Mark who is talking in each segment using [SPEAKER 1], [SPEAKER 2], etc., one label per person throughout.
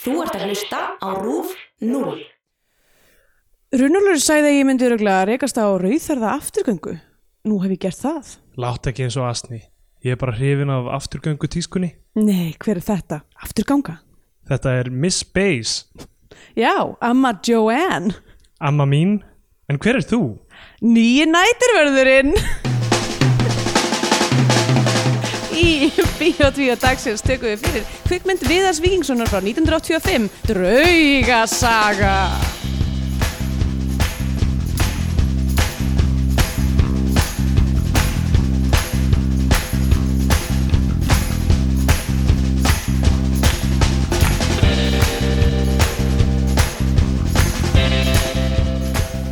[SPEAKER 1] Þú ert að hlusta á RÚF 0.
[SPEAKER 2] Runnulur sagði að ég myndi öruglega rekast á rauðarða afturgöngu. Nú hef ég gert það.
[SPEAKER 3] Látt ekki eins og asni. Ég er bara hrifin af afturgöngu tískunni.
[SPEAKER 2] Nei, hver er þetta? Afturganga?
[SPEAKER 3] Þetta er Miss Base.
[SPEAKER 2] Já, amma Joanne.
[SPEAKER 3] Amma mín. En hver er þú?
[SPEAKER 2] Nýji nætirverðurinn. Í Bíotvíu dagsins tökum við fyrir kvikmynd Viðars Víkingssonar frá 1985, Draugasaga.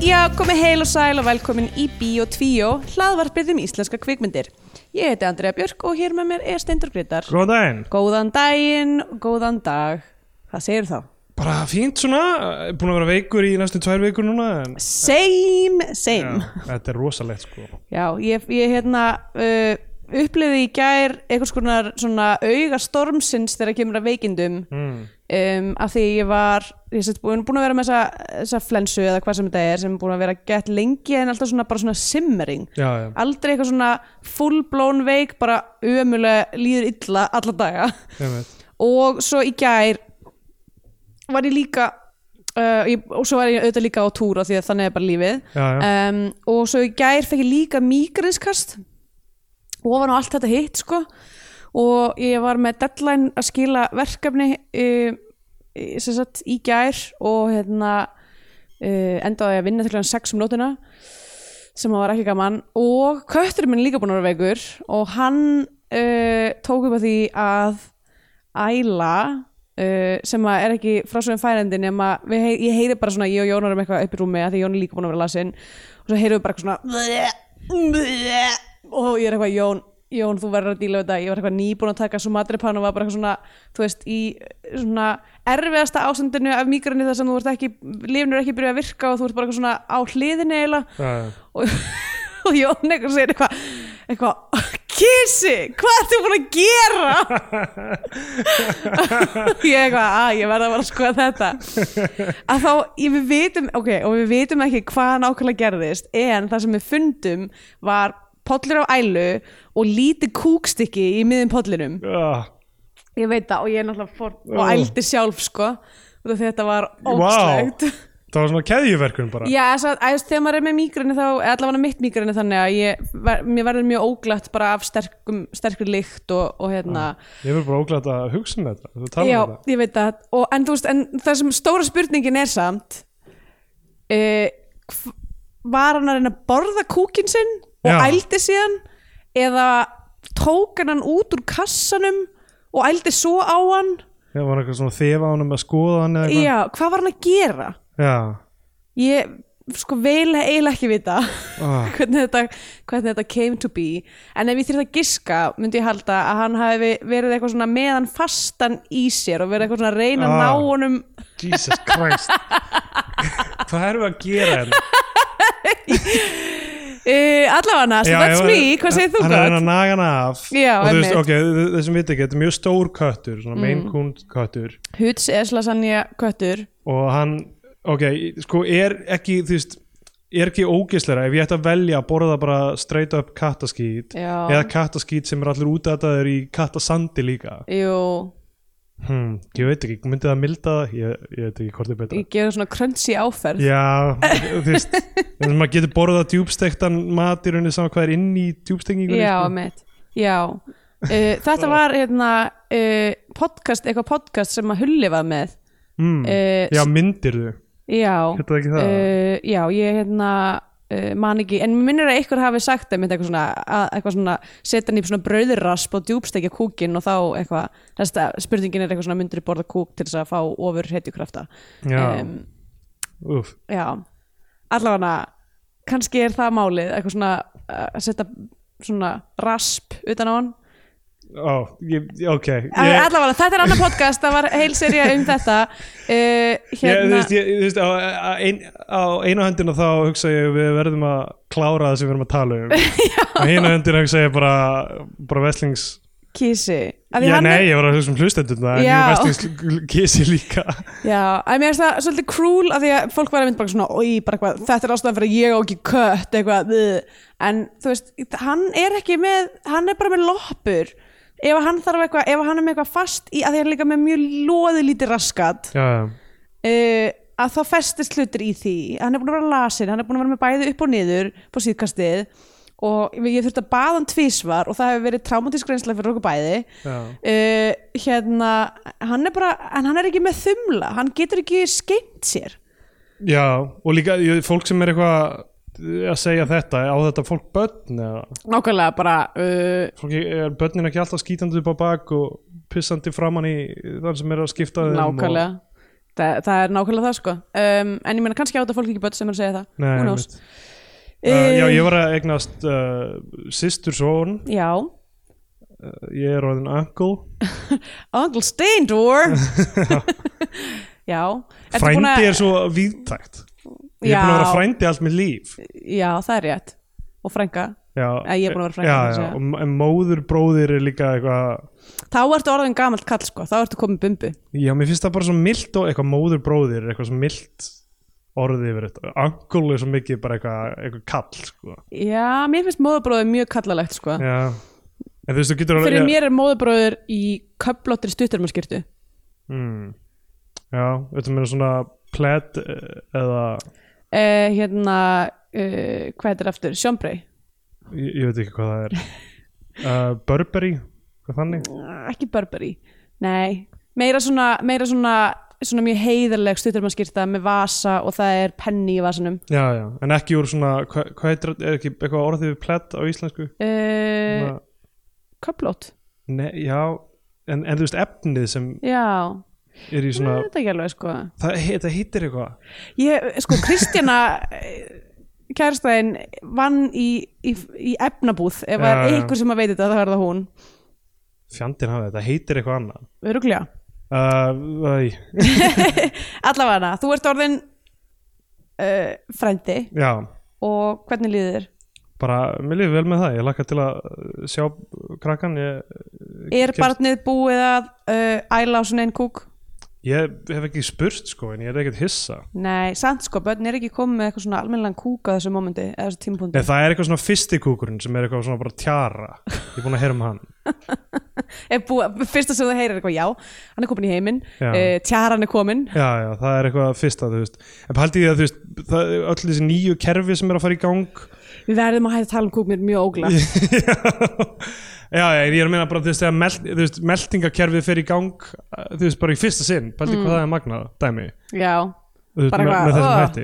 [SPEAKER 2] Já, komið heil og sæl og velkomin í Bíotvíu, hlaðvarpið um íslenska kvikmyndir. Ég heiti Andrea Björk og hér með mér er Steindur Greitar.
[SPEAKER 3] Góðan daginn.
[SPEAKER 2] Góðan daginn, góðan dag. Hvað segir þá?
[SPEAKER 3] Bara fínt svona. Búin að vera veikur í næstu tvær veikur núna. En...
[SPEAKER 2] Same, same.
[SPEAKER 3] Þetta er rosalegt sko.
[SPEAKER 2] Já, ég, ég hérna uh, upplifði í gær einhvers konar svona augastormsins þegar kemur að veikindum mm. um, af því ég var ég sett búin, búin að vera með þessa, þessa flensu eða hvað sem þetta er sem er búin að vera gett lengi en alltaf svona bara svona simmering
[SPEAKER 3] Já, já.
[SPEAKER 2] aldrei eitthvað svona full blown veik bara ömulega líður illa alla daga
[SPEAKER 3] Einmitt.
[SPEAKER 2] og svo í gær var ég líka uh, ég, og svo var ég auðvitað líka á túra því að þannig er bara lífið
[SPEAKER 3] Já,
[SPEAKER 2] Um, og svo í gær fekk ég líka mígrinskast ofan á allt þetta hitt sko og ég var með deadline að skila verkefni um, í- sem sagt í gær og hérna uh, endaði ég að vinna til hann 6 um nótuna sem var ekki gaman og kötturinn minn er líka búin að vera veikur og hann uh, tók upp að því að æla uh, sem að er ekki frá svo en færandi nema við, hei- ég heyri bara svona ég og Jón erum eitthvað upp í rúmi að því Jón er líka búin að vera lasin og svo heyrum við bara eitthvað svona og ég er eitthvað Jón Jón, þú verður að díla við þetta, ég var eitthvað nýbúin að taka svo matripan og var bara eitthvað svona, þú veist, í eh, svona erfiðasta ástandinu af mýgrunni þar sem þú ert ekki, lifnur ekki byrjuð að virka og þú ert bara eitthvað svona á hliðinni eiginlega
[SPEAKER 3] Já, já.
[SPEAKER 2] og, og Jón eitthvað segir eitthvað eitthvað, kissi, hvað ertu búin að gera? ég eitthvað, að ég verða að vera að skoða þetta að þá, ég, við vitum ok, og við vitum ekki hvað nákvæmlega gerðist en það sem við fundum var pollur af ælu og lítið kúkstykki í miðin pollinum
[SPEAKER 3] Ah,
[SPEAKER 2] ég veit það og ég er náttúrulega fór og
[SPEAKER 3] Ugh.
[SPEAKER 2] ældi sjálf sko út af því að þetta var ógslegt
[SPEAKER 3] Ah, Það var svona keðjuverkun bara.
[SPEAKER 2] Já, þess að, að þegar maður er með mígrinu þá, eða allavega mitt mígrinu þannig að ég, ver, mér verður mjög óglatt bara af sterkum, sterkri lykt og, og hérna,
[SPEAKER 3] Ég verður bara óglætt að hugsa um þetta. Þú tala
[SPEAKER 2] já,
[SPEAKER 3] um þetta.
[SPEAKER 2] ég veit það og, en þú veist, en það sem stóra spurningin er samt uh, var hann að reyna að borða kúkin sinn og
[SPEAKER 3] Já.
[SPEAKER 2] ældi síðan eða tók hann hann út úr kassanum og ældi svo á hann
[SPEAKER 3] Ég var eitthvað svona þefa honum að skoða hann eða eitthvað.
[SPEAKER 2] já, hvað var hann að gera?
[SPEAKER 3] Já.
[SPEAKER 2] Ég, sko, vil eiginlega ekki vita
[SPEAKER 3] Ah.
[SPEAKER 2] hvernig þetta, hvernig þetta came to be en ef ég þyrfti að giska myndi ég halda að hann hafi verið eitthvað svona meðan fastan í sér og verið eitthvað svona að reyna að
[SPEAKER 3] Ah.
[SPEAKER 2] ná honum
[SPEAKER 3] Jesus Christ. Hvað erum við að gera hérna?
[SPEAKER 2] uh, allavega so that's
[SPEAKER 3] já,
[SPEAKER 2] me, hvað segir þú
[SPEAKER 3] hann er hann að
[SPEAKER 2] gott?
[SPEAKER 3] naga hana af
[SPEAKER 2] Já,
[SPEAKER 3] og þú veist,
[SPEAKER 2] einmitt.
[SPEAKER 3] ok, þessum viti ekki, þetta er mjög stór köttur svona mm. köttur
[SPEAKER 2] Huts Eslasanja köttur
[SPEAKER 3] og hann, ok, sko er ekki, þú veist, er ekki ógisleira ef ég ætti að velja að borða bara straight up kattaskít
[SPEAKER 2] Já.
[SPEAKER 3] eða kattaskít sem er allir útætaður í kattasandi líka
[SPEAKER 2] jú,
[SPEAKER 3] hmm, ég veit ekki, myndi það milda það? ég, ég veit ekki hvort er betra
[SPEAKER 2] ég gefur svona crunchy áferð
[SPEAKER 3] Já, þú veist en maður getur borðað djúbstektan mat í rauninni saman hvað er inn í djúbstekningunni
[SPEAKER 2] já,
[SPEAKER 3] sko.
[SPEAKER 2] mitt, já Uh, þetta var hérna uh, podcast, eitthvað podcast sem að Hulli var með
[SPEAKER 3] mm.
[SPEAKER 2] eh,
[SPEAKER 3] já, myndir þú
[SPEAKER 2] Já,
[SPEAKER 3] Hérna ekki það?
[SPEAKER 2] Eh, já ég hérna uh, man ekki, en mér minnir að einhver hafi sagt einmitt eitthvað svona, að, eitthvað svona setja hann í svona brauðirrasp og djúbstekja kúkin og þá eitthvað, þesta spurningin er eitthvað svona myndir borða kúk til þess að fá ofur hetjukrafta
[SPEAKER 3] Já.
[SPEAKER 2] Em,
[SPEAKER 3] Úf,
[SPEAKER 2] já, allavega kannski er það málið, eitthvað svona eh, að setja svona rasp utan á hann
[SPEAKER 3] ó, ég, ok ég,
[SPEAKER 2] yeah. allavega, þetta er annar podcast, það var heil serja um þetta uh,
[SPEAKER 3] ég, þú
[SPEAKER 2] hérna,
[SPEAKER 3] veist, ég, þú veist, á, á, ein, á eina höndina þá hugsa ég við verðum að klára það sem við erum að tala um á eina höndina hugsa ég bara bara veslings
[SPEAKER 2] kísi Af því
[SPEAKER 3] Já,
[SPEAKER 2] hann er-
[SPEAKER 3] nei, ég var að hugsa um hlustendurna en
[SPEAKER 2] Já.
[SPEAKER 3] Jú Vestings kísi líka
[SPEAKER 2] Já, að mér finnst það svolítið krúl að því að fólk væri að mynd bara svona, oi, bara hvað, þetta er ástæðan fyrir að ég á ekki kött, eitthvað, við. en þú veist, hann er ekki með, hann er bara með loppur, ef hann þarf eitthvað, ef hann er með eitthvað fast í, að því hann er líka með mjög loðið lítið raskat,
[SPEAKER 3] Já, já,
[SPEAKER 2] uh, að þá festist hlutir í því, hann er búin að vera lasin, hann er búin að vera með bæði upp og niður på síðkastið og ég þurfti að baða hann tvísvar og það hefur verið traumatísk reynsla fyrir okkur bæði
[SPEAKER 3] já.
[SPEAKER 2] uh, hérna hann er bara, en hann er ekki með þumla hann getur ekki skeimt sér
[SPEAKER 3] já og líka ég- fólk sem er eitthvað að segja þetta á þetta fólk börn eða
[SPEAKER 2] nákvæmlega bara uh,
[SPEAKER 3] fólk er börnin ekki alltaf skítandi upp á bak og pissandi framann í þann sem er að skipta þeim
[SPEAKER 2] nákvæmlega
[SPEAKER 3] og,
[SPEAKER 2] Þa, það er nákvæmlega það sko um, en ég meina kannski á þetta fólk ekki börn sem er að segja það
[SPEAKER 3] Nei,
[SPEAKER 2] Who knows?
[SPEAKER 3] einmitt. uh, Já,
[SPEAKER 2] Eh,
[SPEAKER 3] ég var að eignast uh, systur són
[SPEAKER 2] já.
[SPEAKER 3] ég er orðin uncle
[SPEAKER 2] Uncle Steindor já Ertu búin
[SPEAKER 3] frændi
[SPEAKER 2] að-
[SPEAKER 3] er svo víðtækt ég er búin að
[SPEAKER 2] Já.
[SPEAKER 3] vera frændi allt mitt líf
[SPEAKER 2] já það er rétt og frænga
[SPEAKER 3] já,
[SPEAKER 2] Eh, ég er búin að vera frændi,
[SPEAKER 3] já,
[SPEAKER 2] þess
[SPEAKER 3] já,
[SPEAKER 2] að-
[SPEAKER 3] og m- móður bróðir er líka eitthvað
[SPEAKER 2] þá ertu orðin gamalt kall sko þá ertu komið bumbu
[SPEAKER 3] Já, mér finnst það bara svo milt og eitthvað móður bróðir er eitthvað svo milt orðið yfir þetta. Uncle er svo mikið bara eitthvað, eitthvað kall, sko.
[SPEAKER 2] já mér finnst móðurbróðið mjög kallalegt sko
[SPEAKER 3] Já. En þú veist, þú getur
[SPEAKER 2] fyrir
[SPEAKER 3] já,
[SPEAKER 2] mér er móðurbróður í köflóttri stuttarmaskirtu
[SPEAKER 3] Mm, já, þetta meina svona pled eh, eða,
[SPEAKER 2] uh, hérna uh, hvað heitir aftur, sjómbrei
[SPEAKER 3] ég, ég veit ekki hvað það er. Uh, Burberry, hvað þannig?
[SPEAKER 2] Eh, ekki Burberry, nei meira svona, meira svona, svona mjög heiðarleg stuttarmaskirta með vasa og það er penni í vasanum
[SPEAKER 3] Já, já, en ekki úr svona, hvað, hvað heitir, er ekki eitthvað orðið við pled á íslensku?
[SPEAKER 2] uh,
[SPEAKER 3] Svona-
[SPEAKER 2] köflótt
[SPEAKER 3] Nei, já, en, en þú veist, efnið sem
[SPEAKER 2] já,
[SPEAKER 3] er í svona,
[SPEAKER 2] þetta ekki alveg sko
[SPEAKER 3] það, það hittir eitthvað.
[SPEAKER 2] ég, sko Kristjana eh, kærastæðin vann í, í, í efnabúð ef það
[SPEAKER 3] Já,
[SPEAKER 2] er
[SPEAKER 3] já.
[SPEAKER 2] einhver sem að veit þetta þá er það hún,
[SPEAKER 3] Fjandinn hafið þetta, heitir eitthvað annað.
[SPEAKER 2] öruglega
[SPEAKER 3] Uh, æ,
[SPEAKER 2] allavega, þú ert orðin uh, frendi
[SPEAKER 3] já,
[SPEAKER 2] og hvernig líður þér?
[SPEAKER 3] bara, mér lífið vel með það ég lakka til að uh, sjá krakkan ég,
[SPEAKER 2] er
[SPEAKER 3] Kemst-
[SPEAKER 2] barnið búið að uh, æla á svona einn kúk?
[SPEAKER 3] ég hef ekki spurt sko en ég er ekkert hissa
[SPEAKER 2] Nei, sant sko, börn er ekki komið með eitthvað svona almennilegan kúk á þessu mómenti eða þessu tímpúndi.
[SPEAKER 3] Nei, það er eitthvað svona fyrstikúkurinn sem er eitthvað svona bara tjara ég er búin að heyra um hann
[SPEAKER 2] Er búið, fyrsta sem þú heyrir er eitthvað, já, hann er komin í heiminn,
[SPEAKER 3] Já.
[SPEAKER 2] uh, tjaran er komin.
[SPEAKER 3] já, já, það er eitthvað fyrsta þú veist en paldið því að þú veist, það, öll þessi nýju kerfi sem er að fara í gang
[SPEAKER 2] Við verðum að hægt að tala um kúk mér er mjög ógla.
[SPEAKER 3] já, já, en ég er að meina bara þú veist, þegar melt, þú veist, meltingakerfið fer í gang uh, þú veist, bara í fyrsta sinn paldið hvað það er magnað, dæmi
[SPEAKER 2] já,
[SPEAKER 3] þú veist,
[SPEAKER 2] Mm. Bara
[SPEAKER 3] með,
[SPEAKER 2] eitthvað,
[SPEAKER 3] með þessum
[SPEAKER 2] "Oh."
[SPEAKER 3] hætti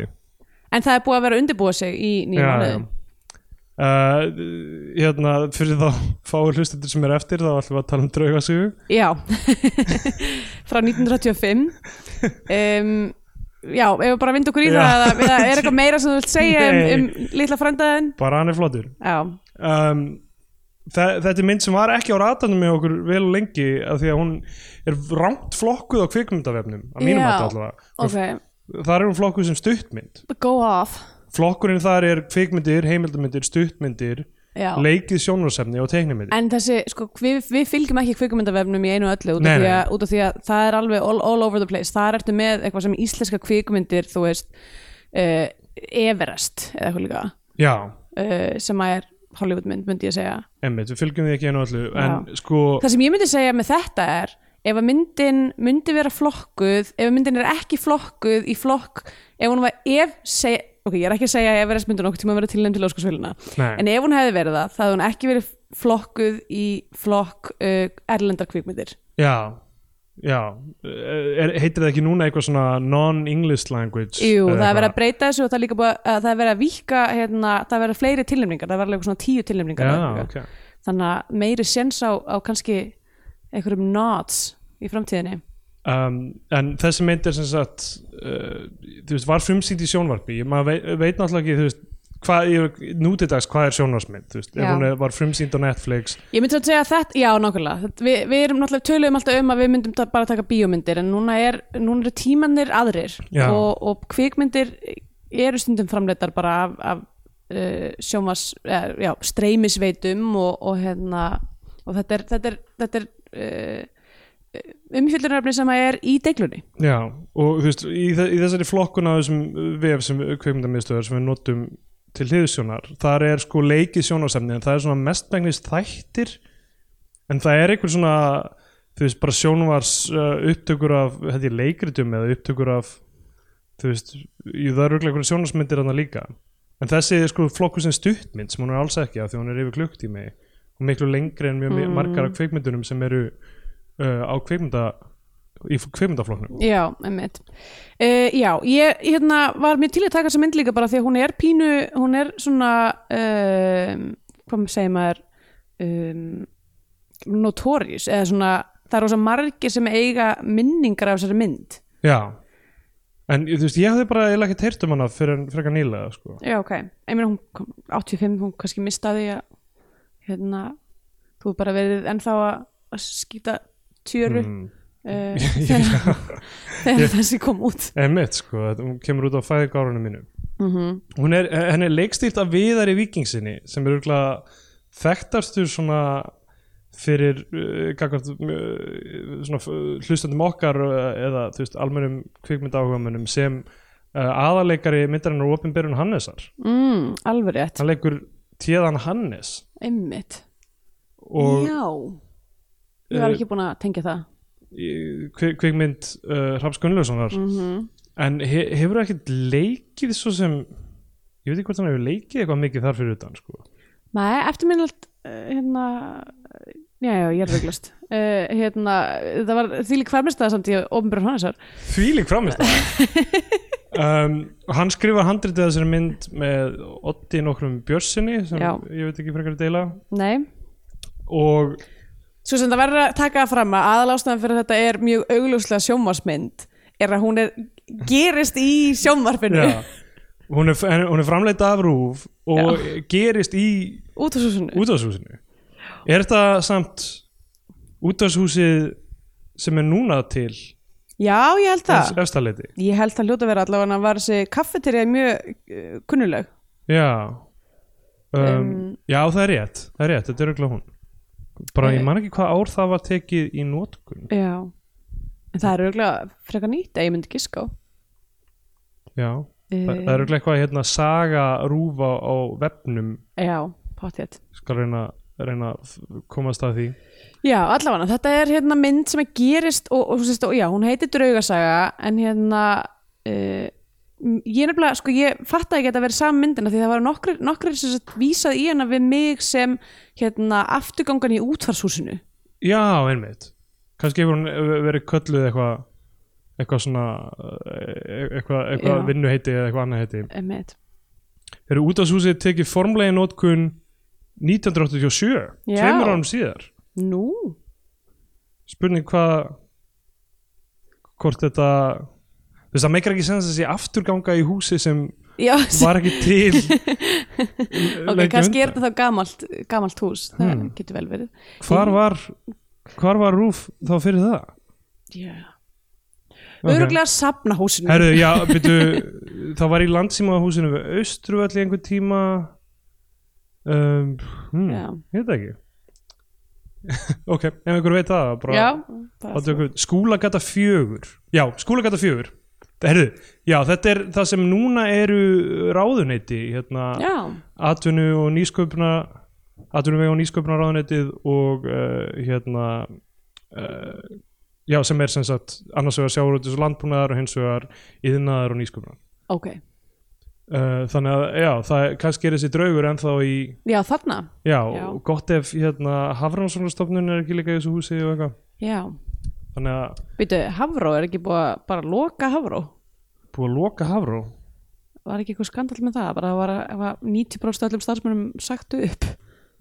[SPEAKER 2] en það er búið að vera að undirbúa sig í nýju
[SPEAKER 3] Já,
[SPEAKER 2] mánuði.
[SPEAKER 3] já. Uh, hérna, fyrir þá fáur hlustendur sem er eftir þá ætlum við að tala um draugasögu
[SPEAKER 2] Já, frá 1935 um, Já, ef við bara vindu okkur í
[SPEAKER 3] Já.
[SPEAKER 2] það eða, eða er eitthvað meira sem þú vilt segja um, um litla frændaðin
[SPEAKER 3] bara hann er flottur
[SPEAKER 2] Já,
[SPEAKER 3] um, þe þetta er mynd sem var ekki á ratanum með okkur vel og lengi af því að hún er rangt flokkuð á kvikmyndavefnum að mínum
[SPEAKER 2] Já,
[SPEAKER 3] að allavega
[SPEAKER 2] ok,
[SPEAKER 3] þar er hún flokkuð sem stuttmynd
[SPEAKER 2] go off
[SPEAKER 3] flokkurinn þar er kvikmyndir, heimildamyndir, stuttmyndir
[SPEAKER 2] Já.
[SPEAKER 3] leikið sjónarsefni og teiknimyndir
[SPEAKER 2] En þessi, sko, við, við fylgjum ekki kvikmyndavefnum í einu og öllu út af,
[SPEAKER 3] Nei,
[SPEAKER 2] því
[SPEAKER 3] nei.
[SPEAKER 2] að, út af því að það er alveg all, all over the place Þar ertu með eitthvað sem íslenska kvikmyndir, þú veist uh, Everest eða eitthvað líka
[SPEAKER 3] já,
[SPEAKER 2] uh, sem að er Hollywoodmynd, myndi ég segja
[SPEAKER 3] emmitt, við fylgjum því ekki einu öllu en sko,
[SPEAKER 2] Það sem ég myndi segja með þetta er ef að myndin myndi vera flokkuð ef að myndin er ekki flokkuð í flokk ef hún var ef seg, ok, ég er ekki að segja að Everest myndin okkur tíma að vera tilnæm til óskarsvöluna
[SPEAKER 3] Nei.
[SPEAKER 2] en ef hún hefði verið það, það hefði hún ekki verið flokkuð í flokk uh, erlendar kvikmyndir
[SPEAKER 3] Já, já er, heitir það ekki núna eitthvað svona non-English language
[SPEAKER 2] Jú, það er
[SPEAKER 3] eða
[SPEAKER 2] verið að
[SPEAKER 3] eitthvað?
[SPEAKER 2] breyta þessu og það er líka búið að að það er verið að víka hérna, það er verið að fleiri tilnæmningar, það er verið eitthvað svona tíu tilnæmningar
[SPEAKER 3] Já,
[SPEAKER 2] eða
[SPEAKER 3] ok
[SPEAKER 2] eitthvað. þannig að meiri séns á, á kannski einhverjum nods í framtíðinni
[SPEAKER 3] um, En þessi mynd er sem sagt uh, þú veist, var frumsýnd í sjónvarpi ég maður veit, veit náttúrulega ekki, þú veist hvað, ég, nútidags, hvað er sjónvarsmynd þú veist, ef
[SPEAKER 2] Já.
[SPEAKER 3] hún er, var frumsýnd á Netflix
[SPEAKER 2] Ég myndi að segja að þetta, já nákvæmlega Þetta- Við, við erum náttúrulega töluðum alltaf um að við myndum ta- bara taka bíómyndir en núna, er, núna eru tímanir aðrir
[SPEAKER 3] Já.
[SPEAKER 2] og, og kvikmyndir eru stundum framleitar bara eh, af, af uh, sjómas, eh, já, streymisveitum og, og hérna og þetta er, þetta er, þetta er uh, umfjöldunaröfni sem er í deglunni
[SPEAKER 3] Já, og þú veist, í, þe- í þessari flokkun á þessum uh, vef sem kveikmyndamiðstöðar sem við notum til hliðsjónar, þar er sko leikið sjónarsefni en það er svona mestmengnis þættir en það er einhver svona þú veist, bara sjónvars uh, upptökur af, held ég, leikritum eða upptökur af, þú veist jú, það eru örugglega einhverja sjónarsmyndir þarna líka en þessi er sko flokku sem stuttmynd sem hún er alls ekki af því hún er yfir klukktími og miklu lengri en mjög mm. margar af kveikmyndunum sem eru uh, á kveikmynda í kveikmyndaflokknum
[SPEAKER 2] Já, einmitt uh, Já, ég hérna, var mjög til að taka þessa mynd líka bara því að hún er pínu hún er svona um, hvað segir maður um, notórius eða svona, það er rosa margir sem eiga minningar af þessari mynd
[SPEAKER 3] Já En þú veist, ég hafði bara eiginlega ekkert heyrt um hana fyrir en frekar nýlega sko.
[SPEAKER 2] Já, ok, ég meina hún kom- 85, hún kannski mistaði að hérna, þú hefur bara verið ennþá að- að skýta tjöru mm. þegar, þegar þessi kom út
[SPEAKER 3] Emmett, sko, þetta- hún kemur út á fæðigárunum mínu
[SPEAKER 2] Mhm.
[SPEAKER 3] Hún er, henni er leikstýrt af viðari vikingsinni sem er örgulega þekktastur svona fyrir uh, gagvart, uh, svona, uh, hlustandum okkar uh, eða þú veist, almennum kvikmyndaáhugamönnum sem uh, aðarleikari myndarinn og opinberun Hannesar
[SPEAKER 2] mm, Alveg rétt,
[SPEAKER 3] hann leikur Téðan Hannes
[SPEAKER 2] einmitt
[SPEAKER 3] og
[SPEAKER 2] Já, ég var
[SPEAKER 3] Eh,
[SPEAKER 2] ekki búin að tengja það
[SPEAKER 3] í- kvi- kvikmynd uh, Raps Gunnlausonar
[SPEAKER 2] Mhm.
[SPEAKER 3] en he, hefur ekkert leikið svo sem ég veit ekki hvort hann hefur leikið eitthvað mikið þar fyrir utan sko.
[SPEAKER 2] Nei, eftirminnilegt uh, hérna Já, já, ég er rauglast uh, hérna, Það var þvílík hvermestæða samt í Ópenbjörn Hannesar
[SPEAKER 3] þvílík framist um, hann skrifar handritið að þessari mynd með Otti nokkrum Björnsinni sem
[SPEAKER 2] Já.
[SPEAKER 3] ég veit ekki frekar að deila
[SPEAKER 2] Nei
[SPEAKER 3] og
[SPEAKER 2] Svo sem það verður að taka það fram að aðalástæðan fyrir þetta er mjög augljóslega sjónvarsmynd er að hún er gerist í sjónvarpinu
[SPEAKER 3] já, hún, er, en hún er framleitt af rúf og gerist í
[SPEAKER 2] út af svo svona
[SPEAKER 3] útvarshúsinu er þetta samt útvarshúsið sem er núna til
[SPEAKER 2] Já, ég held það
[SPEAKER 3] efstaleiti
[SPEAKER 2] Ég held það hljóta að vera allavega að var þessi kaffeterja mjög uh, kunnuleg
[SPEAKER 3] Já um,
[SPEAKER 2] Um,
[SPEAKER 3] Já, það er rétt, það er rétt, þetta er auðvitað hún Bara
[SPEAKER 2] Eh,
[SPEAKER 3] ég man ekki hvað ár það var tekið í notkun
[SPEAKER 2] Já En það er auðvitað frekar nýtt að ég myndi giska á
[SPEAKER 3] Já, það,
[SPEAKER 2] Eh,
[SPEAKER 3] það er auðvitað eitthvað hérna saga rúfa á vefnum
[SPEAKER 2] Já, pottétt
[SPEAKER 3] skal reyna, reyna að f- komast að því
[SPEAKER 2] Já, allavega, þetta er hérna mynd sem er gerist og, og, þú sést, og já, hún heitir Draugasaga en hérna uh, ég nefnilega, sko, ég fatta ekki að þetta verið saman myndina því það var nokkrir, nokkrir sem sagt vísað í hana við mig sem hérna afturgangan í útvarshúsinu
[SPEAKER 3] Já, einmitt Kannski hefur hún eh, verið kölluð eitthvað eitthvað svona eh, eitthvað,
[SPEAKER 2] Já.
[SPEAKER 3] eitthvað vinnuheiti eða eitthvað annað heiti
[SPEAKER 2] Emmeit.
[SPEAKER 3] Eru út af húsið tekið formlega í notkun 1987
[SPEAKER 2] Já.
[SPEAKER 3] tveimur árum síðar
[SPEAKER 2] Nú,
[SPEAKER 3] spurning hvað hvort þetta þú veist það meikar ekki sens að þessi afturganga í húsi sem
[SPEAKER 2] já,
[SPEAKER 3] var ekki til
[SPEAKER 2] ok, kannski er þetta þá gamalt, gamalt hús, það
[SPEAKER 3] Hmm.
[SPEAKER 2] getur vel verið
[SPEAKER 3] hvar var, hvar var Rúf þá fyrir það
[SPEAKER 2] Já,
[SPEAKER 3] Ok.
[SPEAKER 2] okay. öruglega safnahúsinu
[SPEAKER 3] Herðu, já, byrju, það var í landsímahúsinu við Austruvöll í einhvern tíma um, hmm,
[SPEAKER 2] Já.
[SPEAKER 3] ég veit það ekki ok, ef einhver veit það bara,
[SPEAKER 2] Já,
[SPEAKER 3] Áttu okkur- Skúlagata fjögur Já, skúlagata fjögur Herðu, já, þetta er það sem núna eru ráðuneyti hérna,
[SPEAKER 2] já,
[SPEAKER 3] atvinnu og nýsköpuna atvinnu og nýsköpuna ráðuneytið og uh, hérna uh, já, sem er sem sagt annars vegar sjáurútis og landbúnaðar og hins vegar yðnaðar og nýsköpuna
[SPEAKER 2] ok
[SPEAKER 3] uh, þannig að, já, það er- kannski er þessi draugur ennþá í,
[SPEAKER 2] Já, þarna,
[SPEAKER 3] já,
[SPEAKER 2] Já.
[SPEAKER 3] og gott ef hérna, Hafrannsóknarstofnun er ekki líka í þessu húsi og eitthvað,
[SPEAKER 2] já
[SPEAKER 3] þannig að
[SPEAKER 2] Býtu, Hafró er ekki búið að bara loka Hafró?
[SPEAKER 3] búið að loka Hafró
[SPEAKER 2] Var ekki eitthvað skandall með það? Bara það var, það var 90% öllum starfsmönnum sagtu upp?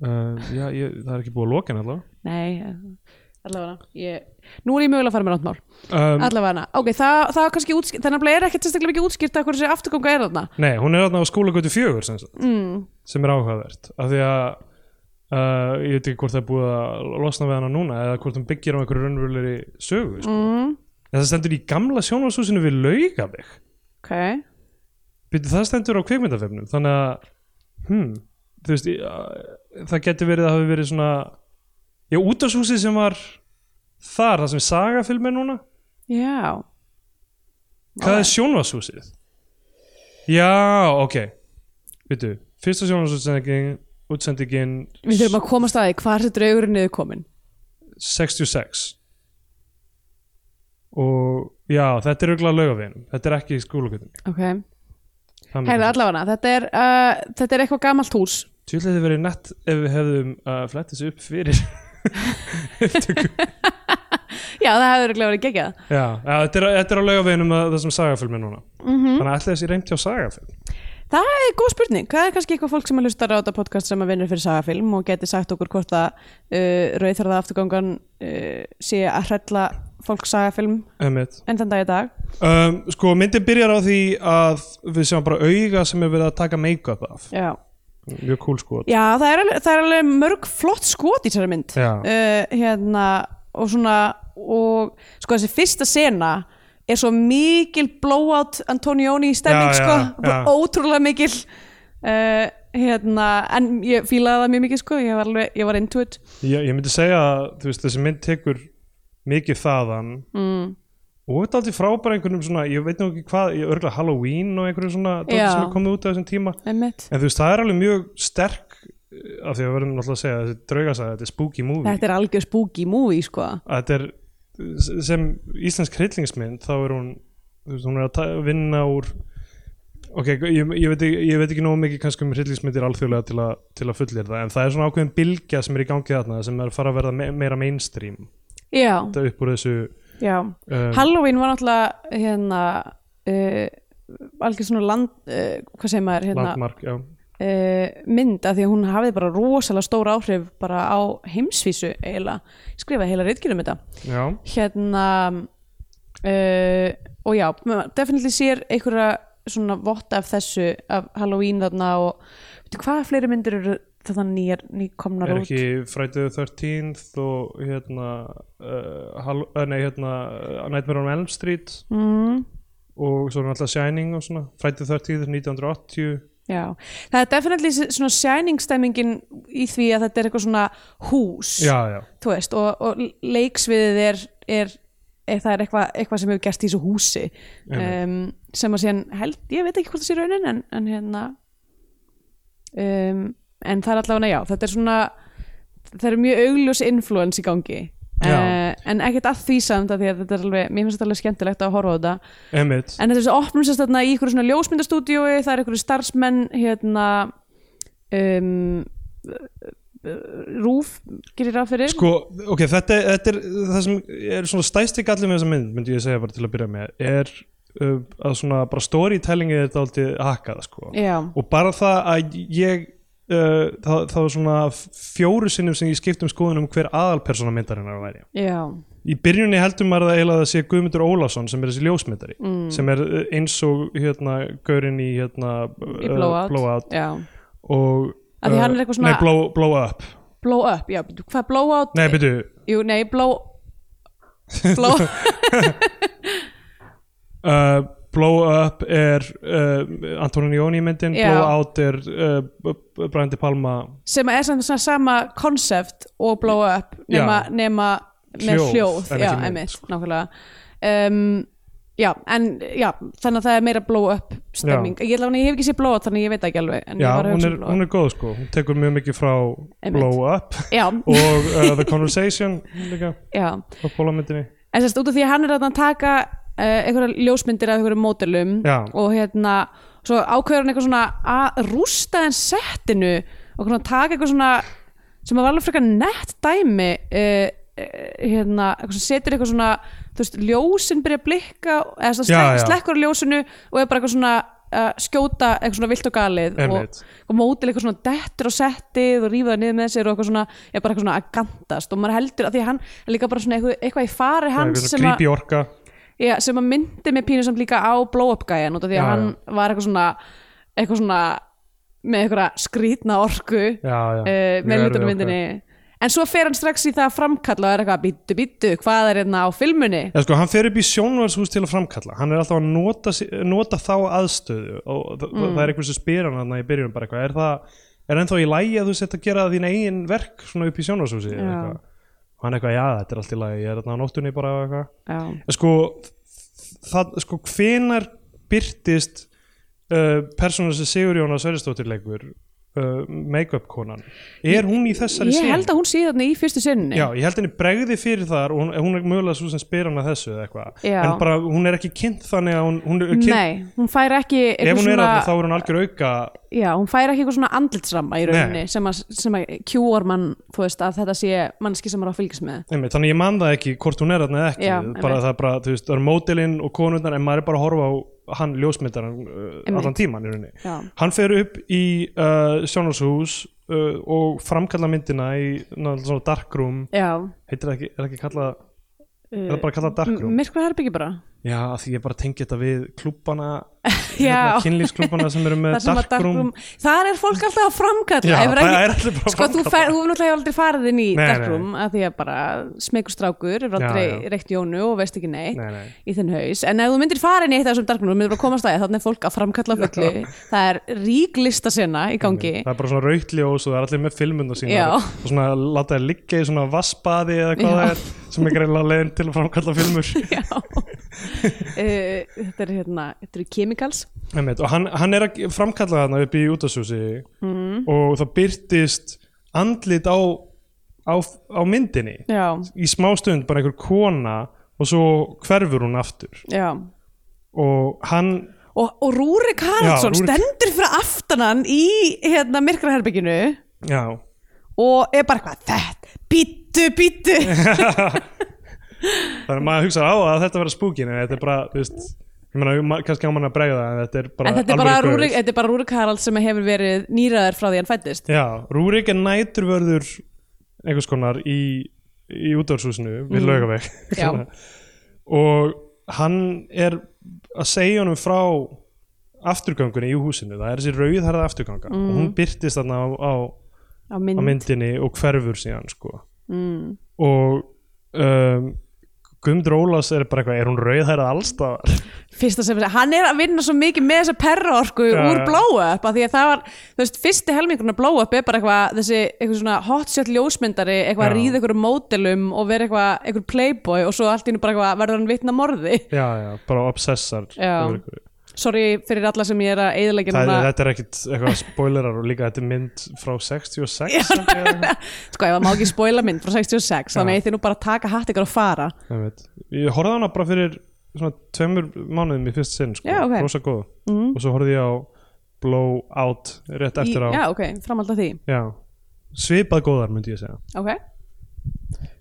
[SPEAKER 3] Uh, já, ég, það er ekki búið að loka henni allavega
[SPEAKER 2] Nei, eh, allavega ég... Nú er ég mögulega að fara með nátt mál
[SPEAKER 3] um,
[SPEAKER 2] Allavega, ok, það, það er kannski útskýrt Þannig að er ekkert sérstaklega mikið útskýrt að hverju þessi afturganga er þarna
[SPEAKER 3] Nei, hún er þarna á skólagötu fjögur sem, sagt,
[SPEAKER 2] mm.
[SPEAKER 3] sem er áhugavert af því að uh, ég veit ekki hvort það er búið að losna við hana núna eða hvort hún byggir á einhverju raunverulegri sögu sko.
[SPEAKER 2] Mm.
[SPEAKER 3] en það stendur í gamla sjónvarsúsinu við laugaveg
[SPEAKER 2] Ok,
[SPEAKER 3] Býtu, það stendur á kveikmyndafefnum þannig hm, eh, að hmm, þú veist, ég, uh, það getur verið að hafi verið svona Já, útastúsið sem var þar, það sem sagafilm er núna
[SPEAKER 2] já
[SPEAKER 3] Hvað er sjónvastúsið? Já, ok Vitu, fyrsta sjónvastúsendingin útsendingin
[SPEAKER 2] Við þurfum að komast að því hvað þessi draugurinn niður komin
[SPEAKER 3] 66 og já, þetta er auðvitað laugaveginum, þetta er ekki í skólagutinni
[SPEAKER 2] Ok, heyrðu allavega þetta er, uh, þetta er eitthvað gamalt hús
[SPEAKER 3] Tjúlega þið verið nett ef við hefðum að fletta þessu upp fyrir
[SPEAKER 2] Já, það hefur örugglega verið geggjað
[SPEAKER 3] Já, já þetta, er, þetta er á laugaveginum að- það sem sagafilm er núna
[SPEAKER 2] mm
[SPEAKER 3] Þannig að ætla þessi reymt hjá sagafilm
[SPEAKER 2] Það er góð spurning, hvað er kannski eitthvað fólk sem að hlustar á þetta podcast sem að vinnur fyrir sagafilm og geti sagt okkur hvort að uh, rauðþarða afturgangan uh, sé að hrella fólk sagafilm
[SPEAKER 3] Einmitt.
[SPEAKER 2] enn þann dag í dag
[SPEAKER 3] um, Sko, myndin byrjar á því að við sjáum bara auga sem er verið að taka make-up af
[SPEAKER 2] Já,
[SPEAKER 3] Mjög cool sko
[SPEAKER 2] Já það, er alveg, það er alveg mörg flott skot í þessari mynd
[SPEAKER 3] Já.
[SPEAKER 2] uh, hérna, og svona og sko þessi fyrsta sena er svo mikil blowout Antonioni í stemning
[SPEAKER 3] Já, já,
[SPEAKER 2] sko,
[SPEAKER 3] já.
[SPEAKER 2] ótrúlega mikil uh, hérna, en ég fílaði það mjög mikið sko, ég var, alveg, ég var into it
[SPEAKER 3] ég, ég myndi segja að þú veist, þessi mynd tekur mikið þaðan mm. og þetta aldrei frábæra einhvernum svona, ég veit nú ekki hvað, ég örgla Halloween og einhverju svona dóti
[SPEAKER 2] Já.
[SPEAKER 3] sem er komið út á þessum tíma
[SPEAKER 2] Einmitt.
[SPEAKER 3] en þú veist, það er alveg mjög sterk eh, af því að við verðum náttúrulega að segja þessi draugasæði, þetta er spooky movie
[SPEAKER 2] þetta er algjör spooky movie sko.
[SPEAKER 3] að þetta er, s- sem íslensk hryllingsmynd þá er hún, þú veist, hún er að ta- vinna úr ok, ég, ég, veit, ekki- ég veit ekki nógu mikið kannski um hryllingsmyndir alþjóðlega til, a, til að fullir það en það er svona ákveðin bylgja sem er í gangi þarna sem er að fara að verða me meira mainstream
[SPEAKER 2] já,
[SPEAKER 3] þetta upp úr þessu
[SPEAKER 2] já.
[SPEAKER 3] um,
[SPEAKER 2] Halloween var náttúrulega hérna uh, algjör svona land uh, hvað segir maður hérna,
[SPEAKER 3] landmark já.
[SPEAKER 2] uh, mynd af því að hún hafði bara rosalega stór áhrif bara á heimsvísu eiginlega, Ég skrifaði heila reitgjörnum þetta
[SPEAKER 3] Já.
[SPEAKER 2] hérna uh, og já, maður definitely sér einhverja svona votta af þessu af Halloween þarna og veitu hvaða fleiri myndir eru þarna nýjar nýkomnar
[SPEAKER 3] er
[SPEAKER 2] út
[SPEAKER 3] ekki Friday the 13th og hérna, uh, hall, eh, nei, hérna uh, Nightmare on Elm Street
[SPEAKER 2] mm,
[SPEAKER 3] og svo er alltaf Shining og svona Friday the 13th 1980
[SPEAKER 2] já, það er definitely svona shining stemmingin í því að þetta er eitthvað svona hús
[SPEAKER 3] já, já,
[SPEAKER 2] þú veist, og, og leiksviðið er, er, er það er eitthvað, eitthvað sem hefur gert í þessu húsi um, sem að síðan held, ég veit ekki hvort það sé raunin en, en hérna um, en það er allavega, já, þetta er svona það er mjög augljós influence í gangi
[SPEAKER 3] Já.
[SPEAKER 2] Uh, en ekkert að því samt að því að þetta er alveg mér finnst þetta alveg skemmtilegt að horfa á þetta
[SPEAKER 3] emitt
[SPEAKER 2] en þetta er þessi opnum sérst þarna í ykkur svona ljósmyndastúdíói það er ykkur starfsmenn hérna um, rúf gerir ráð fyrir
[SPEAKER 3] sko, ok, þetta, er- þetta er það sem er svona stæsti gallið með þessa mynd myndi ég segja bara til að byrja með er uh, að svona bara storytellingið er þetta aldrei hakkað, sko
[SPEAKER 2] Já,
[SPEAKER 3] og bara það að ég uh, það, það var svona fjóru sinnum sem ég skipt um skoðun um hver aðalpersona myndarinnar væri
[SPEAKER 2] já,
[SPEAKER 3] í byrjunni heldur maður það eiginlega að það sé Guðmundur Ólafsson sem er þessi ljósmyndari
[SPEAKER 2] Mm.
[SPEAKER 3] sem er uh, eins og hérna gaurinn í hérna
[SPEAKER 2] í
[SPEAKER 3] uh,
[SPEAKER 2] blowout,
[SPEAKER 3] blowout
[SPEAKER 2] Já.
[SPEAKER 3] og uh,
[SPEAKER 2] Af því hann er eitthvað svona-
[SPEAKER 3] nei, blow, blow up
[SPEAKER 2] Blow up, já, bíddu, hvað blowout
[SPEAKER 3] nei, byrju,
[SPEAKER 2] Jú, nei, blow Blow,
[SPEAKER 3] uh, blow up er uh, Antonin Jóni myndin
[SPEAKER 2] Já.
[SPEAKER 3] blow out er uh, B- B- Brian De Palma
[SPEAKER 2] sem er samt svona sama konsept og blow up nema,
[SPEAKER 3] Mm. Já.
[SPEAKER 2] nema með
[SPEAKER 3] Hljóð,
[SPEAKER 2] hljóð
[SPEAKER 3] en
[SPEAKER 2] Já,
[SPEAKER 3] ekki mynd,
[SPEAKER 2] einmitt, nákvæmlega um, Já, en já, þannig að það er meira blow up stemming, ég, ætla að ég hef ekki séð blow up þannig að ég veit það ekki alveg en
[SPEAKER 3] já,
[SPEAKER 2] ég var að
[SPEAKER 3] hún
[SPEAKER 2] hugsa
[SPEAKER 3] er,
[SPEAKER 2] um blow
[SPEAKER 3] hún er góð sko hún tekur mjög mikið frá
[SPEAKER 2] Einmitt.
[SPEAKER 3] blow up
[SPEAKER 2] Já,
[SPEAKER 3] og uh, The Conversation líka
[SPEAKER 2] já
[SPEAKER 3] á bólamyndinni
[SPEAKER 2] en sérst út af því að hann er þarna að taka uh, einhverja ljósmyndir af einhverjum módelum
[SPEAKER 3] Já.
[SPEAKER 2] og hérna svo ákveður hann eitthvað svona að rústa þenn settinu og svona taka eitthvað svona sem að var alveg frekar nett dæmi uh, hérna, eitthvað sem setur eitthvað svona þú veist, ljósin byrja að blikka eða svona
[SPEAKER 3] Já,
[SPEAKER 2] slekk,
[SPEAKER 3] já.
[SPEAKER 2] slekkur á ljósinu og er bara eitthvað svona að skjóta eitthvað svona vilt og galið og,
[SPEAKER 3] Einmitt.
[SPEAKER 2] og mótil eitthvað svona dettur á settið og rífaði niður með sér og eitthvað svona er bara eitthvað svona að gandast og maður heldur að því að hann er líka bara svona eitthvað, eitthvað í fari hans sem,
[SPEAKER 3] grípi
[SPEAKER 2] að,
[SPEAKER 3] orka
[SPEAKER 2] já, sem að myndi með pínu samt líka á blow up gæjan út af því að
[SPEAKER 3] Já,
[SPEAKER 2] hann
[SPEAKER 3] já.
[SPEAKER 2] var eitthvað svona eitthvað svona með eitthvað skrýtna orku
[SPEAKER 3] já, já,
[SPEAKER 2] uh,
[SPEAKER 3] Mjög
[SPEAKER 2] með hlutunum
[SPEAKER 3] erfið
[SPEAKER 2] myndinni
[SPEAKER 3] orka.
[SPEAKER 2] en svo fer hann strax í það að framkalla og er eitthvað bítu bítu, hvað er hérna á filmunni
[SPEAKER 3] Já, sko, hann fer upp í sjónvarshús til að framkalla hann er alltaf að nota, sig- nota þá aðstöðu og mm. það er einhvers sem spyr hann þarna í byrjun bara eitthvað, er það er ennþá í lægi að þú sett að gera þín eigin verk svona upp í sjónvarshúsi eða
[SPEAKER 2] Já.
[SPEAKER 3] eitthvað? og hann eitthvað, já, þetta er allt í lagi, ég er þarna á nóttunni bara og eitthvað
[SPEAKER 2] já,
[SPEAKER 3] En sko, það, sko hvenar byrtist uh, persónan sem Sigur Jónas Sverrisdóttir leikur uh, make-up konan er hún í þessari
[SPEAKER 2] ég held að hún sé þarna í fyrstu sinni
[SPEAKER 3] Já, ég held henni bregði fyrir þar og hún, eh, hún er mögulega svo sem spyr hann að þessu eða eitthvað
[SPEAKER 2] Já.
[SPEAKER 3] en bara hún er ekki kynnt þannig að hún, hún er kynnt
[SPEAKER 2] nei, hún fær ekki eitthvað
[SPEAKER 3] ef hún er
[SPEAKER 2] svona-
[SPEAKER 3] að þá er hún algjör auka
[SPEAKER 2] já, hún fær ekki eitthvað svona andlitsramma í rauninni
[SPEAKER 3] Nei.
[SPEAKER 2] sem að, sem að kjúar mann þú veist að þetta sé mannski sem er að fylgjast með
[SPEAKER 3] einmitt, þannig ég man það ekki hvort hún er þarna eða ekki
[SPEAKER 2] Já,
[SPEAKER 3] bara
[SPEAKER 2] einmitt.
[SPEAKER 3] það er bara, þú veist, það er mótilinn og konundar en maður er bara að horfa á hann ljósmyndaran uh,
[SPEAKER 2] Einmitt.
[SPEAKER 3] allan tíman í rauninni
[SPEAKER 2] já,
[SPEAKER 3] Hann fer upp í uh, sjónarshús uh, og framkalla myndina í náttúrulega svona darkroom
[SPEAKER 2] já
[SPEAKER 3] heitir það ekki, er það ekki kallað er það bara kallað darkroom?
[SPEAKER 2] myrkvað herbyggi bara
[SPEAKER 3] Já, af því ég bara tengi þetta við klúbana
[SPEAKER 2] Já.
[SPEAKER 3] kynlífsklúbana sem eru með
[SPEAKER 2] þar sem að
[SPEAKER 3] darkroom
[SPEAKER 2] darkroom þar er fólk alltaf að framkalla
[SPEAKER 3] Já,
[SPEAKER 2] Ef
[SPEAKER 3] það er allir bara að
[SPEAKER 2] sko, þú,
[SPEAKER 3] framkalla.
[SPEAKER 2] fer, þú hefur náttúrulega aldrei farið inn í
[SPEAKER 3] Nei, nei.
[SPEAKER 2] darkroom að því að bara smekur strákur hefur
[SPEAKER 3] Já,
[SPEAKER 2] aldrei
[SPEAKER 3] já.
[SPEAKER 2] reykt jónu og veist ekki neitt
[SPEAKER 3] Nei, nei.
[SPEAKER 2] í þinn haus, en ef þú myndir fara inn í eitt af þessum darkroom, þú myndir bara komast að því, þannig er fólk að framkalla á fullu, það er rík listasena í gangi,
[SPEAKER 3] Það er bara svona raukt ljós og það er allir með filmuna sína
[SPEAKER 2] Já.
[SPEAKER 3] og svona láta það liggja í svona vassbaði eða hvað
[SPEAKER 2] Já.
[SPEAKER 3] það er sem er greiðlega leiðin til að framkalla filmur
[SPEAKER 2] Já Eh, Þetta er hérna Þetta eru chemicals
[SPEAKER 3] Einmitt, og hann, hann er að framkalla þarna upp í útasúsi mm. og það byrtist andlit á, á, á myndinni
[SPEAKER 2] Já,
[SPEAKER 3] í smástund bara einhver kona og svo hverfur hún aftur
[SPEAKER 2] já
[SPEAKER 3] og hann
[SPEAKER 2] Og, og Rúrik Haraldsson
[SPEAKER 3] Já, Rúrik-
[SPEAKER 2] stendur fyrir aftanan í hérna myrkraherbygginu
[SPEAKER 3] já,
[SPEAKER 2] og er bara hvað þetta, bítu, bítu
[SPEAKER 3] þannig að maður hugsa á að þetta verða spúkin en þetta er bara, þú veist ég meina, ma- kannski á mann að bregða en þetta er bara
[SPEAKER 2] En þetta er, bara
[SPEAKER 3] alvöru gaur.
[SPEAKER 2] Rúrik, þetta er bara Rúrik Haralds sem hefur verið nýraðar frá því hann fættist
[SPEAKER 3] Já, Rúrik er næturvörður einhvers konar í, í útvarshúsinu við mm. laugaveg
[SPEAKER 2] Já.
[SPEAKER 3] og hann er að segja honum frá afturgangunni í húsinu, það er þessi rauðherða afturganga og
[SPEAKER 2] Mm.
[SPEAKER 3] hún byrtist þarna á, á,
[SPEAKER 2] á mynd,
[SPEAKER 3] á myndinni og hverfur síðan sko. mm. og um, Guðmundur Ólafs er bara eitthvað, er hún rauðherða allstaðar?
[SPEAKER 2] fyrsta sem hann er að vinna svo mikið með þessa perraorku
[SPEAKER 3] Já,
[SPEAKER 2] úr
[SPEAKER 3] já.
[SPEAKER 2] blow-up af því að það var, þú veist, fyrsti helmingurinn af blow-up er bara eitthvað, þessi eitthvað svona hotshot ljósmyndari, eitthvað að
[SPEAKER 3] Já.
[SPEAKER 2] ríða eitthvað módelum og vera eitthvað, eitthvað playboy og svo allt í hennu bara eitthvað verður hann vitna morði
[SPEAKER 3] Já, já, bara obsessar
[SPEAKER 2] Já.
[SPEAKER 3] yfir einhverju.
[SPEAKER 2] sorry fyrir alla sem ég er að eyðilegja
[SPEAKER 3] Það,
[SPEAKER 2] núna
[SPEAKER 3] þetta er ekkit eitthvað spoilerar og líka þetta er mynd frá 66 held ég, eða-
[SPEAKER 2] sko, ef það má ekki spoila mynd frá 66
[SPEAKER 3] Já.
[SPEAKER 2] þannig að þið nú bara að taka hatt ykkur og fara
[SPEAKER 3] Ég veit. Ég horfði á hana bara fyrir svona tveimur mánuðum í fyrst sinn sko.
[SPEAKER 2] Já, ok. Mm.
[SPEAKER 3] rosa góð og svo horfði ég á Blow Out rétt eftir
[SPEAKER 2] í,
[SPEAKER 3] á
[SPEAKER 2] já, ok, framhald af því
[SPEAKER 3] Já. svipað góðar myndi ég segja
[SPEAKER 2] ok,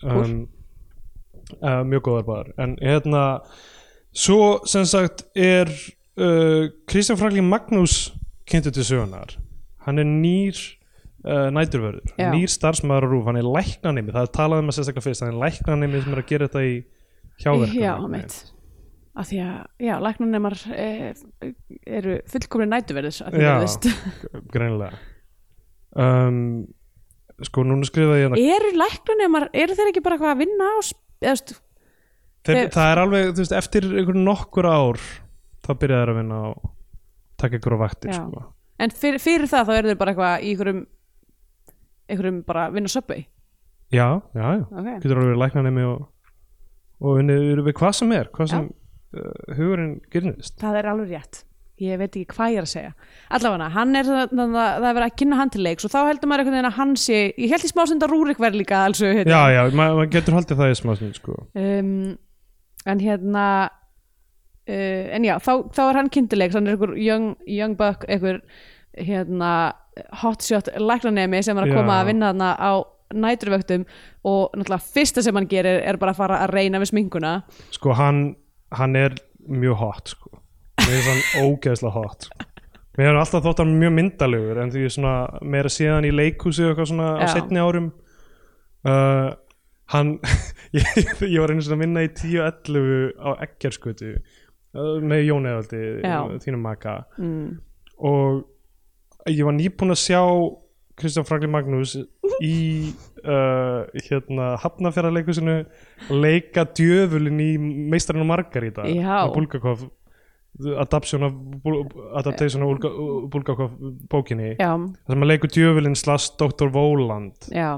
[SPEAKER 3] um, uh, mjög góðar báðar en hérna svo sem sagt er uh, Kristján Franklin Magnús kynntu til sögunar hann er nýr uh, næturvörður,
[SPEAKER 2] Já.
[SPEAKER 3] nýr starfsmaður á rúf hann er læknanemi, það er talað um að sérstaklega fyrst hann er læknanemi sem er að gera þetta í hjáverkum
[SPEAKER 2] já, mitt af því að, já, læknunemar eh, eru fullkomni nætuverðis að því
[SPEAKER 3] Já.
[SPEAKER 2] verðist
[SPEAKER 3] greinilega um, sko núna skrifaði ég hérna
[SPEAKER 2] eru læknunemar, eru þeir ekki bara eitthvað að vinna á sp- eða, þú veist,
[SPEAKER 3] Þeir,
[SPEAKER 2] Þeir-
[SPEAKER 3] það er alveg, þú veist, eftir einhver nokkur ár þá byrjaði þær að vinna á taka ykkur á vaktir
[SPEAKER 2] Já.
[SPEAKER 3] sko.
[SPEAKER 2] en fyrir, fyrir það þá eru þeir bara eitthvað í einhverjum einhverjum bara að vinna á söpvei
[SPEAKER 3] já, já, já,
[SPEAKER 2] Ok.
[SPEAKER 3] getur alveg verið læknanemi og, og unnið eru við hvað sem er hvað sem uh, hugurinn gerðist
[SPEAKER 2] það er alveg rétt ég veit ekki hvað ég er að segja allavega hann er það, það, það er verið að kynna hann til leiks og þá heldur maður einhvern veginn að hann sé ég held í smástund að Rúrik verði líka alveg, hérna.
[SPEAKER 3] já, já, ma- maður getur haldið það í smá stund sko.
[SPEAKER 2] um, en hérna uh, en já, þá, þá er hann kynntilegs hann er einhver young, young buck einhver hérna hotshot læknanemi sem er að
[SPEAKER 3] Já.
[SPEAKER 2] koma að vinna þarna á næturvöktum og náttúrulega fyrsta sem hann gerir er bara að fara að reyna við sminkuna
[SPEAKER 3] sko, hann, hann er mjög hot sko. mér finnst hann ógeðslega hot sko. mér er alltaf þótt hann mjög myndalegur en því ég svona, meira síðan í leikhúsi og eitthvað svona á
[SPEAKER 2] Já.
[SPEAKER 3] setni árum uh, hann ég, ég var einu svona að vinna í 10-11 á Eggerskutu uh, með Jón Eðaldi
[SPEAKER 2] Já.
[SPEAKER 3] uh, þínum maka mm. og ég var nýbúinn að sjá Kristján Franklin Magnús í uh, hérna hafnafjaraleikusinu leika djöfulin í meistarinn og margarita
[SPEAKER 2] Já.
[SPEAKER 3] með Bulgakov adaptation af Bul- adaptation af Ulga- Bulgakov bókinni
[SPEAKER 2] já,
[SPEAKER 3] þar sem að leikur djöfulin slash Dr. Voland
[SPEAKER 2] já,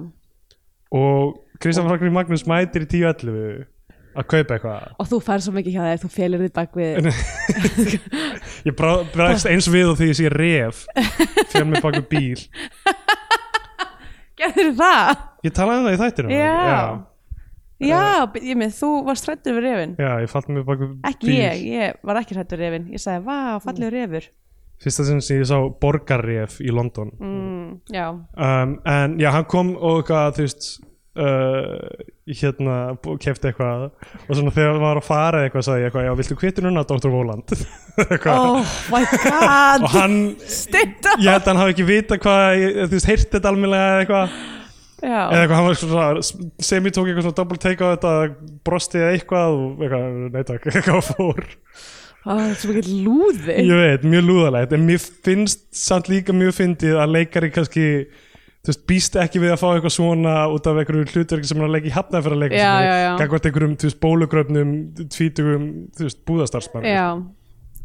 [SPEAKER 3] og Kristján Franklín Magnús mætir í 10.11 að kaupa eitthvað
[SPEAKER 2] og þú fær svo mikið hjá þeir, þú félir þitt bak við
[SPEAKER 3] ég brá- bregst eins við og því ég sé ref fyrir mig baku bíl
[SPEAKER 2] gerður það?
[SPEAKER 3] ég talaði um það í þættinu
[SPEAKER 2] Já.
[SPEAKER 3] já,
[SPEAKER 2] já, ég með, þú varst hrættur við refin
[SPEAKER 3] já, ég fatt mig baku
[SPEAKER 2] ekki
[SPEAKER 3] bíl
[SPEAKER 2] ég, ég var ekki hrættur við refin ég sagði, vá, fallegur refur
[SPEAKER 3] fyrsta sinn sem ég sá borgarref í London
[SPEAKER 2] mm, já,
[SPEAKER 3] um, en já, hann kom og eitthvað, þú veist uh, hérna, kefti eitthvað og svona þegar hann var að fara eitthvað sagði ég eitthvað, já, viltu kvittu núna, Dr. Voland eitthvað,
[SPEAKER 2] oh my god
[SPEAKER 3] og hann
[SPEAKER 2] styrta
[SPEAKER 3] ég held að hann hafi ekki vita hvað, ég- þú veist, heyrti þetta almennilega eða eitthvað eða
[SPEAKER 2] já,
[SPEAKER 3] eitthvað, hann var svona semi tók eitthvað svona double take á þetta brosti eða eitthvað og eitthvað, nei takk, eitthvað fór
[SPEAKER 2] Ó, það er Ah, svo mikið lúði
[SPEAKER 3] ég veit, mjög lúðalegt en mér finnst samt líka mjög fyndið að leikari kannski þú veist, býst ekki við að fá eitthvað svona út af einhverju hlutverki sem hann er að leika í hafnað fyrir að leika
[SPEAKER 2] Já, já, já.
[SPEAKER 3] gangvart einhverjum, þú veist, bólugröfnum tvítugum, þú veist, búðarstarfsmann
[SPEAKER 2] já,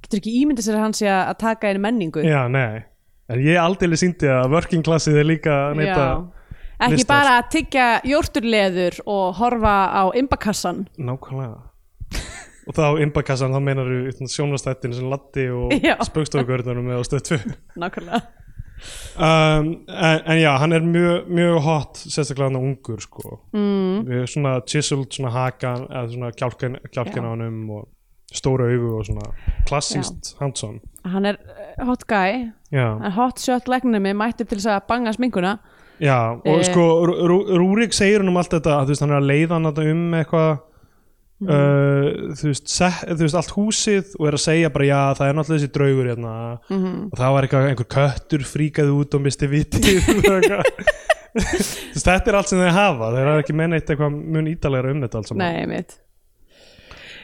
[SPEAKER 2] getur ekki ímyndið sér að hann sé að að taka einu menningu
[SPEAKER 3] já, nei en ég aldrei síndi að working classið er líka að neita,
[SPEAKER 2] ekki
[SPEAKER 3] listar.
[SPEAKER 2] bara að tyggja jórturleður og horfa á imbakassan
[SPEAKER 3] nákvæmlega og þá inbakassan, þá meinar þú sjónastættin sem Latti og
[SPEAKER 2] Já.
[SPEAKER 3] spaukstofugörðunum með á stöð 2
[SPEAKER 2] nákvæmlega
[SPEAKER 3] um, en, en já, hann er mjög, mjög hot sérstaklega hann ungur sko. mm. við svona chiseled svona hakan eða svona kjálkin, kjálkin
[SPEAKER 2] Já.
[SPEAKER 3] á honum og stóra augu og svona klassist handsome
[SPEAKER 2] hann er eh, hot guy
[SPEAKER 3] já,
[SPEAKER 2] hann er hot shot legnum er mættur til þess að banga sminkuna
[SPEAKER 3] já og
[SPEAKER 2] Eh.
[SPEAKER 3] sko Rú- Rú- Rúrik segir hann um allt þetta að þú veist hann er að leiða hann þarna um eitthvað
[SPEAKER 2] Mhm.
[SPEAKER 3] Uh, þú, veist, set, þú veist allt húsið og er að segja bara já það er náttúrulega þessi draugur hérna
[SPEAKER 2] Mhm.
[SPEAKER 3] og það var eitthvað einhver köttur fríkaði út og misti vitið og eitthvað. Þú veist, þetta er allt sem þeir hafa þeir hafa ekki menn eitt eitthvað mun ítalega um þetta allt saman.
[SPEAKER 2] Nei, mitt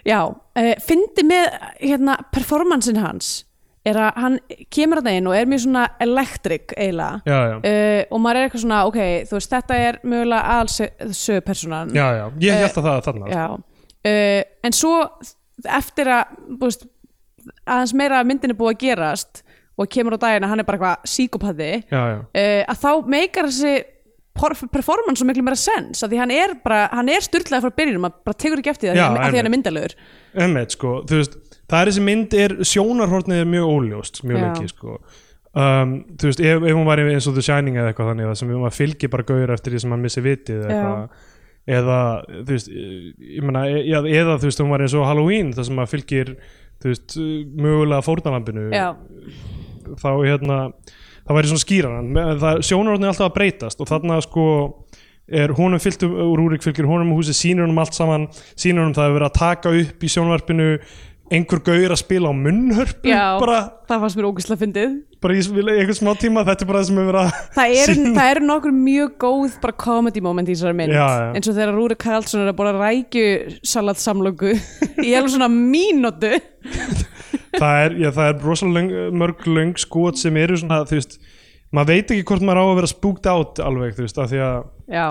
[SPEAKER 2] Já, uh, fyndi með hérna, performansin hans er að hann kemur að inn og er mjög svona electric eiginlega
[SPEAKER 3] já, já.
[SPEAKER 2] uh, og maður er eitthvað svona, ok, þú veist þetta er mögulega aðalsögu personan
[SPEAKER 3] já, já, ég held að það þarna
[SPEAKER 2] Eh. Já. Uh, en svo eftir að þú veist, aðeins meira af myndin er búið að gerast og kemur á daginn að hann er bara eitthvað síkopathy
[SPEAKER 3] já, já,
[SPEAKER 2] uh, að þá meikar þessi por- performance svo miklu meira sens að því hann er bara, hann er styrlaði frá byrjunum maður bara tekur ekki eftir það
[SPEAKER 3] Já,
[SPEAKER 2] að því hann er
[SPEAKER 3] einmitt.
[SPEAKER 2] myndalegur
[SPEAKER 3] emmett sko þú veist, það er þessi mynd er sjónarhornið er mjög óljóst, mjög
[SPEAKER 2] Já.
[SPEAKER 3] lengi sko um, þú veist, ef, ef hún var eins og The Shining eða eitthvað þannig, það sem hún var fylgi bara gauður eftir því sem hann missi vitið
[SPEAKER 2] Já.
[SPEAKER 3] eða eitthvað eða, þú veist, ég meina eða, eða, þú veist, hún var eins og Halloween það sem maður fylgir, þú veist, mögulega fórnalambinu
[SPEAKER 2] já,
[SPEAKER 3] þá hérna það væri svona skýran sjónarhóðin er alltaf að breytast og þarna sko er honum fyllt um Rúrik fylgir honum um húsi sýnir honum allt saman sýnir honum það hefur verið að taka upp í sjónvarpinu einhver gaur að spila á munnhörpu
[SPEAKER 2] Já.
[SPEAKER 3] bara,
[SPEAKER 2] það fannst mér ógislega fyndið
[SPEAKER 3] bara í í einhvern smá tíma þetta er bara það sem hefur verið að
[SPEAKER 2] það eru,
[SPEAKER 3] sýna.
[SPEAKER 2] það eru nokkur mjög góð bara comedy moment í þessari mynd
[SPEAKER 3] Já, já.
[SPEAKER 2] eins og þegar Rúri Karlsson er að bóra rækju salatsamlöku í alveg svona mínútu
[SPEAKER 3] það er, já, það er rosalega löng- mörg löng skot sem eru svona þú veist, maður veit ekki hvort maður á að vera spooked out alveg þú veist, af því að
[SPEAKER 2] já,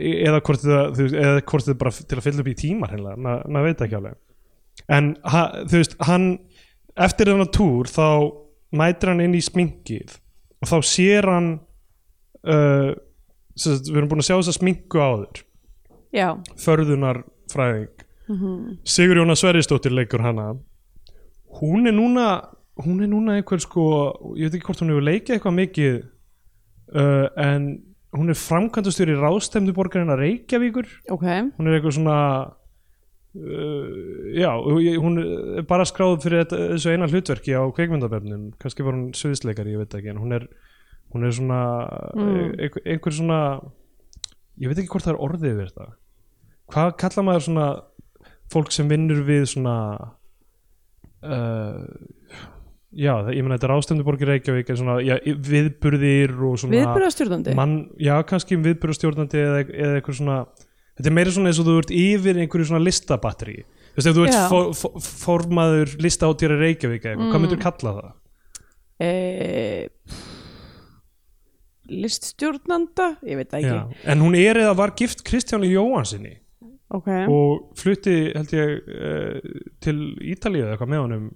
[SPEAKER 3] eða hvort þetta þú veist, eða hvort þetta er bara til að fylla upp í tímar hérna, Ma, maður veit ekki alveg en ha, þú veist, hann eftir þennan túr þá mætir hann inn í sminkið og þá sér hann uh, sem sagt, við erum búin að sjá þessa sminku áður
[SPEAKER 2] já,
[SPEAKER 3] förðunarfræðing Sigur Jóna Sverrisdóttir leikur hana hún er núna hún er núna einhver sko ég veit ekki hvort hún hefur leikið eitthvað mikið uh, en hún er framkvæmdastjóri ráðstæmdu borgarina Reykjavíkur
[SPEAKER 2] ok
[SPEAKER 3] hún er eitthvað svona uh, já, ég- hún er bara skráð fyrir þetta, þessu eina hlutverki á kveikmyndabefnum, kannski var hún sviðsleikari, ég veit ekki, en hún er hún er svona e- einhver, einhver svona ég veit ekki hvort það er orðið yfir þetta hvað kalla maður svona fólk sem vinnur við svona uh, já, það- ég meina þetta er ástenduborg í Reykjavík en svona já, viðburðir og svona
[SPEAKER 2] viðbyrðastjórnandi
[SPEAKER 3] mann, já, kannski um viðburðstjórnandi eða, eða eitthvað svona þetta er meira svona eins og þú ert yfir einhverju svona listabatteri þú veist, ef þú
[SPEAKER 2] Já.
[SPEAKER 3] ert for, for, formaður listahátýra Reykjavík eða eitthvað,
[SPEAKER 2] Mm.
[SPEAKER 3] hvað myndur kalla það?
[SPEAKER 2] eh, liststjórnanda ég veit það ekki
[SPEAKER 3] Já. en hún er eða var gift Kristjáni Jóhansinni
[SPEAKER 2] ok,
[SPEAKER 3] og flutti held ég uh, til Ítalíu eða eitthvað með honum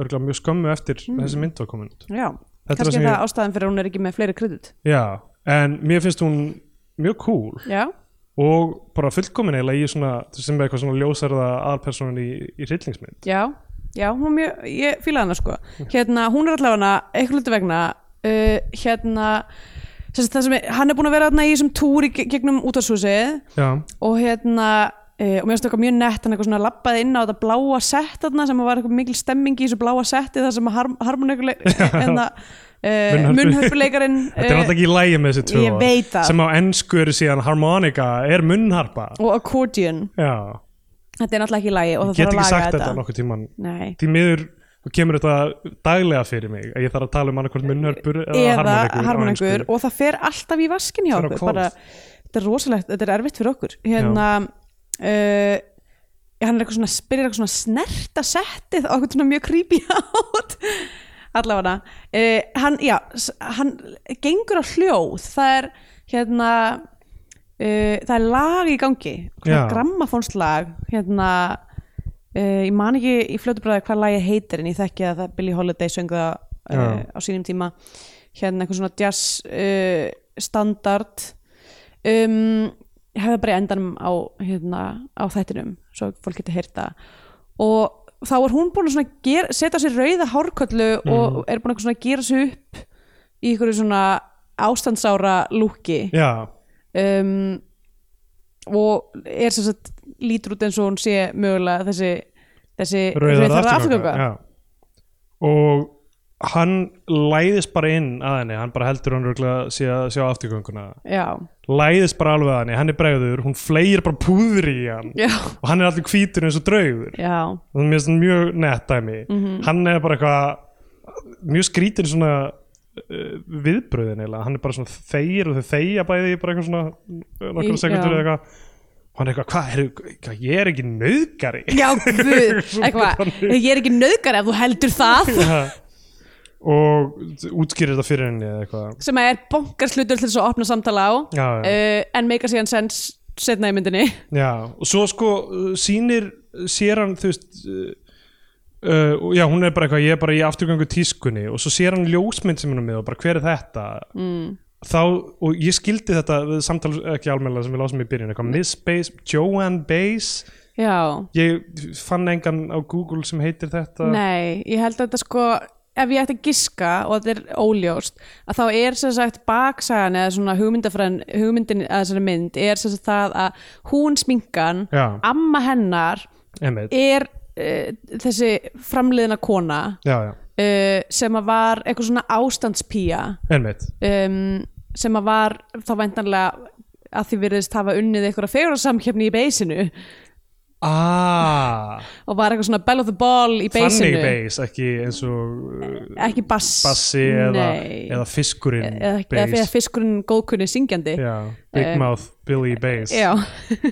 [SPEAKER 3] örgulega mjög skömmu eftir
[SPEAKER 2] Mm.
[SPEAKER 3] þessi mynd var komin út
[SPEAKER 2] já
[SPEAKER 3] Þetta er það
[SPEAKER 2] kannski
[SPEAKER 3] sem
[SPEAKER 2] er það
[SPEAKER 3] ég-
[SPEAKER 2] ástæðan fyrir að hún er ekki með fleiri kredit
[SPEAKER 3] já, en mér finnst hún mjög cool
[SPEAKER 2] já,
[SPEAKER 3] og bara fullkomin eiginlega í svona sem er eitthvað svona ljósarða aðalpersonan í, í hryllingsmynd
[SPEAKER 2] Já, já, hún er mjög, ég fílaði hana sko hérna, hún er allavega hana, eitthvað hluti vegna uh, hérna sem sagt, það sem er, hann er búin að vera hana í þessum túr í ge- gegnum útvarshúsið
[SPEAKER 3] Já,
[SPEAKER 2] og hérna uh, og mér finnst eitthvað mjög nett, hann eitthvað svona labbaði inn á þetta bláa sett þarna sem var eitthvað mikil stemming í þessu bláa setti þar sem har, harmonikuleik hérna, Uh,
[SPEAKER 3] Munnhörpu.
[SPEAKER 2] munnhörpuleikarin
[SPEAKER 3] þetta er
[SPEAKER 2] eh,
[SPEAKER 3] náttúrulega ekki í lægi með þessi tvö
[SPEAKER 2] Ég
[SPEAKER 3] orð,
[SPEAKER 2] veit það.
[SPEAKER 3] sem á ennsku eru síðan harmonika, er munnharpa
[SPEAKER 2] uh, og accordion
[SPEAKER 3] Já,
[SPEAKER 2] þetta er náttúrulega ekki í lagi og það
[SPEAKER 3] get
[SPEAKER 2] þarf að
[SPEAKER 3] ekki
[SPEAKER 2] laga
[SPEAKER 3] sagt þetta
[SPEAKER 2] þetta,
[SPEAKER 3] nokkuð tíman
[SPEAKER 2] Nei.
[SPEAKER 3] því miður þú kemur þetta daglega fyrir mig að ég þarf að tala um annarkvöld munnhörpur
[SPEAKER 2] eða
[SPEAKER 3] harmonikur á
[SPEAKER 2] harmonikur
[SPEAKER 3] ensku.
[SPEAKER 2] og það fer alltaf í vaskin hjá
[SPEAKER 3] Það er á
[SPEAKER 2] okkur
[SPEAKER 3] hvolf.
[SPEAKER 2] bara, þetta er rosalegt, þetta er erfitt fyrir okkur hérna uh, hann er eitthvað svona, byrjar eitthvað svona snerta settið á eitthvað svona mjög creepy átt allavega uh, hann, já, s- hann gengur á hljóð það er hérna uh, það er lag í gangi
[SPEAKER 3] Já.
[SPEAKER 2] grammafónslag hérna Uh, ég man ekki í fljótu bræði hvað lagið heitir en ég þekki að það Billie Holiday söng það uh,
[SPEAKER 3] Já.
[SPEAKER 2] á sínum tíma hérna eitthvað svona jazz uh, standard um, ég hefði bara í endanum á, hérna, á þættinum svo fólk getur heyrta og þá er hún búin að svona gera, setja á sér rauða hárköllu og er búin að svona gera sér upp í ykkur svona ástandsára lúki
[SPEAKER 3] Já,
[SPEAKER 2] um, og er sem sagt lítur út eins og hún sé mögulega þessi, þessi afturganga.
[SPEAKER 3] rauðar afturganga Já. og hann læðist bara inn að henni hann bara heldur hann röglega sé að sjá afturgönguna
[SPEAKER 2] já,
[SPEAKER 3] læðist bara alveg að henni, hann er bregður hún fleir bara púðri í hann
[SPEAKER 2] já,
[SPEAKER 3] og hann er allir hvítur eins og draugur
[SPEAKER 2] já
[SPEAKER 3] og mér finnst hann mjög nett dæmi
[SPEAKER 2] Mhm.
[SPEAKER 3] hann er bara eitthvað mjög skrítin svona uh, viðbröðin eiginlega, hann er bara svona þeir og þau þeia bæði í bara eitthvað svona
[SPEAKER 2] Í-
[SPEAKER 3] nokkra sekundur
[SPEAKER 2] já.
[SPEAKER 3] eða eitthvað og hann er eitthvað, hvað, heyrðu, hvað, ég er ekki nauðgari
[SPEAKER 2] Já, guð, eitthvað, ég er ekki nöðgar ef þú heldur það
[SPEAKER 3] Ha. og útskýrir þetta fyrir henni eða eitthvað
[SPEAKER 2] sem er bonkarslutur til þess að opna samtala á
[SPEAKER 3] Já, já.
[SPEAKER 2] Uh, en meika síðan sens setna í myndinni
[SPEAKER 3] Já, og svo sko uh, sýnir sér hann þú veist uh, uh, og já, hún er bara eitthvað, ég er bara í afturgangu tískunni og svo sér hann ljósmynd sem hún er með og bara hver er þetta mm. þá, og ég skildi þetta við samtal eh, ekki almennilega sem við lásum í byrjun eitthvað, Miss Base, Joanne Base
[SPEAKER 2] Já,
[SPEAKER 3] ég fann engan á Google sem heitir þetta
[SPEAKER 2] nei, ég held að þetta sko ef ég ætti að giska og þetta er óljóst að þá er sem sagt baksagan eða svona hugmyndafræðin hugmyndin að þessari mynd er sem sagt það að hún sminkan,
[SPEAKER 3] Já.
[SPEAKER 2] amma hennar
[SPEAKER 3] Emmett,
[SPEAKER 2] er uh, þessi framliðna kona
[SPEAKER 3] já, já,
[SPEAKER 2] uh, sem að var eitthvað svona ástandspía
[SPEAKER 3] Emmett
[SPEAKER 2] um, sem að var þá væntanlega að því virðist hafa unnið einhverja fegurarsamkeppni í beisinu
[SPEAKER 3] Ah,
[SPEAKER 2] og var eitthvað svona bell of the ball í
[SPEAKER 3] þannig
[SPEAKER 2] beisinu
[SPEAKER 3] base, ekki eins og uh,
[SPEAKER 2] ekki bass
[SPEAKER 3] bassi eða,
[SPEAKER 2] Nei. E,
[SPEAKER 3] eða fiskurinn
[SPEAKER 2] eða, eða, eða fiskurinn góðkunni syngjandi
[SPEAKER 3] Já, Big
[SPEAKER 2] Um,
[SPEAKER 3] Mouth, Billy Bass
[SPEAKER 2] Já.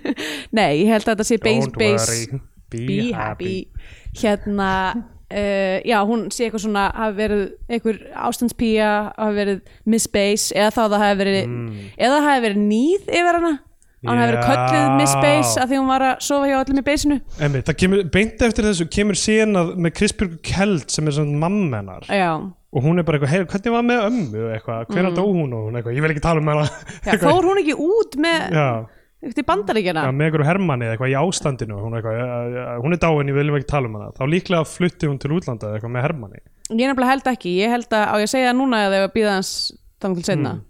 [SPEAKER 2] nei, ég held að þetta sé base,
[SPEAKER 3] Don't
[SPEAKER 2] base
[SPEAKER 3] worry, be,
[SPEAKER 2] be
[SPEAKER 3] happy,
[SPEAKER 2] happy hérna uh, já, hún sé eitthvað svona hafi verið einhver ástandspía hafi verið Miss Base eða þá það hafi verið
[SPEAKER 3] Mm.
[SPEAKER 2] eða það hafi verið nýð yfir hana að hún hafi verið
[SPEAKER 3] Já.
[SPEAKER 2] kölluð Miss Base af því hún var að sofa hjá öllum í beysinu
[SPEAKER 3] Einmitt, Það kemur, beint eftir þessu kemur senað með Krispjörg Keld sem er svona mamma hennar
[SPEAKER 2] já,
[SPEAKER 3] og hún er bara eitthvað, hey, hvernig var með ömmu eitthvað, hvenær dó hún og hún eitthvað, ég vil ekki tala um hana
[SPEAKER 2] Mm. já fór hún ekki út með
[SPEAKER 3] Já,
[SPEAKER 2] til bandaríkjana
[SPEAKER 3] já, með einhverju hermanni eða eitthvað í ástandinu og hún, er eitthvað, "Ja, ja, hún er dáin, ég viljum ekki tala um hana þá líklega flutti hún til útlanda eða eitthvað með hermanni
[SPEAKER 2] ég nefnilega held ekki, ég held að á ég að segja það núna eða ég að býða hans þannig til setna
[SPEAKER 3] Mm.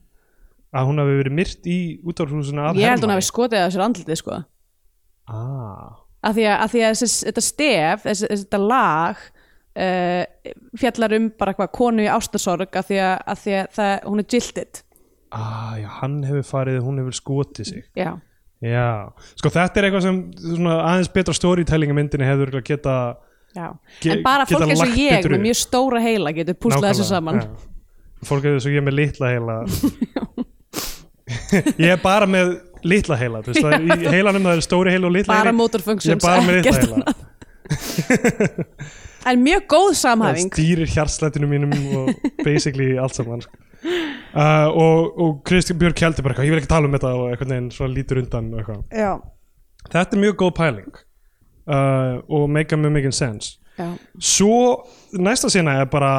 [SPEAKER 3] að hún hafi verið myrt í útvarfhúsinu að
[SPEAKER 2] ég held hún
[SPEAKER 3] Hermanni.
[SPEAKER 2] hafi skotið að sér andlitið sko
[SPEAKER 3] ah,
[SPEAKER 2] af því að, að, því að þessi, þetta stef þessi, þessi, þetta lag uh, fjallar um bara hvað konu í ástasorg af því að, að, því að það, hún er jilted
[SPEAKER 3] ah, já, hann hefur farið, hún hefur skotið sig
[SPEAKER 2] já,
[SPEAKER 3] Já, sko þetta er eitthvað sem svona, aðeins betra storytelling í myndinni hefur örugglega geta
[SPEAKER 2] já.
[SPEAKER 3] Ge-
[SPEAKER 2] en bara
[SPEAKER 3] geta
[SPEAKER 2] fólk eins
[SPEAKER 3] lagt
[SPEAKER 2] og ég
[SPEAKER 3] betur
[SPEAKER 2] með
[SPEAKER 3] upp.
[SPEAKER 2] mjög stóra heila getur púslað þessu saman
[SPEAKER 3] já. Fólk er þessu ég er með litla heila Ég er bara með litla heila þú veist, það, er- í heilanum það er stóri heila og litla
[SPEAKER 2] bara
[SPEAKER 3] heili.
[SPEAKER 2] motor
[SPEAKER 3] Ég er
[SPEAKER 2] functions
[SPEAKER 3] bara með litla
[SPEAKER 2] ekkert
[SPEAKER 3] heila
[SPEAKER 2] annað. en mjög góð
[SPEAKER 3] Það
[SPEAKER 2] samhæfing
[SPEAKER 3] stýrir hjartslættinu mínum og basically allt saman sko. uh, og, og Kristi Björk Kjaldi bara eitthvað, ég vil ekki tala um þetta og einhvern veginn svona lítur undan og eitthvað
[SPEAKER 2] já,
[SPEAKER 3] Þetta er mjög góð pæling uh, og make a mjög mikið sense
[SPEAKER 2] já,
[SPEAKER 3] Svo næsta sena er bara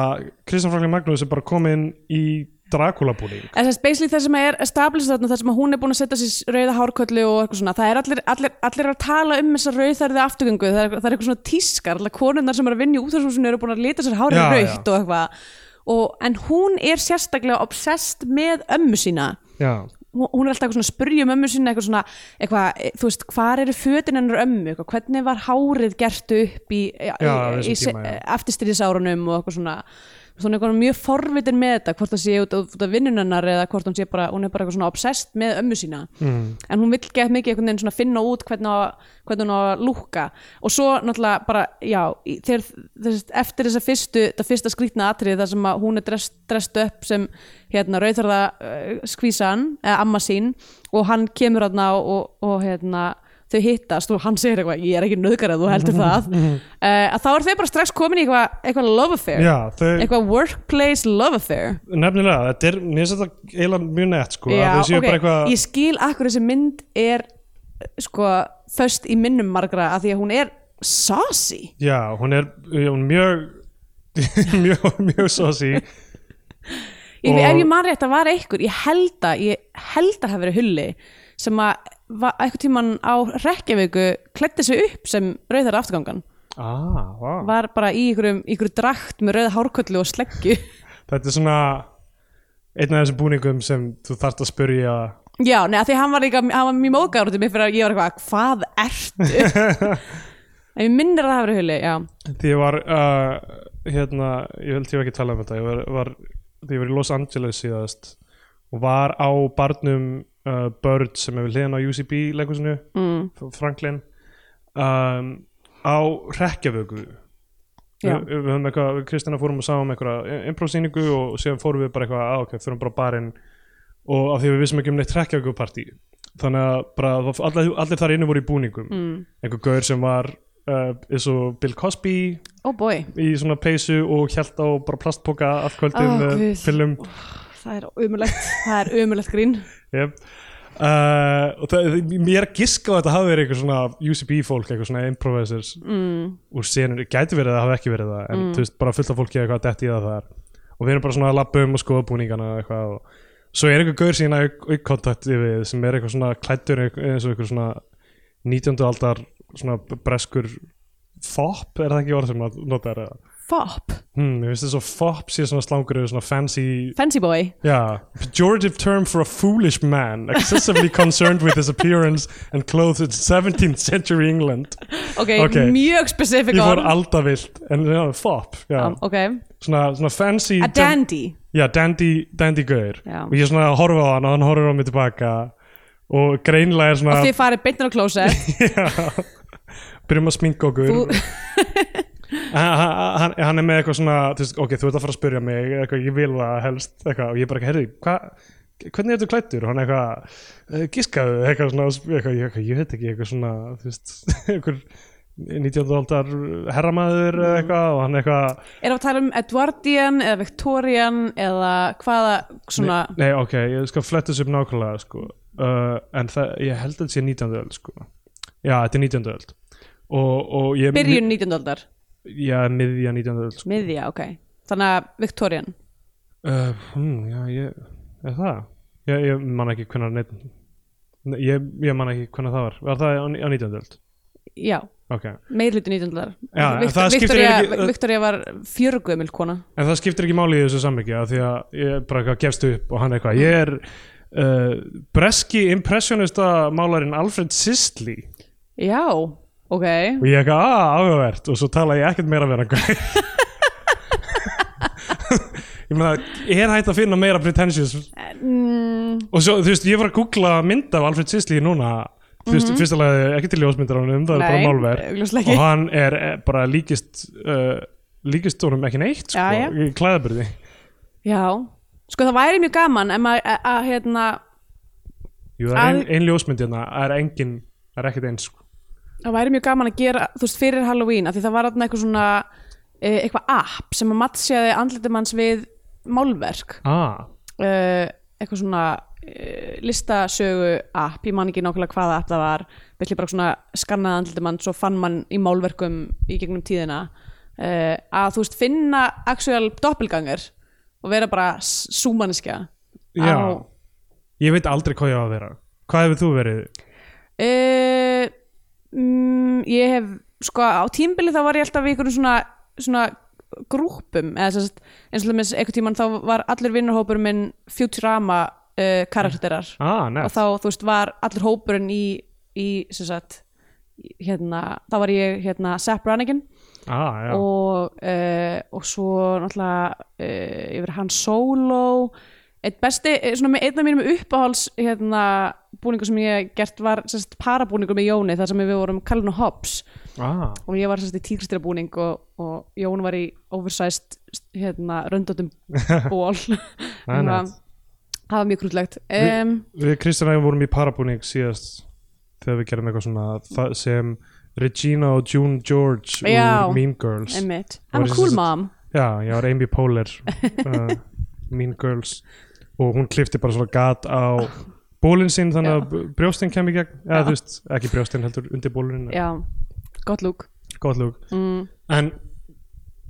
[SPEAKER 3] Kristján Franklin Magnús er bara kominn í Dracula búning
[SPEAKER 2] En þess, basically það sem er established þarna, það sem að hún er búin að setja sér rauða hárköllu og eitthvað svona, það er allir, allir, allir að tala um þessa rauðarði afturgöngu, það er, það er eitthvað svona tískar, allar konurnar sem eru að vinna í útþjóðshúsinu eru búin að lita sér hárið
[SPEAKER 3] Já,
[SPEAKER 2] rauðt og eitthvað, og, en hún er sérstaklega obsessed með ömmu sína,
[SPEAKER 3] Já,
[SPEAKER 2] hún hún er alltaf eitthvað svona að spyrja um ömmu sína eitthvað svona, eitthvað, e, þú veist, hvar eru fötin hennar ömmu, eitthvað, hvernig var hárið gert upp í, í,
[SPEAKER 3] Já, á
[SPEAKER 2] í,
[SPEAKER 3] þessum
[SPEAKER 2] í se-
[SPEAKER 3] tíma, já.
[SPEAKER 2] eftirstríðisárunum og eitthvað svona svona eitthvað mjög forvitin með þetta hvort það sé út af- út af vinnunennar eða hvort hún sé bara, hún er bara eitthvað svona obsessed með ömmu sína mm. en hún vill gett mikið einhvern veginn svona finna út hvernig, á, hvernig hún á að lúkka og svo náttúrulega bara, já í- þegar, þess, eftir þessa fyrstu, það fyrsta skrýtna atrið þar sem að hún er drest, drest upp sem hérna rauðarða uh, skvísan, eða amma sín og hann kemur hann og, og, og hérna þau hittast og hann segir eitthvað, ég er ekki nöðgar að þú heldur það
[SPEAKER 3] Mhm.
[SPEAKER 2] uh, að þá er þau bara strax komin í eitthvað, eitthvað love affair
[SPEAKER 3] já þau,
[SPEAKER 2] eitthvað workplace love affair
[SPEAKER 3] nefnilega, þetta er, mér finnst þetta eiginlega mjög nett sko,
[SPEAKER 2] Já,
[SPEAKER 3] að þau séu
[SPEAKER 2] ok.
[SPEAKER 3] bara eitthvað
[SPEAKER 2] ég skil akkur þessi mynd er eh, sko föst í minnum margra af því að hún er saucy
[SPEAKER 3] Já, hún er, hún er mjög mjög, mjög sósi
[SPEAKER 2] ég,
[SPEAKER 3] Og-
[SPEAKER 2] ef ég man rétt að var einhver ég held að, ég held að hafa verið hulli sem að var eitthvað tíman á rekkjaveiku klætti sig upp sem rauðar afturgangan
[SPEAKER 3] ah, wow.
[SPEAKER 2] var bara í einhverjum, í einhverjum drakt með rauða hárköllu og sleggju
[SPEAKER 3] Þetta er svona einn af þessum búningum sem þú þarft að spyrja
[SPEAKER 2] já, neða því hann var, líka, hann var mjög móðgar út í mig fyrir að ég var eitthvað, hvað ertu en ég minnir að það hafa verið hulli já,
[SPEAKER 3] því ég var uh, hérna, ég held ég var ekki að tala um þetta ég var, var, því ég var í Los Angeles síðast og var á barnum uh, Bird sem hefur hliðan á UCB leikusinu, mm. Franklin um, á Rekkjavöku
[SPEAKER 2] Já.
[SPEAKER 3] Við- við höfum eitthvað, við Kristina fórum og sáum einhverja improv-sýningu og síðan fórum við bara eitthvað að ok, fyrir bara á barinn og af því við vissum ekki um neitt trekkjavíkupartí þannig að bara, það- allir, allir þar inni voru í búningum mm. einhver gaur sem var uh, eins og Bill Cosby
[SPEAKER 2] oh boy
[SPEAKER 3] í svona peysu og hjælt á bara plastpoka allt kvöldið
[SPEAKER 2] Ó,
[SPEAKER 3] með
[SPEAKER 2] Guð.
[SPEAKER 3] film
[SPEAKER 2] það er umulegt, það er umulegt grín
[SPEAKER 3] yep. uh, og það, mér giska á að þetta hafi verið eitthvað svona UCB fólk, eitthvað svona improvisers mm. úr senur, gæti verið það hafi ekki verið það
[SPEAKER 2] Mm.
[SPEAKER 3] en þú veist, bara fullt af fólki eða eitthvað detti í það þar og við erum bara svona að labba um og skoða búningana og eitthvað og svo er einhver gaur sína aukkontakti við sem er eitthvað svona klættur eins og eitthvað svona 19. aldar svona breskur fop, er það ekki orð sem að nota er það?
[SPEAKER 2] fop,
[SPEAKER 3] Hmm, ég finnst þess að fop sé svona slangur eða svona fancy
[SPEAKER 2] fancy boy
[SPEAKER 3] Yeah, pejorative term for a foolish man, excessively concerned with his appearance and clothes in 17th century England.
[SPEAKER 2] ok,
[SPEAKER 3] Ok.
[SPEAKER 2] mjög specific
[SPEAKER 3] Ég fór
[SPEAKER 2] orð
[SPEAKER 3] aldavilt, en já, fop, já.
[SPEAKER 2] Um, ok,
[SPEAKER 3] Svona, svona fancy...
[SPEAKER 2] a dandy
[SPEAKER 3] Já, dandy, dandy gaur.
[SPEAKER 2] Já.
[SPEAKER 3] Og ég svona horfa á hann og hann horfir á mig tilbaka og greinlega er svona...
[SPEAKER 2] og þið farið beintin á klósett
[SPEAKER 3] Já, byrjum að sminka okkur.
[SPEAKER 2] Þú-
[SPEAKER 3] hann, hann- hann, hann er með eitthvað svona, þú veist, ok, þú ert að fara að spyrja mig, eitthvað, ég vil það helst, eitthvað, og ég bara eitthvað, heyrðu, hvað, hvernig ertu klættur? Og hann eitthvað, "Eh, giskaðu, eitthvað svona, eitthvað, ég, eitthvað, ég veit ekki, eitthvað svona, þú veist, eitthvað, 19. aldar herramaður
[SPEAKER 2] Mm.
[SPEAKER 3] eða eitthvað og hann eitthvað,
[SPEAKER 2] er að tala um Edwardian eða Victorian eða hvaða svona
[SPEAKER 3] nei, nei ok, ég skal fletta þessu upp nákvæmlega sko. uh, en það, ég held að þetta sé 19. öld sko. já, þetta er 19. öld og, og ég
[SPEAKER 2] byrjun 19. aldar,
[SPEAKER 3] já, miðja 19. öld sko.
[SPEAKER 2] miðja, ok þannig að Victorian
[SPEAKER 3] Uh, hmm, já, ég, er það? Ég, ég man ekki hvernig neitt, Nei, ég, ég man ekki hvernig það var. Var það á, á 19. öld?
[SPEAKER 2] já,
[SPEAKER 3] Ok.
[SPEAKER 2] meirluti 19. aldar
[SPEAKER 3] Já, en
[SPEAKER 2] Victor,
[SPEAKER 3] það skiptir
[SPEAKER 2] Victoria,
[SPEAKER 3] ekki-
[SPEAKER 2] Victoria var fjörgumil kona
[SPEAKER 3] En það skiptir ekki máli í þessu samviki af því að ég bara eitthvað gefst upp og hann eitthvað. Ég er uh, breski impressionista málarinn Alfred Sisley
[SPEAKER 2] já, ok
[SPEAKER 3] og ég eitthvað, að, áhugavert og svo tala ég ekkert meira vera einhver. ég meina, er hægt að finna meira pretentious
[SPEAKER 2] mm,
[SPEAKER 3] og svo, þú veist, ég var að googla mynd af Alfred Sisley núna þú veist, fyrst alveg ekki til ljósmyndar á hennum, það er bara
[SPEAKER 2] Mhm. Nei,
[SPEAKER 3] málverð
[SPEAKER 2] augljóslega ekki.
[SPEAKER 3] og hann er eh, bara líkist uh, líkist honum ekki neitt sko,
[SPEAKER 2] Jæja.
[SPEAKER 3] í klæðaburði
[SPEAKER 2] já, sko það væri mjög gaman en maður að- að hérna
[SPEAKER 3] Jú, það er ein,
[SPEAKER 2] Að-
[SPEAKER 3] ein ljósmynd hérna, það er engin það er ekkert eins sko.
[SPEAKER 2] það væri mjög gaman að gera, þú veist, fyrir Halloween af því það var þarna eitthvað svona eh, eitthvað app sem að mattsjaði andlitum hans við málverk
[SPEAKER 3] ah,
[SPEAKER 2] Eh, eitthvað svona eh, listasögu app, ég man ekki nákvæmlega hvaða app það var, byrja bara svona skannaði andlitum hans og fann mann í Eh, málverkum í gegnum tíðina uh, að þú veist finna actual doppelganger og vera bara s- súmanneskja
[SPEAKER 3] Já,
[SPEAKER 2] Á-
[SPEAKER 3] ég veit aldrei hvað ég á að vera Hvað hefur þú verið?
[SPEAKER 2] Uh, mm, ég hef sko á tímbili þá var ég alltaf í einhverjum svona, svona grúpum eða sem sagt, eins og þess einhvern tímann þá var allur vinnarhópur minn Futurama uh, karakterar
[SPEAKER 3] Ah,
[SPEAKER 2] og
[SPEAKER 3] nefn
[SPEAKER 2] þá þú veist var allur hópurinn í, í sem sagt hérna, þá var ég hérna Sepp Brannigan
[SPEAKER 3] ah, já.
[SPEAKER 2] og, uh, og svo náttúrulega uh, yfir hann solo eitt besti, eh, svona með einn af mínum uppáhals hérna, búningu sem ég hef gert var sérst, parabúningur með Jóni þar sem við vorum Callin og Hobbs
[SPEAKER 3] ah.
[SPEAKER 2] og ég var sérst, í tíkristira búning og, og Jón var í oversized hérna, röndóttum ból
[SPEAKER 3] Það er
[SPEAKER 2] Þannig að
[SPEAKER 3] nett.
[SPEAKER 2] það var mjög krútlegt
[SPEAKER 3] Við-
[SPEAKER 2] um,
[SPEAKER 3] Við Kristján Ægum vorum í parabúning síðast þegar við gerðum eitthvað svona það sem Regina og June George
[SPEAKER 2] Já.
[SPEAKER 3] úr Mean Girls
[SPEAKER 2] einmitt,
[SPEAKER 3] Var
[SPEAKER 2] hann
[SPEAKER 3] ég
[SPEAKER 2] var cool
[SPEAKER 3] sem sagt-
[SPEAKER 2] mom
[SPEAKER 3] Já, ég var Amy Poehler uh, Mean Girls og hún klifti bara svona gat á bólinn sinn þannig að brjóstinn kemur í gegn eða
[SPEAKER 2] Já.
[SPEAKER 3] þú veist, ekki brjóstinn heldur undir bólinn
[SPEAKER 2] já, gott lúk
[SPEAKER 3] gott lúk
[SPEAKER 2] mm,
[SPEAKER 3] en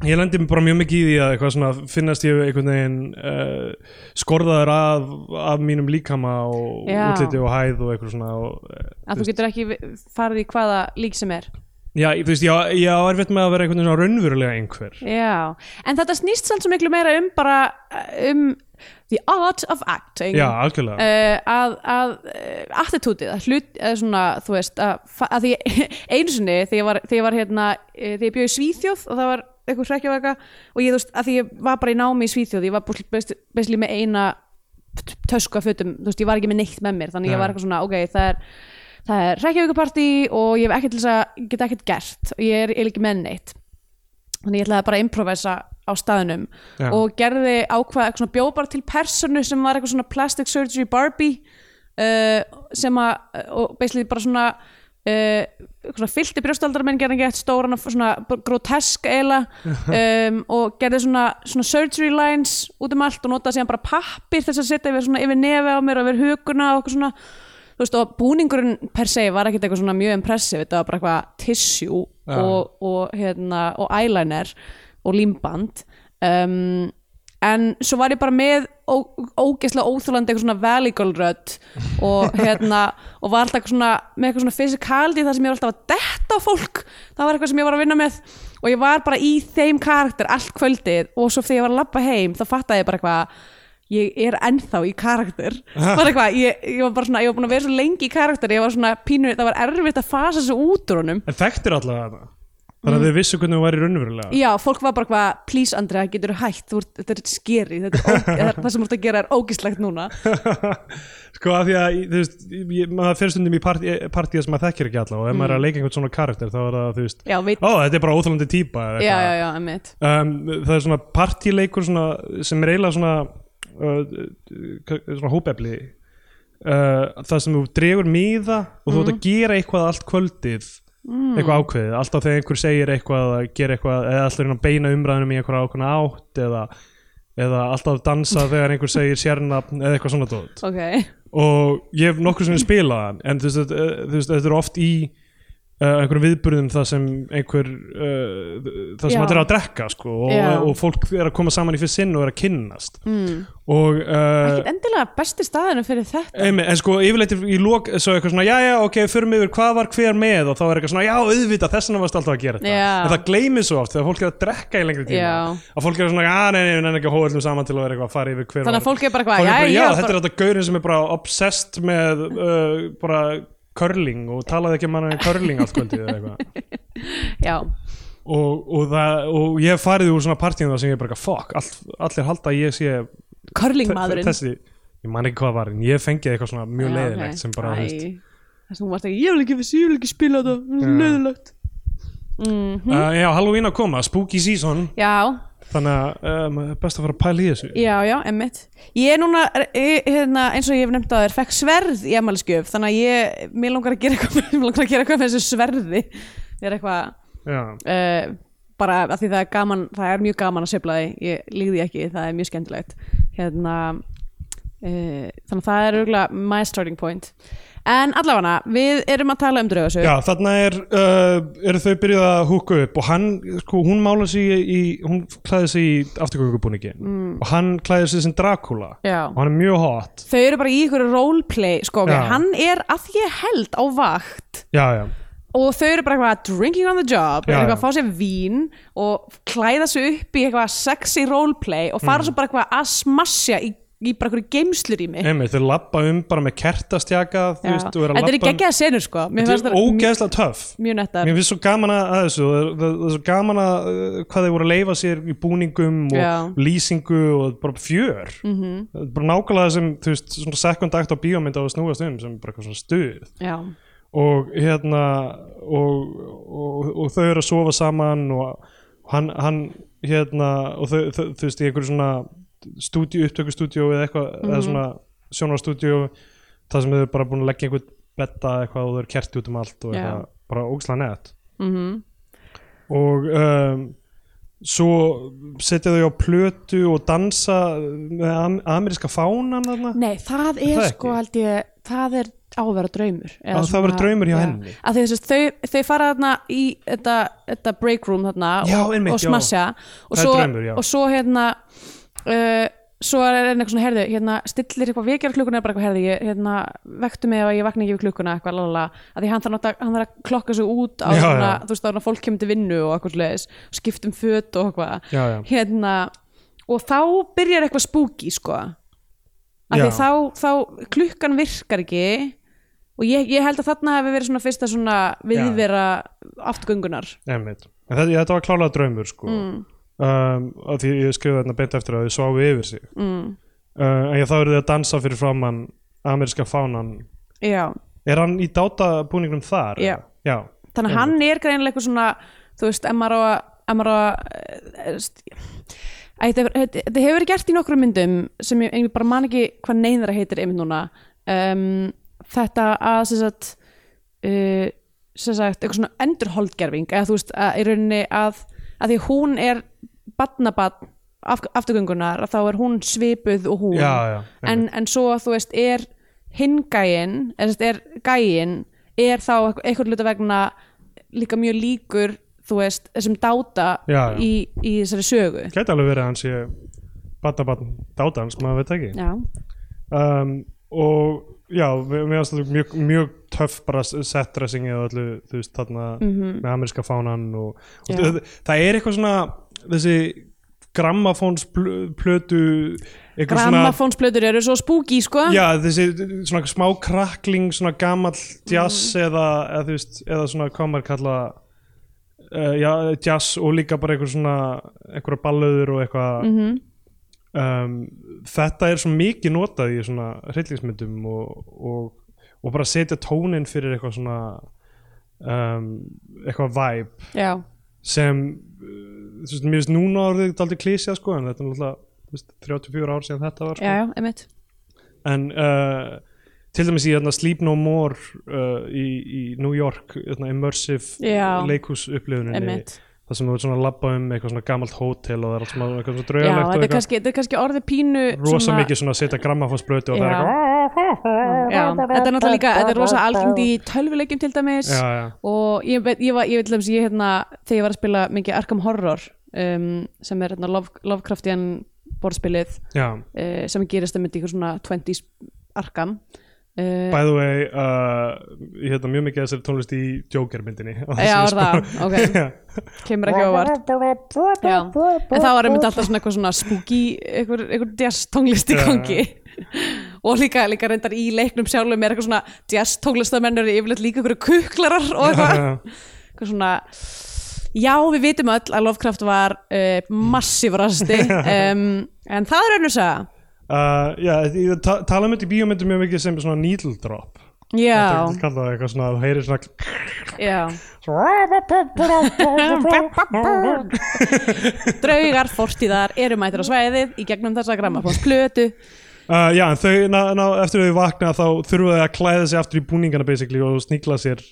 [SPEAKER 3] ég lendi bara mjög mikið í því að eitthvað svona finnast ég einhvern veginn uh, skorðaður af, af mínum líkama og
[SPEAKER 2] Já.
[SPEAKER 3] útliti og hæð og eitthvað svona og, eh,
[SPEAKER 2] að þú getur ekki vi- farið í hvaða lík sem er
[SPEAKER 3] já, þú veist, ég, ég á erfitt með að vera einhvern veginn svona raunverulega einhver
[SPEAKER 2] Já, en þetta snýst samt svo miklu meira um bara uh, um the art of acting
[SPEAKER 3] já, algjörlega
[SPEAKER 2] Uh, að, að uh, attitútið, að hlut, eða svona, þú veist, að, fa- að því ég, einu sinni þegar ég var, þegar ég var hérna, uh, þegar ég bjöði í Svíþjóð og það var eitthvað hrekkjavaka og ég, þú veist, að því ég var bara í námi í Svíþjóð, ég var besli með eina t- tösku af fötum, þú veist, ég var ekki með neitt með mér, þannig ég
[SPEAKER 3] Nei.
[SPEAKER 2] var eitthvað svona, ok, það er, það er hrekkjavakapartí og ég hef ekkert til þess að geta ekkert gert og ég er, ég er ekki með neitt þannig ég ætlaði bara að improvisa á staðnum
[SPEAKER 3] Já.
[SPEAKER 2] og gerði ákvað eitthvað svona bjóð bara til personu sem var eitthvað svona plastic surgery Barbie uh, sem að og basically bara svona Uh, svona fyllti brjóstaldar menn gerði gett stóran og svona grotesk eila um, og gerði svona, svona surgery lines út um allt og notaði síðan bara pappir þess að setja yfir, svona, yfir nefi á mér og yfir huguna og eitthvað svona þú veist, og búningurinn per se var ekkert eitthvað svona mjög impressive þetta var bara eitthvað tissue
[SPEAKER 3] Já.
[SPEAKER 2] og, og, hérna, og eyeliner og límband um, en svo var ég bara með ó- ógeðslega óþjólandi eitthvað svona valley girl rödd og, hérna, og var alltaf eitthvað svona, með eitthvað svona fysikaldi þar sem ég var alltaf að detta á fólk það var eitthvað sem ég var að vinna með og ég var bara í þeim karakter allt kvöldið og svo þegar ég var að labba heim þá fattaði ég bara eitthvað ég er ennþá í karakter bara eitthvað, ég, ég var bara svona ég var búin að vera svo lengi í karakter, ég var svona pínu það var erfitt að fasa þessu út úr honum
[SPEAKER 3] en þekktir allavega hana
[SPEAKER 2] Mm.
[SPEAKER 3] þannig að þau vissu hvernig þú væri raunverulega
[SPEAKER 2] Já, fólk var bara eitthvað, please Andrea, getur hætt þú ert, þetta er skeri, þetta er ó- það það sem þú ert að gera er ógislegt núna
[SPEAKER 3] sko að því að þú veist, ég, maður fyrir stundum í part, partíða sem maður þekkir ekki alla og ef maður er að leika einhvern svona karakter þá er það þú veist,
[SPEAKER 2] Mm. Já, veit,
[SPEAKER 3] ó þetta er bara óþalandi típa eða
[SPEAKER 2] já,
[SPEAKER 3] eitthvað.
[SPEAKER 2] já, já, emmitt
[SPEAKER 3] um, það er svona partíleikur svona, sem er eiginlega svona, uh, k- svona hópefli uh, það sem þú dregur miða og
[SPEAKER 2] Mm.
[SPEAKER 3] þú ert að gera eitthvað allt kvöldið eitthvað ákveðið, alltaf þegar einhver segir eitthvað að gera eitthvað, eða alltaf reyna að beina umræðunum í einhverja ákveðna átt eða, eða alltaf dansa þegar einhver segir sérnafn eða eitthvað svona dót
[SPEAKER 2] Ok,
[SPEAKER 3] og ég hef nokkur sem spilað hann en þú veist, þetta, eh, þú veist, þetta er oft í uh, einhverjum viðburðum það sem einhver uh, það sem
[SPEAKER 2] Já.
[SPEAKER 3] allir er að drekka sko, og,
[SPEAKER 2] Já.
[SPEAKER 3] og fólk er að koma saman í fyrst sinn og er að kynnast
[SPEAKER 2] mm.
[SPEAKER 3] og uh,
[SPEAKER 2] ekkert endilega besti staðinu fyrir þetta
[SPEAKER 3] einmi, en sko yfirleitt í lók svo eitthvað svona, já já ok, förum yfir hvað var hver með og þá er eitthvað svona, já auðvitað þess vegna varst alltaf að gera þetta,
[SPEAKER 2] Já.
[SPEAKER 3] en það gleymið svo oft þegar fólk er að drekka í lengri tíma
[SPEAKER 2] Já.
[SPEAKER 3] að fólk er svona, já nei, nei, nei, nei ekki að hóða öllum saman til að vera eitthvað að fara yfir hver
[SPEAKER 2] Þannig
[SPEAKER 3] var-
[SPEAKER 2] að fólk er bara
[SPEAKER 3] Fólk
[SPEAKER 2] eitthvað,
[SPEAKER 3] er bara,
[SPEAKER 2] já,
[SPEAKER 3] já,
[SPEAKER 2] já,
[SPEAKER 3] þetta er þetta gaurin sem er bara obsessed með uh, bara curling og talaði ekki um hann en curling allt kvöldið eða eitthvað
[SPEAKER 2] já
[SPEAKER 3] og, og, það, og ég hef farið úr svona partíum það sem ég er bara eitthvað, fuck, all, allir halda að ég sé
[SPEAKER 2] Körlingmaðurinn
[SPEAKER 3] þessi, ég man ekki hvað var en ég fengið eitthvað svona
[SPEAKER 2] Ah,
[SPEAKER 3] mjög leiðilegt sem bara, þú veist,
[SPEAKER 2] Þess að hún varst ekki, ég vil ekki, ég vil ekki spila þetta, þetta er
[SPEAKER 3] Já.
[SPEAKER 2] leiðilegt mm.
[SPEAKER 3] uh, já, Halloween að koma, spooky season
[SPEAKER 2] Já,
[SPEAKER 3] þannig að um, best að fara að pæla í þessu
[SPEAKER 2] Já, já, emmitt. Ég er núna, er- er- hérna, eins og ég hef nefnt að þér, fekk sverð í emmalskjöf, þannig að ég, mér langar að gera eitthvað, mér langar að gera eitthvað með þessu sverði. Ég er eitthvað,
[SPEAKER 3] já,
[SPEAKER 2] uh, bara að því það er gaman, það er mjög gaman að sveifla því, ég líði ekki, það er mjög skemmtilegt. Hérna, uh, þannig að það er auðvitað my starting point en allavega við erum að tala um draugasögur
[SPEAKER 3] Já, þarna er, uh, eru þau byrjuð að húka upp og hann, sko, hún mála sig í, hún klæði sig í afturgöngubúningin og hann klæði sig sem Dracula
[SPEAKER 2] Mm. Já.
[SPEAKER 3] og hann er mjög hot
[SPEAKER 2] þau eru bara í ykkur roleplay sko, ok,
[SPEAKER 3] Já.
[SPEAKER 2] hann er að því ég held á vakt
[SPEAKER 3] Já, já,
[SPEAKER 2] og þau eru bara eitthvað drinking on the job
[SPEAKER 3] Já,
[SPEAKER 2] já, eitthvað
[SPEAKER 3] já.
[SPEAKER 2] að fá sér vín og klæða sig upp í eitthvað sexy roleplay og
[SPEAKER 3] Mm.
[SPEAKER 2] fara svo bara eitthvað að smassja í, í bara eitthvað geimslur í mig
[SPEAKER 3] einmitt, þau lappa um bara með kertastjaka, þú veist, og er að
[SPEAKER 2] þetta er
[SPEAKER 3] labba um-
[SPEAKER 2] geggjað senur sko mér
[SPEAKER 3] Þetta
[SPEAKER 2] finnst
[SPEAKER 3] er
[SPEAKER 2] það mjög,
[SPEAKER 3] ógeðslega töff
[SPEAKER 2] mjög nettar
[SPEAKER 3] Mér finnst svo gaman að að þessu og það- það það er svo gaman að uh, hvað þeir voru að leifa sér í búningum og
[SPEAKER 2] Já. Mhm.
[SPEAKER 3] lýsingu og bara fjör mm -hmm. bara nákvæmlega sem, þú veist, svona second act á bíómynd á að snúast um sem er bara eitthvað svona stuð
[SPEAKER 2] já,
[SPEAKER 3] og hérna og, og, og þau eru að sofa saman og hann, hann hérna og þau, þau, þú veist í einhverju svona stúdíu, upptökustúdíu eða eitthvað,
[SPEAKER 2] Mhm.
[SPEAKER 3] eða svona sjónarstúdíu það sem þau eru bara búin að leggja einhvern betta eitthvað og þau eru kerti út um allt og
[SPEAKER 2] Já.
[SPEAKER 3] eitthvað, bara ógsla nett
[SPEAKER 2] mhm
[SPEAKER 3] og um, svo setja þau á plötu og dansa með am ameríska fánan þarna
[SPEAKER 2] Nei, það
[SPEAKER 3] Er
[SPEAKER 2] er
[SPEAKER 3] það
[SPEAKER 2] sko
[SPEAKER 3] ekki?
[SPEAKER 2] held ég það er á að vera draumur eða
[SPEAKER 3] Á, það
[SPEAKER 2] svona-
[SPEAKER 3] vera draumur hjá
[SPEAKER 2] Já.
[SPEAKER 3] henni.
[SPEAKER 2] Af því þess að þau, þau fara þarna í þetta, þetta break room þarna
[SPEAKER 3] Já,
[SPEAKER 2] og,
[SPEAKER 3] einmitt,
[SPEAKER 2] og
[SPEAKER 3] já.
[SPEAKER 2] smassja og
[SPEAKER 3] Það er
[SPEAKER 2] svo,
[SPEAKER 3] draumur, já.
[SPEAKER 2] og svo hérna uh, svo er enn eitthvað svona herðu hérna stillir eitthvað vekjar klukkuna eða bara eitthvað herðu ég hérna vektu mig ef ég vakna ekki við klukkuna eitthvað lalala að því hann þarf, náttúrulega- hann þarf að klokka sig út á
[SPEAKER 3] Já,
[SPEAKER 2] svona,
[SPEAKER 3] já.
[SPEAKER 2] þú veist þá fólk kemur til vinnu og eitthvað leðis skiptum föt og eitthvað
[SPEAKER 3] Já, já.
[SPEAKER 2] hérna og þá byrjar eitthvað spooky sko af því
[SPEAKER 3] Já.
[SPEAKER 2] þá, þá klukkan virkar ekki og ég, ég held að þarna hefur verið svona fyrsta svona viðvera aftgöngunar
[SPEAKER 3] Einmitt. En þetta, þetta var klálega draumur sko. mm. um, að því ég skrifaði þarna beint eftir að þau sváfi yfir sig mm. uh, en ég þá eru þið að dansa fyrir framann ameríska fánan
[SPEAKER 2] já,
[SPEAKER 3] er hann í dátabúningnum þar?
[SPEAKER 2] Já.
[SPEAKER 3] eða? Já.
[SPEAKER 2] þannig að hann er greinilega eitthvað svona, þú veist, ef maður á að ef maður á að eh, st- Æ, þetta hefur- þetta- þetta hefur verið gert í nokkrum myndum sem ég, en ég bara man ekki hvað neyðara heitir einmitt núna um, þetta að sem sagt, uh, sem sagt eitthvað svona endurholdgerfing eða þú veist að, í rauninni að, að því hún er badnabann af, afturgöngunar að þá er hún svipuð og hún
[SPEAKER 3] Já, já,
[SPEAKER 2] en, en svo þú veist er hinn gæinn er, sem sagt, er gæinn er þá einhver- einhvern hluta vegna líka mjög líkur þú veist, þessum dáta
[SPEAKER 3] Já, já.
[SPEAKER 2] Í, í þessari sögu
[SPEAKER 3] gæti alveg verið að hann sé batabatn dátans, maður veit ekki
[SPEAKER 2] Já,
[SPEAKER 3] um, og já, mér mér finnst þetta mjög, mjög töff bara setdressingið og allu þú veist þarna með ameríska fánan og, og
[SPEAKER 2] Já.
[SPEAKER 3] það, það er eitthvað svona þessi grammafóns plötu eitthvað svona
[SPEAKER 2] grammafónsplötur eru svo spooky sko
[SPEAKER 3] Já, þessi svona smá krakling svona gamall jazz eða, eða, þú veist, eða svona hvað maður kalla uh, já, jazz og líka bara eitthvað svona eitthvað ballöður og eitthvað
[SPEAKER 2] Mhm.
[SPEAKER 3] um, þetta er svo mikið notað í svona hryllingsmyndum og, og, og bara setja tónin fyrir eitthvað svona um, eitthvað vibe
[SPEAKER 2] já, sem,
[SPEAKER 3] sem uh, þú veist, mér finnst núna orðið þetta aldrei klísja sko en þetta er náttúrulega þú veist, 34 ár síðan þetta var sko.
[SPEAKER 2] já, já, einmitt
[SPEAKER 3] en uh, til dæmis í þarna, Sleep No More uh, í, í New York þarna, immersive
[SPEAKER 2] Já.
[SPEAKER 3] leikhús upplifuninni
[SPEAKER 2] Einmitt.
[SPEAKER 3] það sem þú ert svona að labba um eitthvað svona gamalt hótel og það er allt sem eitthvað svona
[SPEAKER 2] Já,
[SPEAKER 3] draugalegt og
[SPEAKER 2] þetta er,
[SPEAKER 3] eitthvað
[SPEAKER 2] kannski, þetta er kannski orðið pínu
[SPEAKER 3] rosa mikið svona að setja grammafónsblötu og það
[SPEAKER 2] Já.
[SPEAKER 3] er eitthvað
[SPEAKER 2] já, Þetta er náttúrulega líka, þetta er rosa algjönd í tölvuleikjum til dæmis
[SPEAKER 3] já, já.
[SPEAKER 2] og ég, veit- ég, var, ég veit til dæmis ég hérna þegar ég var að spila mikið Arkham Horror um, sem er hérna Love, Lovecraftian borðspilið
[SPEAKER 3] já.
[SPEAKER 2] uh, sem gerist að myndi ykkur svona 20s Arkham uh,
[SPEAKER 3] By the way uh, ég hefði mjög mikið að þessari tónlist í Joker myndinni
[SPEAKER 2] Já, er það, ok, kemur ekki á vart Já, en það var einmitt alltaf svona eitthvað svona spooky, eitthvað, eitthvað jazz tónlist í
[SPEAKER 3] Já.
[SPEAKER 2] gangi og líka, líka reyndar í leiknum sjálfum er eitthvað svona jazz tónlistamennur yfirleitt líka eitthvað kuklarar og eitthvað, eitthvað svona já, við vitum öll að Lovecraft var uh, massíf rasti um, en það er önnur saga
[SPEAKER 3] Uh, já, ég ta tala um þetta í bíómyndum mjög mikið sem svona needle drop
[SPEAKER 2] já,
[SPEAKER 3] Þetta er kallað eitthvað svona, þú heyrir svona
[SPEAKER 2] já draugar fortíðar eru mætir á svæðið í gegnum þessa grammafóns plötu
[SPEAKER 3] uh, Já, en þau, ná, ná, eftir þau vakna þá þurfa þau að klæða sig aftur í búningana basically og sníkla sér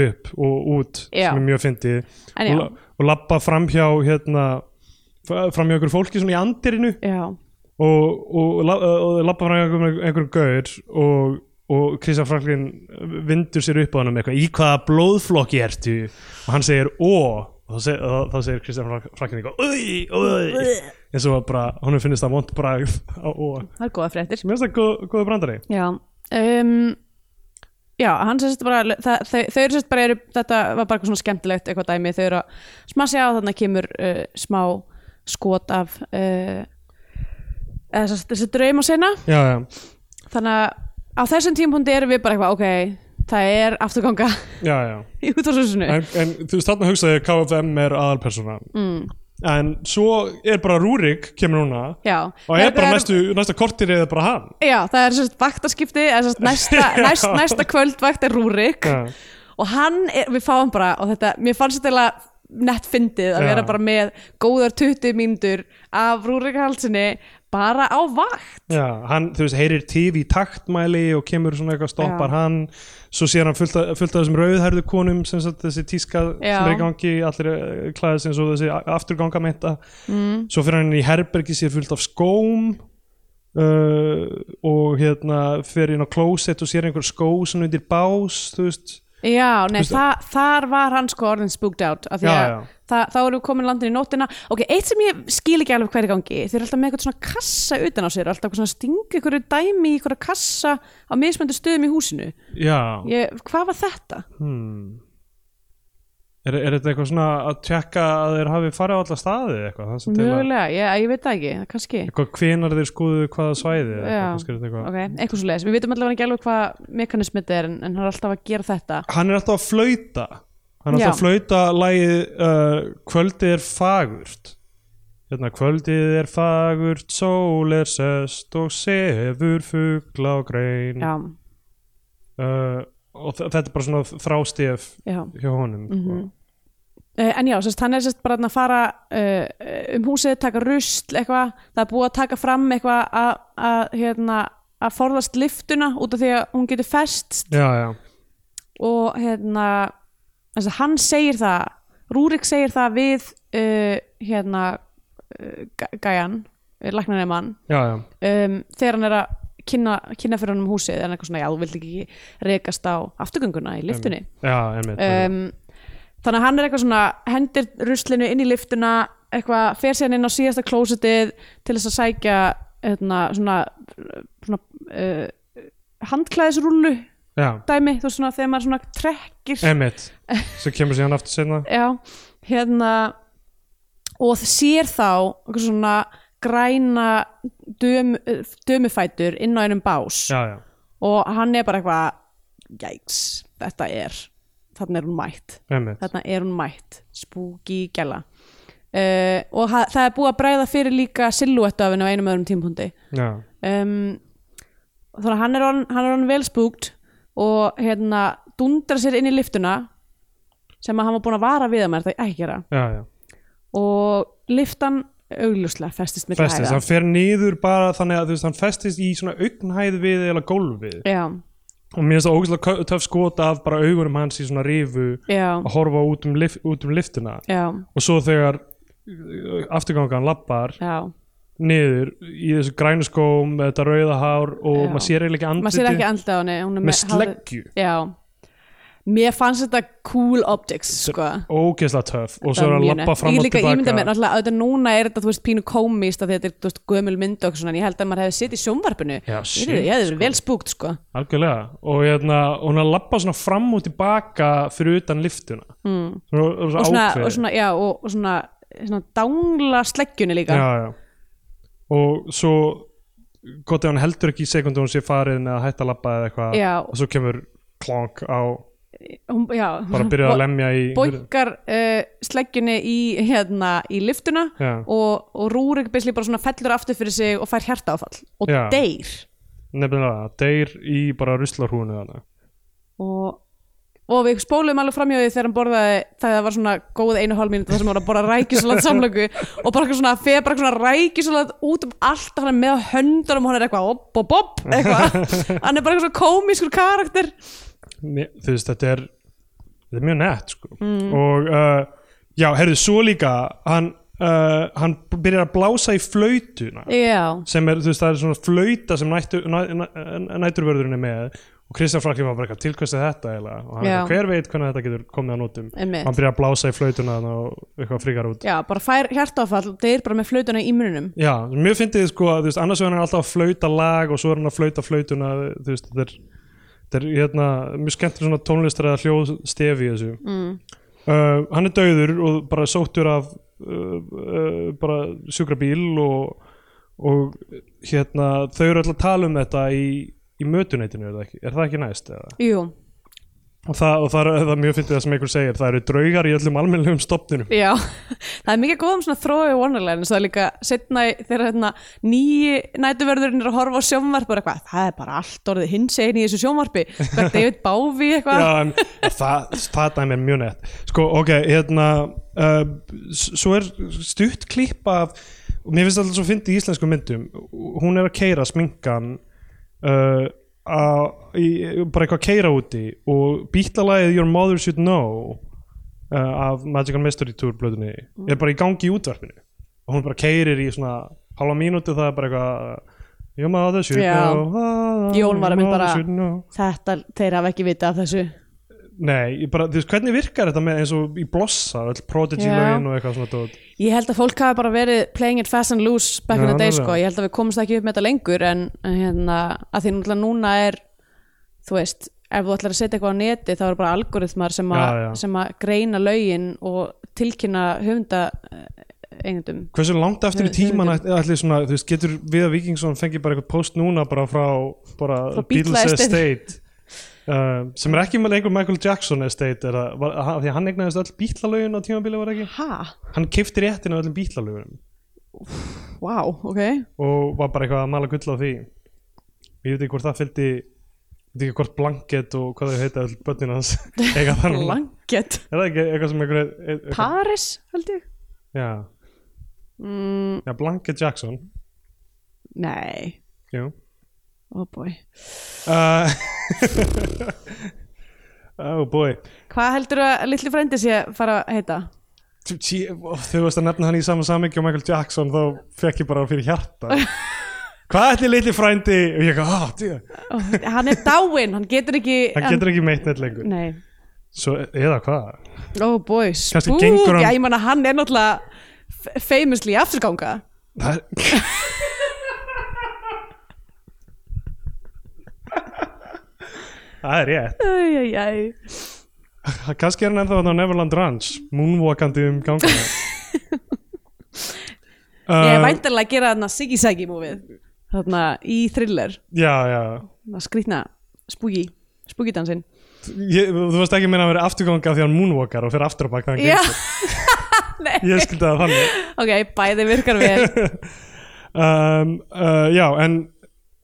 [SPEAKER 3] upp og út
[SPEAKER 2] Já.
[SPEAKER 3] sem er mjög fyndið
[SPEAKER 2] En já.
[SPEAKER 3] og, la- og labba framhjá hérna, framhjá ykkur fólki svona í andirinu
[SPEAKER 2] já,
[SPEAKER 3] og, og, la- og lappa frá einhverjum, einhverjum gaur og, og Kristján Franklin vindur sér upp á hann um eitthvað, í hvaða blóðflokki ertu og hann segir ó og þá segir, þá, þá segir Kristján Frank- Franklin eitthvað "Új, új", eins og bara, honum finnist það vond bragð á ó
[SPEAKER 2] það er góða fréttir
[SPEAKER 3] mér finnst það góð, góðu brandari
[SPEAKER 2] já um, já, hann sérst bara það, þau, þau eru sérst bara eru, þetta var bara eitthvað svona skemmtilegt eitthvað dæmi, þau eru að smasja og þannig kemur uh, smá skot af uh, eða þessi, þessi drauma sinna
[SPEAKER 3] já, já,
[SPEAKER 2] þannig að á þessum tímpundi erum við bara eitthvað, ok, það er afturganga
[SPEAKER 3] já, já.
[SPEAKER 2] í útvarsvísinu
[SPEAKER 3] En, en þú veist þarna hugsaði KFM er aðalpersona mm. en svo er bara Rúrik kemur núna
[SPEAKER 2] já,
[SPEAKER 3] og er
[SPEAKER 2] Þetta
[SPEAKER 3] bara næstu, næsta kortir eða bara hann
[SPEAKER 2] Já, það er sérst vaktaskipti eða sérst næsta,
[SPEAKER 3] Já.
[SPEAKER 2] næst, næsta kvöldvakt er Rúrik
[SPEAKER 3] Já.
[SPEAKER 2] og hann, er, við fáum bara og þetta, mér fannst þetta eiginlega nett fyndið að
[SPEAKER 3] Já.
[SPEAKER 2] vera bara með góðar 20 mínútur af Rúrik Halsinni bara á vakt
[SPEAKER 3] Já, hann, þú veist, heyrir tífi í taktmæli og kemur svona eitthvað, stoppar
[SPEAKER 2] Já.
[SPEAKER 3] hann svo sér hann fullt, af- fullt af þessum rauðhærðu konum sem sagt, þessi tíska
[SPEAKER 2] Já.
[SPEAKER 3] sem er í gangi allir klæðis eins og þessi afturganga meinta mm. svo fyrir hann í herbergi sér fullt af skóm uh, og hérna fyrir inn á klósett og sér einhver skó sem undir bás, þú veist
[SPEAKER 2] Já, nei,
[SPEAKER 3] Veistu-
[SPEAKER 2] þa þar var hann sko orðin spooked out af því
[SPEAKER 3] Já,
[SPEAKER 2] að
[SPEAKER 3] já.
[SPEAKER 2] þa- þá erum við komin landin í nótina Ok, eitt sem ég skil ekki alveg hverju gangi þeir eru alltaf með eitthvað svona kassa utan á sér alltaf eitthvað svona stingu ykkur dæmi í ykkur kassa á mismöndu stöðum í húsinu
[SPEAKER 3] Já,
[SPEAKER 2] ég, Hvað var þetta?
[SPEAKER 3] Hmm. er, er þetta eitthvað svona að tjekka að þeir hafi farið á alla staði eða eitthvað, það sem til að
[SPEAKER 2] Mögulega, ég, ég veit það ekki, það kannski
[SPEAKER 3] eitthvað hvenar þeir skoðu hvaða svæði eða
[SPEAKER 2] Já,
[SPEAKER 3] eitthvað, kannski er þetta eitthvað
[SPEAKER 2] ok, eitthvað svo leiðis Við veitum allavega ekki alveg hvað mekanismið þetta er en, en hann er alltaf að gera þetta
[SPEAKER 3] hann er alltaf að flauta hann er alltaf að
[SPEAKER 2] Já.
[SPEAKER 3] flauta lagið uh, kvöldið er fagurt hérna kvöldið er fagurt sól er sest og sefur fugla og grein
[SPEAKER 2] Já,
[SPEAKER 3] uh, og þ- þetta er bara svona þrástef
[SPEAKER 2] já
[SPEAKER 3] hjá honum mm
[SPEAKER 2] Mhm. uh, En já, sérst, hann er sérst bara þarna að fara uh, um húsið, taka rusl eitthvað, það er búið að taka fram eitthvað að, að, hérna, að forðast liftuna út af því að hún getur fest
[SPEAKER 3] já, já,
[SPEAKER 2] og hérna þess að hann segir það, Rúrik segir það við uh, hérna uh, gæ- gæjan, eh, læknanemann
[SPEAKER 3] já, já,
[SPEAKER 2] um, þegar hann er að kynna, kynna fyrir hann um húsið en eitthvað svona, já, þú vilt ekki rekast á afturgönguna í liftunni
[SPEAKER 3] já einmitt, einmitt.
[SPEAKER 2] um, þannig að hann er eitthvað svona hendir ruslinu inn í liftuna eitthvað, fer síðan inn á síðasta klósitið til þess að sækja eitthvað, svona, svona uh, handklæðisrúlu
[SPEAKER 3] já,
[SPEAKER 2] dæmi, þú veist svona þegar maður svona trekkir
[SPEAKER 3] einmitt svo kemur síðan aftur senna
[SPEAKER 2] já, hérna og það sér þá eitthvað svona græna döm, dömufætur inn á einum bás
[SPEAKER 3] já, já,
[SPEAKER 2] og hann er bara eitthvað jæks, þetta er þarna er hún mætt,
[SPEAKER 3] einmitt
[SPEAKER 2] þarna er hún mætt spooky gæla uh, og ha- það er búið að bræða fyrir líka silhouette af henni á einum öðrum tímpundi
[SPEAKER 3] já,
[SPEAKER 2] um, þannig að hann er orðinn- hann er hann vel spúkt og hérna dundra sér inn í liftuna sem að hann var búin að vara við að maður þetta ekki gera
[SPEAKER 3] já, já
[SPEAKER 2] og liftan augljóslega festist milli
[SPEAKER 3] festist, hann fer niður bara þannig að þú veist, hann festist í svona augnhæð við eða gólfið
[SPEAKER 2] já,
[SPEAKER 3] og mér finnst það ógæslega kö- töff skot af bara augunum hans í svona rifu
[SPEAKER 2] já,
[SPEAKER 3] að horfa út um, lif, út um liftuna
[SPEAKER 2] já,
[SPEAKER 3] og svo þegar uh, afturgangan lappar
[SPEAKER 2] já
[SPEAKER 3] niður í þessu grænu skóm með þetta rauða hár og
[SPEAKER 2] Já.
[SPEAKER 3] maður sér eiginlega ekki
[SPEAKER 2] maður sér
[SPEAKER 3] andliti
[SPEAKER 2] ekki andlið á henni hún er
[SPEAKER 3] með
[SPEAKER 2] hárið-
[SPEAKER 3] sleggju
[SPEAKER 2] já, mér fannst þetta cool optics sko
[SPEAKER 3] ógeðslega töff og svo
[SPEAKER 2] Það
[SPEAKER 3] er að
[SPEAKER 2] mjög
[SPEAKER 3] lappa
[SPEAKER 2] nett.
[SPEAKER 3] fram
[SPEAKER 2] ég
[SPEAKER 3] og
[SPEAKER 2] líka ímynda mér
[SPEAKER 3] tilbaka
[SPEAKER 2] náttúrulega auðvitað núna er þetta þú veist pínu komist að þetta er þú veist, gömul mynd og eitthvað svona en ég held að maður hefði sitt í sjónvarpinu
[SPEAKER 3] Já,
[SPEAKER 2] ég
[SPEAKER 3] shit,
[SPEAKER 2] hefði verið vel spúkt sko
[SPEAKER 3] algjörlega og hérna, og hún er að lappa svona fram og tilbaka fyrir utan liftuna mm.
[SPEAKER 2] Hmm.
[SPEAKER 3] og, og,
[SPEAKER 2] og svona, og
[SPEAKER 3] ákveðið.
[SPEAKER 2] svona, já, og, og svona, svona dangla sleggjunni líka
[SPEAKER 3] já, já. og svo gott ef hann heldur ekki í sekundu hún sé farin eða hætt að labba eða eitthvað
[SPEAKER 2] Já.
[SPEAKER 3] og svo kemur klonk á
[SPEAKER 2] hún já,
[SPEAKER 3] bara að byrja að lemja í
[SPEAKER 2] bókar uh, sleggjunni í, hérna, í liftuna
[SPEAKER 3] Já.
[SPEAKER 2] og, og Rúrik beisli bara svona fellur aftur fyrir sig og fær hjartaáfall og
[SPEAKER 3] Já.
[SPEAKER 2] deyr
[SPEAKER 3] nefnilega, deyr í bara ruslarhúnu þarna
[SPEAKER 2] og og við spólum alveg framhjóði þegar hann borðaði það var svona góð einu hálf mínúti þar sem hann var að borða rækjusalat samlöku og bara eitthvað svona feð bara eitthvað svona rækjusalat út um allt hann er með á höndunum og hann er eitthvað op, op, op, eitthvað hann er bara eitthvað svona komískur karakter
[SPEAKER 3] Mér- þú veist, þetta eh, er þetta er mjög nett sko. og uh, já, herðu, svo líka hann, uh, hann byrjar að blása í flautuna
[SPEAKER 2] já,
[SPEAKER 3] sem er, þú veist, það er svona flauta sem nættu, næ, næ, næturvörðurinn er með og Kristján Franklin var bara eitthvað tilkvæmstu þetta eiginlega og hann,
[SPEAKER 2] Já.
[SPEAKER 3] eitthvað, hver veit hvernig þetta getur komið að notum
[SPEAKER 2] Einmitt.
[SPEAKER 3] hann byrjar að blása í flautuna þarna og eitthvað fríkar út
[SPEAKER 2] já, bara fær hjartáfall það er bara með flautuna í mununum
[SPEAKER 3] Já, mjög fyndið sko að þú veist, annars vegar er hann alltaf að flauta lag og svo er hann að flauta flautuna þú veist, þetta er, þetta er hérna, mjög skemmtileg svona tónlistar eða hljóðstefi í þessu mm. Hann er dauður og bara sóttur af uh, uh, bara sjúkrabíl og, og hérna þau eru alltaf að tala um þetta í, í mötuneytinu, er það ekki, er það ekki næst eða?
[SPEAKER 2] jú,
[SPEAKER 3] Og það, og það, er- það er mjög fyndið það sem einhver segir, það eru draugar í öllum almennlegum stopninum
[SPEAKER 2] já það er mikið góðum svona þrói og vonarlegin það er líka setna þegar hérna nýji nætuverðurinn er að horfa á sjónvarp og er eitthvað, það er bara allt orðið hins einn í þessu sjónvarpi, hvert David Bávi eitthvað,
[SPEAKER 3] Já, en það, það dæmi er mjög nett Sko, ok, hérna uh, s- Svo er stutt klipp af og Mér finnst alltaf svo fyndi í íslensku myndum Hún er að keira sminkan uh, a, í, Bara eitthvað að keira úti Og bítlalagið Your Mother Should Know uh, Af Magical Mystery Tour blöðunni Er bara í gangi í útvarpinu Og hún bara keirir í svona halva mínútu Það er bara eitthvað Your mother should
[SPEAKER 2] Já.
[SPEAKER 3] know ah,
[SPEAKER 2] Jón var
[SPEAKER 3] your
[SPEAKER 2] einmitt
[SPEAKER 3] mother
[SPEAKER 2] bara-
[SPEAKER 3] should know."
[SPEAKER 2] þetta þeir hafa ekki vita af þessu
[SPEAKER 3] Nei, ég bara, þú veist, hvernig virkar þetta með eins og í blossa, öll prodigy
[SPEAKER 2] Já.
[SPEAKER 3] lögin og eitthvað svona dót.
[SPEAKER 2] Ég held að fólk hafi bara verið playing it fast and loose back in
[SPEAKER 3] Já,
[SPEAKER 2] the day
[SPEAKER 3] nálega.
[SPEAKER 2] sko, ég held að við komumst ekki upp með þetta lengur en en hérna, að því náttúrulega núna er þú veist, ef þú ætlar að setja eitthvað á neti þá eru bara algoritmar sem, a,
[SPEAKER 3] Já, já.
[SPEAKER 2] sem að greina lögin og tilkynna höfunda eigundum
[SPEAKER 3] Hversu langt eftir í
[SPEAKER 2] Nei,
[SPEAKER 3] tíman
[SPEAKER 2] nei,
[SPEAKER 3] allir svona, þú veist, getur við að Víkingsson fengið bara eitthvað post núna bara frá, bara
[SPEAKER 2] Frá
[SPEAKER 3] Beatles
[SPEAKER 2] Beatles
[SPEAKER 3] Estate uh, sem er ekki með lengur Michael Jackson Estate er að, var, að, því að hann eignaðist öll bítlalögin á tímabili var ekki,
[SPEAKER 2] Ha?
[SPEAKER 3] hann kifti réttin á öllum bítlalögum
[SPEAKER 2] Wow, ok
[SPEAKER 3] og var bara eitthvað að mala gull á því ég veit ekki hvort það fylgdi ég veit ekki hvort blanket og hvað þau heita öll börnin hans eiga þar núna.
[SPEAKER 2] Blanket
[SPEAKER 3] er það ekki eitthvað sem einhver e- eitthvað-
[SPEAKER 2] Paris, held ég
[SPEAKER 3] Já,
[SPEAKER 2] mm,
[SPEAKER 3] já Blanket Jackson
[SPEAKER 2] Nei,
[SPEAKER 3] Jú
[SPEAKER 2] oh boy
[SPEAKER 3] uh, Oh boy
[SPEAKER 2] Hvað heldur að litli frændi sé að fara að heita?
[SPEAKER 3] Þú tí- þú varst að nefna hann í saman samingi og Michael Jackson þá fekk ég bara fyrir hjarta Hvað ætli litli frændi og ég eitthvað, ah, djú,
[SPEAKER 2] Ó, Oh, Hann er dáinn, hann getur ekki
[SPEAKER 3] hann getur ekki meitt neitt lengur
[SPEAKER 2] Nei
[SPEAKER 3] Svo, eða hvað
[SPEAKER 2] Oh boy,
[SPEAKER 3] Kannski
[SPEAKER 2] spooky,
[SPEAKER 3] gengur hann-
[SPEAKER 2] já ég man að hann er náttúrulega f- famously í afturganga
[SPEAKER 3] Það er- Það er rétt
[SPEAKER 2] Æj, æj, æj.
[SPEAKER 3] Kannski er hann ennþá þarna á Neverland Ranch Moonwalkandi um gangana
[SPEAKER 2] Ég er
[SPEAKER 3] Uh,
[SPEAKER 2] væntanlega að gera þarna Siggy Saggy múfið Þarna í thriller,
[SPEAKER 3] Já, já
[SPEAKER 2] þarna skrýtna spooky, spooky dansinn
[SPEAKER 3] ég, Þú varst ekki að meina að vera afturganga því hann moonwalkar og fyrir aftur á bak þannig
[SPEAKER 2] Já,
[SPEAKER 3] Ég skildi það þannig
[SPEAKER 2] ok, bæði virkar vel
[SPEAKER 3] um, uh, Já, en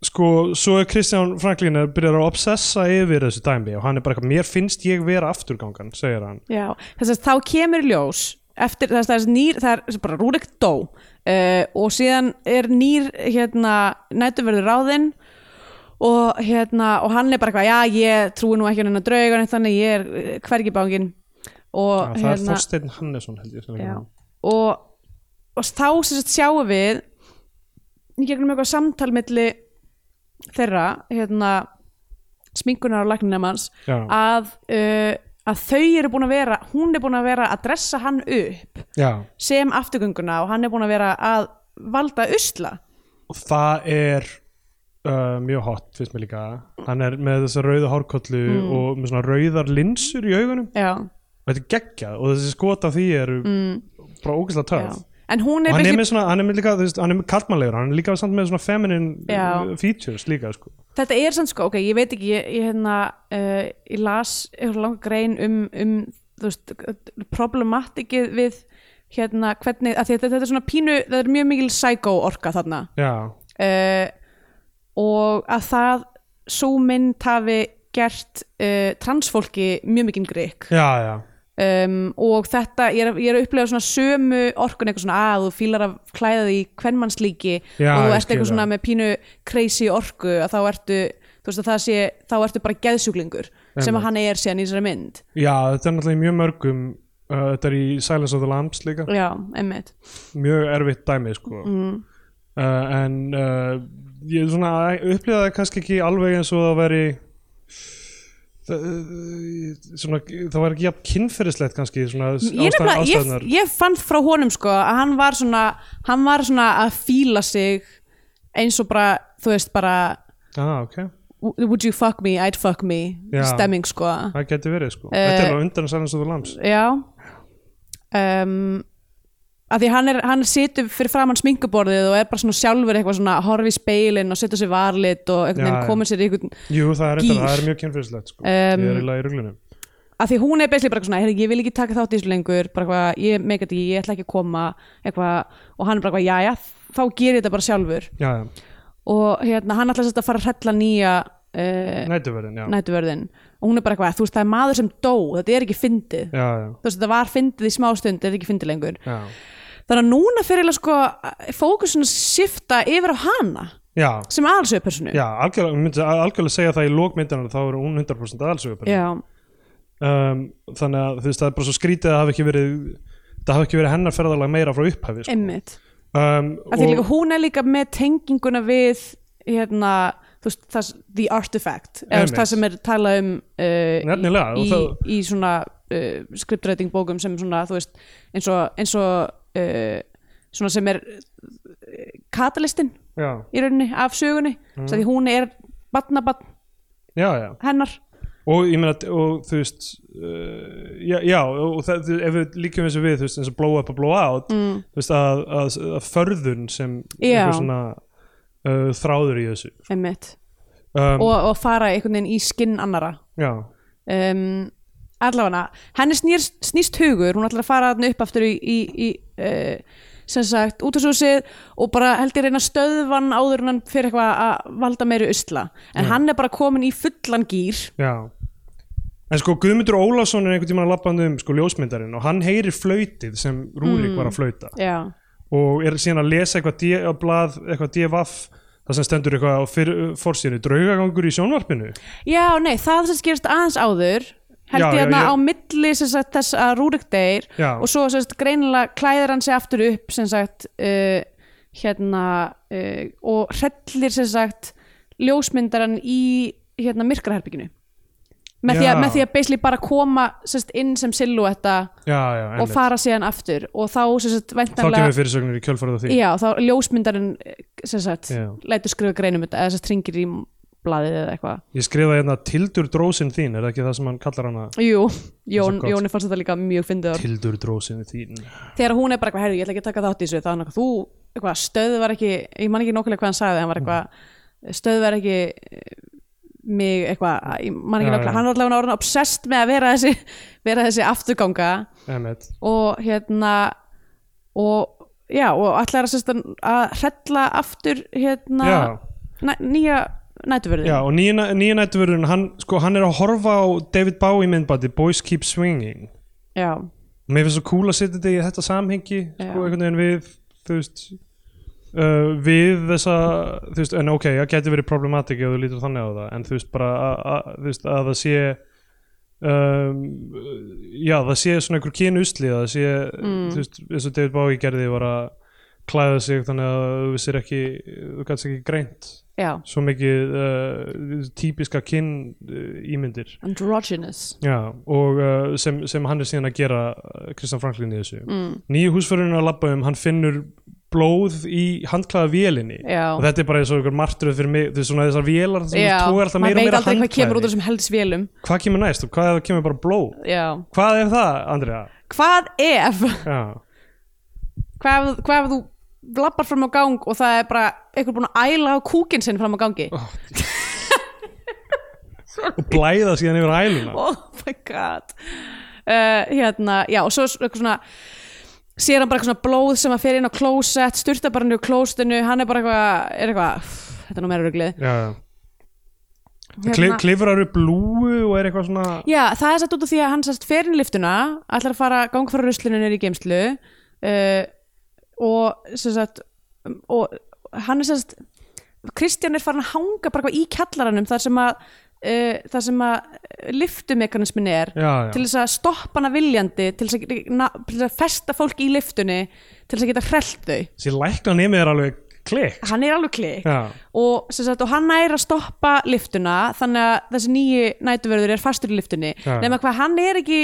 [SPEAKER 3] sko, svo er Kristján Franklin er byrjar að obsessa yfir þessu dæmi og hann er bara eitthvað, mér finnst ég vera afturgangan segir hann
[SPEAKER 2] Já, þess að þá kemur í ljós eftir þess að það er nýr, það er sem bara Rúrik dó uh, og síðan er nýr hérna nætuverður ráðinn og hérna og hann er bara eitthvað, já ég trúi nú ekki hann að drauga neitt þannig ég er eh, hvergi bángin
[SPEAKER 3] Já,
[SPEAKER 2] og
[SPEAKER 3] Það er
[SPEAKER 2] hérna
[SPEAKER 3] Þorsteinn Hannesson held ég sem hérna. leikur
[SPEAKER 2] já,
[SPEAKER 3] hann.
[SPEAKER 2] og, og þá sem sagt sjáum við í gegnum eitthvað samtal milli þeirra hérna sminkunar og lagninamans
[SPEAKER 3] Já.
[SPEAKER 2] að, uh, að þau eru búin að vera hún er búin að vera að dressa hann upp
[SPEAKER 3] já,
[SPEAKER 2] sem afturgönguna og hann er búin að vera að valda usla
[SPEAKER 3] og það er uh, mjög hot, finnst mér líka hann er með þessa rauða hárkollu
[SPEAKER 2] Mm.
[SPEAKER 3] og með svona rauðar linsur í augunum
[SPEAKER 2] já,
[SPEAKER 3] og þetta er geggjað og þessi skot af því eru bara ógæslega
[SPEAKER 2] Mm. já.
[SPEAKER 3] töf
[SPEAKER 2] en hún er,
[SPEAKER 3] og hann er
[SPEAKER 2] basically-
[SPEAKER 3] með svona, hann er með líka, þú veist, hann er með kallmannlegur hann er líka samt með svona feminine
[SPEAKER 2] Já.
[SPEAKER 3] uh, features líka, sko
[SPEAKER 2] þetta er sann sko ok, ég veit ekki, ég, ég hérna uh, ég las eitthvað langa grein um, um þú veist, problematikið við hérna hvernig, að þetta, þetta er svona pínu það er mjög mikil psycho orka þarna
[SPEAKER 3] já,
[SPEAKER 2] uh, og að það svo mynd hafi gert uh, transfólki mjög mikinn grík
[SPEAKER 3] já, já,
[SPEAKER 2] um, og þetta, ég er, ég er að upplega svona sömu orkun eitthvað svona að þú fílar að klæða því hvernmannslíki
[SPEAKER 3] Já,
[SPEAKER 2] og þú
[SPEAKER 3] ég
[SPEAKER 2] ert
[SPEAKER 3] skil
[SPEAKER 2] eitthvað svona
[SPEAKER 3] það.
[SPEAKER 2] með pínu crazy orku að þá ertu, þú veist að það sé þá ertu bara geðsjúklingur sem
[SPEAKER 3] Einmitt.
[SPEAKER 2] að hann er síðan í þessari mynd
[SPEAKER 3] já þetta er náttúrulega í mjög mörgum uh, þetta er í Silence of the Lambs líka
[SPEAKER 2] já, einmitt
[SPEAKER 3] mjög erfitt dæmi sko.
[SPEAKER 2] mm.
[SPEAKER 3] uh, en uh, ég svona upplýða það kannski ekki alveg eins og það veri það, eh, svona, það var ekki jafn kynferðislegt kannski svona,
[SPEAKER 2] ég,
[SPEAKER 3] ástæð-
[SPEAKER 2] nefnilega,
[SPEAKER 3] ástæðurnar.
[SPEAKER 2] ég, ég fann frá honum sko að hann var svona hann var svona að fíla sig eins og bara, þú veist bara
[SPEAKER 3] ah, okay.
[SPEAKER 2] would you fuck me, I'd fuck me
[SPEAKER 3] Já.
[SPEAKER 2] stemming sko
[SPEAKER 3] það geti verið sko. þetta
[SPEAKER 2] Eh,
[SPEAKER 3] er alveg undan Silence of the Lambs
[SPEAKER 2] já um, að því hann er hann situr fyrir framann sminkuborðið og er bara svona sjálfur eitthvað svona horfi í speilin og setur sér varlit og
[SPEAKER 3] Já,
[SPEAKER 2] einhvern
[SPEAKER 3] já.
[SPEAKER 2] veginn komið sér í einhvern
[SPEAKER 3] Jú, það er, reyndar-
[SPEAKER 2] Gýr.
[SPEAKER 3] það er mjög kynfyrslegt
[SPEAKER 2] Um,
[SPEAKER 3] sko. Ég er eiginlega í ruglunum
[SPEAKER 2] að því hún er beislega bara eitthvað svona, "Heyrðu, ég vil ekki taka þátt í þessu lengur bara eitthvað, ég meika þetta ekki, ég ætla ekki að koma eitthvað, og hann er bara eitthvað, já, já þá gerir þetta bara sjálfur
[SPEAKER 3] Já, já,
[SPEAKER 2] og hérna, hann ætla sérst að fara að hrella nýja uh,
[SPEAKER 3] nætuverðin, já.
[SPEAKER 2] nætuverðin og hún er bara eitthvað, þú veist, það er maður sem dó þetta er ekki fyndið,
[SPEAKER 3] já Já,
[SPEAKER 2] þú veist, þetta var fyndið í smástund, þetta er ekki fyndið lengur
[SPEAKER 3] já
[SPEAKER 2] þannig að núna fyrir eiginlega sko fókusun að shifta yfir á hana
[SPEAKER 3] Já,
[SPEAKER 2] sem aðalsöðpersonu
[SPEAKER 3] já algjörlega, ég myndi algjörlega segja það í lókmyndanar þá er hún 100% aðalsögur
[SPEAKER 2] já,
[SPEAKER 3] um, Þannig að þú veist, það er bara svo skrítið að það hafi ekki verið það hafi ekki verið hennar ferðalega meira frá upphæfi sko.
[SPEAKER 2] einmitt
[SPEAKER 3] um,
[SPEAKER 2] og... líka, hún er líka með tenginguna við hérna, þú veist, það, the artifact eða þú veist,
[SPEAKER 3] Einmitt.
[SPEAKER 2] það sem er talað um uh,
[SPEAKER 3] Nefnilega, og
[SPEAKER 2] í, í,
[SPEAKER 3] það-
[SPEAKER 2] í svona uh, scriptwriting bókum sem svona, þú veist eins og, eins og uh, svona sem er uh, katalistin
[SPEAKER 3] Já,
[SPEAKER 2] í rauninni af sögunni mm. því hún er batnabatn
[SPEAKER 3] já, já
[SPEAKER 2] hennar
[SPEAKER 3] og ég meina, og þú veist uh, já, já, og það, þú- ef við líkjum þessu við, þú veist, eins og blow up og blow out mm. þú veist, að, að, að förðun sem
[SPEAKER 2] Já.
[SPEAKER 3] einhver svona uh, þráður í þessu
[SPEAKER 2] einmitt
[SPEAKER 3] um,
[SPEAKER 2] og, og fara einhvern veginn í skinn annara
[SPEAKER 3] já,
[SPEAKER 2] um, allavega henni snýrst, snýst hugur hún ætlar að fara þarna upp aftur í, í, í uh, sem sagt útastúsið og bara held ég reyna að stöðva hann áður en hann fyrir eitthvað að valda meiri usla en hann er bara komin í fullan gýr
[SPEAKER 3] já en sko Guðmundur Ólafsson er einhvern tímann að labbandi um sko ljósmyndarinn og hann heyrir flautið sem
[SPEAKER 2] Mm.
[SPEAKER 3] Rúrik var að flauta
[SPEAKER 2] já,
[SPEAKER 3] og er síðan að lesa eitthvað D- á blað, eitthvað DFF það sem stendur eitthvað á fórsýri draugagangur í sjónvarpinu
[SPEAKER 2] já nei, það sem skýrst aðeins áður held
[SPEAKER 3] Já,
[SPEAKER 2] ég
[SPEAKER 3] já,
[SPEAKER 2] hérna
[SPEAKER 3] ég-
[SPEAKER 2] á milli sem sagt, þess að Rúrik deyr
[SPEAKER 3] Já.
[SPEAKER 2] og svo sem sagt, greinilega klæðir hann sig aftur upp sem sagt uh, hérna uh, og hrellir sem sagt ljósmyndaran í hérna myrkraherbygginu með því,
[SPEAKER 3] Já.
[SPEAKER 2] að, með því að basically bara koma sem sagt, inn sem silhúetta
[SPEAKER 3] já, já,
[SPEAKER 2] og
[SPEAKER 3] einmitt.
[SPEAKER 2] fara síðan aftur og þá sem sagt
[SPEAKER 3] þá kemur
[SPEAKER 2] væntanlega
[SPEAKER 3] fyrirsögnir í kjölfarið á því
[SPEAKER 2] já, þá ljósmyndarin eh, sem sagt
[SPEAKER 3] Já.
[SPEAKER 2] lætur skrifa greinum þetta eða sem sagt ringir í blaðið eða eitthvað
[SPEAKER 3] Ég skrifaði hérna Tildur drósin þín, er það ekki það sem hann kallar hana?
[SPEAKER 2] Jú, Jón,
[SPEAKER 3] Svo gott.
[SPEAKER 2] Jóni fannst þetta líka mjög fyndið orð.
[SPEAKER 3] Tildur drósin þín.
[SPEAKER 2] Þegar hún er bara eitthvað, herri, ég ætla ekki að taka þátt í þessu þá er hann eitthvað, þú, eitthvað, stöðu var ekki ég man ekki nokkulega hvað hann sagði, hann var eitthvað stöðu var ekki eh, mig eitthvað, ég man ekki
[SPEAKER 3] Já, já.
[SPEAKER 2] nokkulega hann var allavega orðin obsessed með að vera þessi vera þessi afturganga
[SPEAKER 3] Emmett.
[SPEAKER 2] og hérna og já, og allar að, sem sagt að hrella aftur hérna
[SPEAKER 3] Já.
[SPEAKER 2] næ, nýja nætuverðin
[SPEAKER 3] Já, og nýja, nýja nættuverðurinn, hann, sko, hann er að horfa á David Bowie myndbandi, Boys Keep Swinging.
[SPEAKER 2] já,
[SPEAKER 3] Og mér finnst svo cool að setja þetta í þetta samhengi, sko,
[SPEAKER 2] Já.
[SPEAKER 3] einhvern veginn við, þú veist, uh, við þessa, þú veist, en ok, það geti verið problematik ef þú lítur þannig á það, en þú veist, bara, að- að- þú veist, að það sé, um, já, það sé svona einhver kynu usli, það sé, þú veist, eins og David Bowie gerði var að klæða sig þannig að þú vissir ekki, þú gætst ekki greint
[SPEAKER 2] já,
[SPEAKER 3] svo mikið uh, típiska kyn uh, ímyndir
[SPEAKER 2] androgynous
[SPEAKER 3] Já, og uh, sem, sem hann er síðan að gera uh, Kristján Franklin í þessu mm. nýju húsförurinn að labba um, hann finnur blóð í handklaða vélinni
[SPEAKER 2] Já.
[SPEAKER 3] og þetta er bara eins og ykkur martröð fyrir mig, þess svona þessar vélar sem
[SPEAKER 2] já,
[SPEAKER 3] tógar alltaf
[SPEAKER 2] maður veit
[SPEAKER 3] meira og meira
[SPEAKER 2] aldrei
[SPEAKER 3] handklaði
[SPEAKER 2] hvað kemur út úr þessum heldsvélum
[SPEAKER 3] hvað kemur næst, hvað ef það kemur bara blóð
[SPEAKER 2] Já.
[SPEAKER 3] hvað er það, Andrea?
[SPEAKER 2] Hvað ef,
[SPEAKER 3] Já,
[SPEAKER 2] hvað ef, hvað ef þú lappar fram á gang og það er bara einhver búinn að æla á kúkinn sinn fram á gangi
[SPEAKER 3] og blæða síðan yfir hæluna
[SPEAKER 2] oh my god uh, hérna, já og svo s- eitthvað svona sér hann bara eitthvað svona blóð sem að fer inn á klósett styrta bara niður úr klósettinu, hann er bara eitthvað er eitthvað, þetta er nú meira ruglið
[SPEAKER 3] Já, já Kli, klifrar upp lúu og er eitthvað svona
[SPEAKER 2] Hérna. Já, það er satt út af því að hann sérst fer inn í liftuna ætlar að fara gang frá ruslinu nýri í geimslu uh, og sem sagt um, og hann er sérst Kristján er farin að hanga bara eitthvað í kjallaranum þar sem að uh, þar sem að liftumekanismin er
[SPEAKER 3] já, já.
[SPEAKER 2] til þess að stoppa hana viljandi til þess að, na, til þess að festa fólk í liftunni til þess að geta hrelt þau
[SPEAKER 3] þessi lækna nemi er alveg klikk
[SPEAKER 2] hann er alveg klik
[SPEAKER 3] já,
[SPEAKER 2] og, sem sagt, og hann er að stoppa liftuna þannig að þessi nýju nætuverður er fastur í liftunni
[SPEAKER 3] Já.
[SPEAKER 2] nema hvað hann er ekki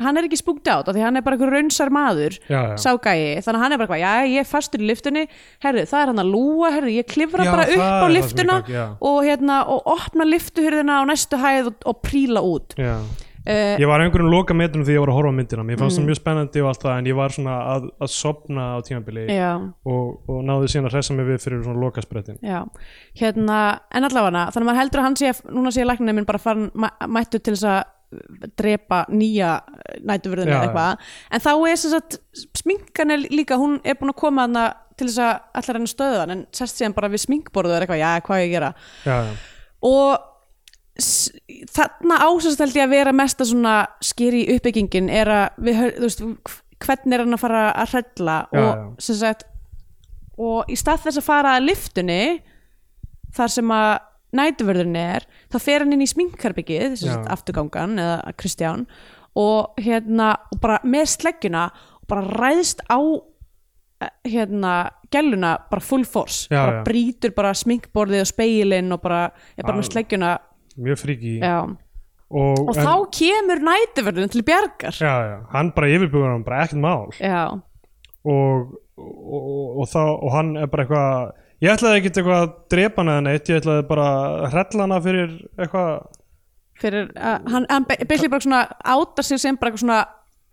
[SPEAKER 2] hann er ekki spúkt át af því hann er bara einhver raunsar maður
[SPEAKER 3] já, já.
[SPEAKER 2] ságæi, þannig að hann er bara hvað, já ég er fastur í liftunni herðu, það er hann að lúa, herðu, ég klifra
[SPEAKER 3] Já,
[SPEAKER 2] bara
[SPEAKER 3] það
[SPEAKER 2] upp á
[SPEAKER 3] er það sem er í
[SPEAKER 2] liftuna
[SPEAKER 3] gangi, já.
[SPEAKER 2] og hérna, og opna liftuhurðina á næstu hæð og, og príla út
[SPEAKER 3] Já.
[SPEAKER 2] uh,
[SPEAKER 3] ég var á einhverjum loka metrunum því ég var að horfa á myndina mér fannst
[SPEAKER 2] Mm.
[SPEAKER 3] það mjög spennandi og allt það en ég var svona að, að sopna á tímabili
[SPEAKER 2] já,
[SPEAKER 3] og, og náði síðan að hressa mig við fyrir svona lokasprettin
[SPEAKER 2] já hérna, en allavega þannig að maður heldur að hann sé, núna sé læknir minn bara farin mæ, mættu til þess að uh, drepa nýja nætuvörðinu
[SPEAKER 3] Já,
[SPEAKER 2] eða eitthvað, en þá er sem sagt sminkan er líka, hún er búin að koma hana til þess að allar henni stöðan en sest síðan bara við sminkborðu eða eitthvað, já, hvað á ég að gera
[SPEAKER 3] já, já.
[SPEAKER 2] og s- þarna ásast held ég að vera mesta svona skýri uppbyggingin er að við, hör- þú veist, hv- hvernig er hann að fara að hrella
[SPEAKER 3] Já,
[SPEAKER 2] og
[SPEAKER 3] já.
[SPEAKER 2] sem sagt og í stað þess að fara að liftunni þar sem að nætuverðurinn er, þá fer hann inn í sminkarbyggið, sem
[SPEAKER 3] Já.
[SPEAKER 2] sagt afturgangan eða Kristján og hérna, og bara með sleggjuna og bara ræðst á eh, hérna, gæluna bara full force,
[SPEAKER 3] Já,
[SPEAKER 2] bara
[SPEAKER 3] já.
[SPEAKER 2] brýtur bara sminkborðið og speilin og bara er bara
[SPEAKER 3] Já.
[SPEAKER 2] með sleggjuna
[SPEAKER 3] mjög fríki
[SPEAKER 2] já.
[SPEAKER 3] og,
[SPEAKER 2] og þá kemur nætuverðurinn til bjargar
[SPEAKER 3] já, já, hann bara yfirbugur hann bara ekkert mál
[SPEAKER 2] já,
[SPEAKER 3] og, og, og, og, þá, og hann er bara eitthvað ég ætlaði ekkert eitthvað að drepa hana eða neitt ég ætlaði bara að hrella hana fyrir eitthvað
[SPEAKER 2] fyrir að hann, hann be- basically bara svona átar sig sem bara eitthvað svona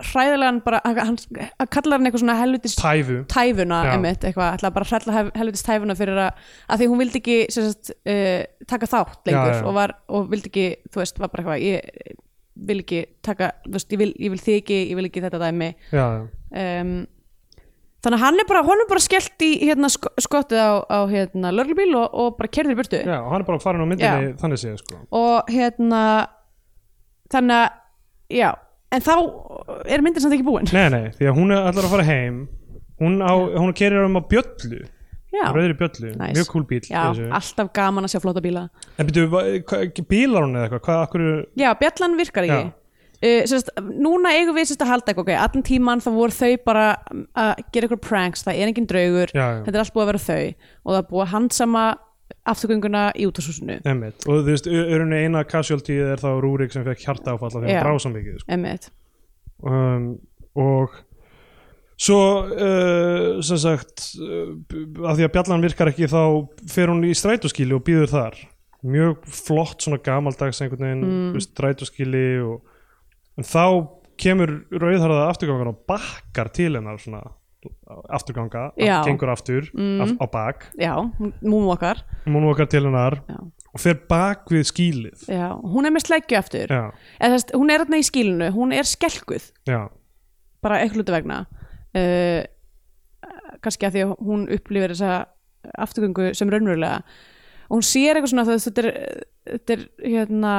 [SPEAKER 2] hræðilegan bara, hann, hann- hann kallar hann eitthvað svona helvitis
[SPEAKER 3] tæfu
[SPEAKER 2] tæfuna
[SPEAKER 3] Já.
[SPEAKER 2] einmitt, eitthvað, ætlaði bara að hrella hel- helvitis tæfuna fyrir að, að því hún vildi ekki sem sagt, uh, taka þátt lengur
[SPEAKER 3] Já, já.
[SPEAKER 2] Og, var, og vildi ekki, þú veist, var bara eitthvað ég vil ekki taka, þú veist, ég vil, ég vil þig ekki ég vil ekki þetta dæmi
[SPEAKER 3] já, já,
[SPEAKER 2] um, þannig að hann er bara honum bara skellt í hérna sk skottið á, á hérna lörglubíl og, og bara kerður í burtu
[SPEAKER 3] já, og hann er bara farin á myndinni þannig séð sko
[SPEAKER 2] og hérna þannig að já, en þá er myndin samt ekki búin
[SPEAKER 3] nei, nei, því að hún er allar að fara heim hún, á, hún kerir um á bjöllu
[SPEAKER 2] já,
[SPEAKER 3] rauðri bjöllu,
[SPEAKER 2] Nice.
[SPEAKER 3] mjög cool bíl
[SPEAKER 2] já
[SPEAKER 3] þessu.
[SPEAKER 2] alltaf gaman að sjá flotta bíla
[SPEAKER 3] en byrju, hva- hva- bílar hún eða eitthvað hvað, akkur,
[SPEAKER 2] já, bjallan virkar ekki
[SPEAKER 3] Já.
[SPEAKER 2] Uh, sérst, núna eigum við sérst að halda eitthvað okay, allan tíman þá voru þau bara um, að gera eitthvað pranks, það er engin draugur
[SPEAKER 3] Já, já.
[SPEAKER 2] þetta er allt búið að vera þau og það er búið að handsama afturgönguna í útastúsinu
[SPEAKER 3] Einmitt. og þú veist, örunni eina casualty er þá Rúrik sem fekk hjarta áfalla þegar
[SPEAKER 2] Já.
[SPEAKER 3] hann brá svo mikið sko.
[SPEAKER 2] emmitt
[SPEAKER 3] um, og svo uh, sem sagt uh, að því að bjallan virkar ekki þá fer hún í strætóskíli og býður þar mjög flott svona gamaldags einhvern veginn mm. strætóskíli og, en þá kemur rauðharða afturgangan og bakkar til hennar svona afturganga,
[SPEAKER 2] Já. Mm.
[SPEAKER 3] gengur aftur af, á bak,
[SPEAKER 2] já, hún- múmum okkar
[SPEAKER 3] hún okkar til hennar
[SPEAKER 2] já,
[SPEAKER 3] og fer bak við skílið
[SPEAKER 2] já. hún er með sleggju aftur
[SPEAKER 3] já,
[SPEAKER 2] Eða, sérst, hún er þarna í skílinu, hún er skelkuð
[SPEAKER 3] já,
[SPEAKER 2] bara eitthvað hluti vegna uh, kannski að því að hún upplifir þessa afturgöngu sem raunverulega og hún sér eitthvað svona þú veist, þetta er, þetta er hérna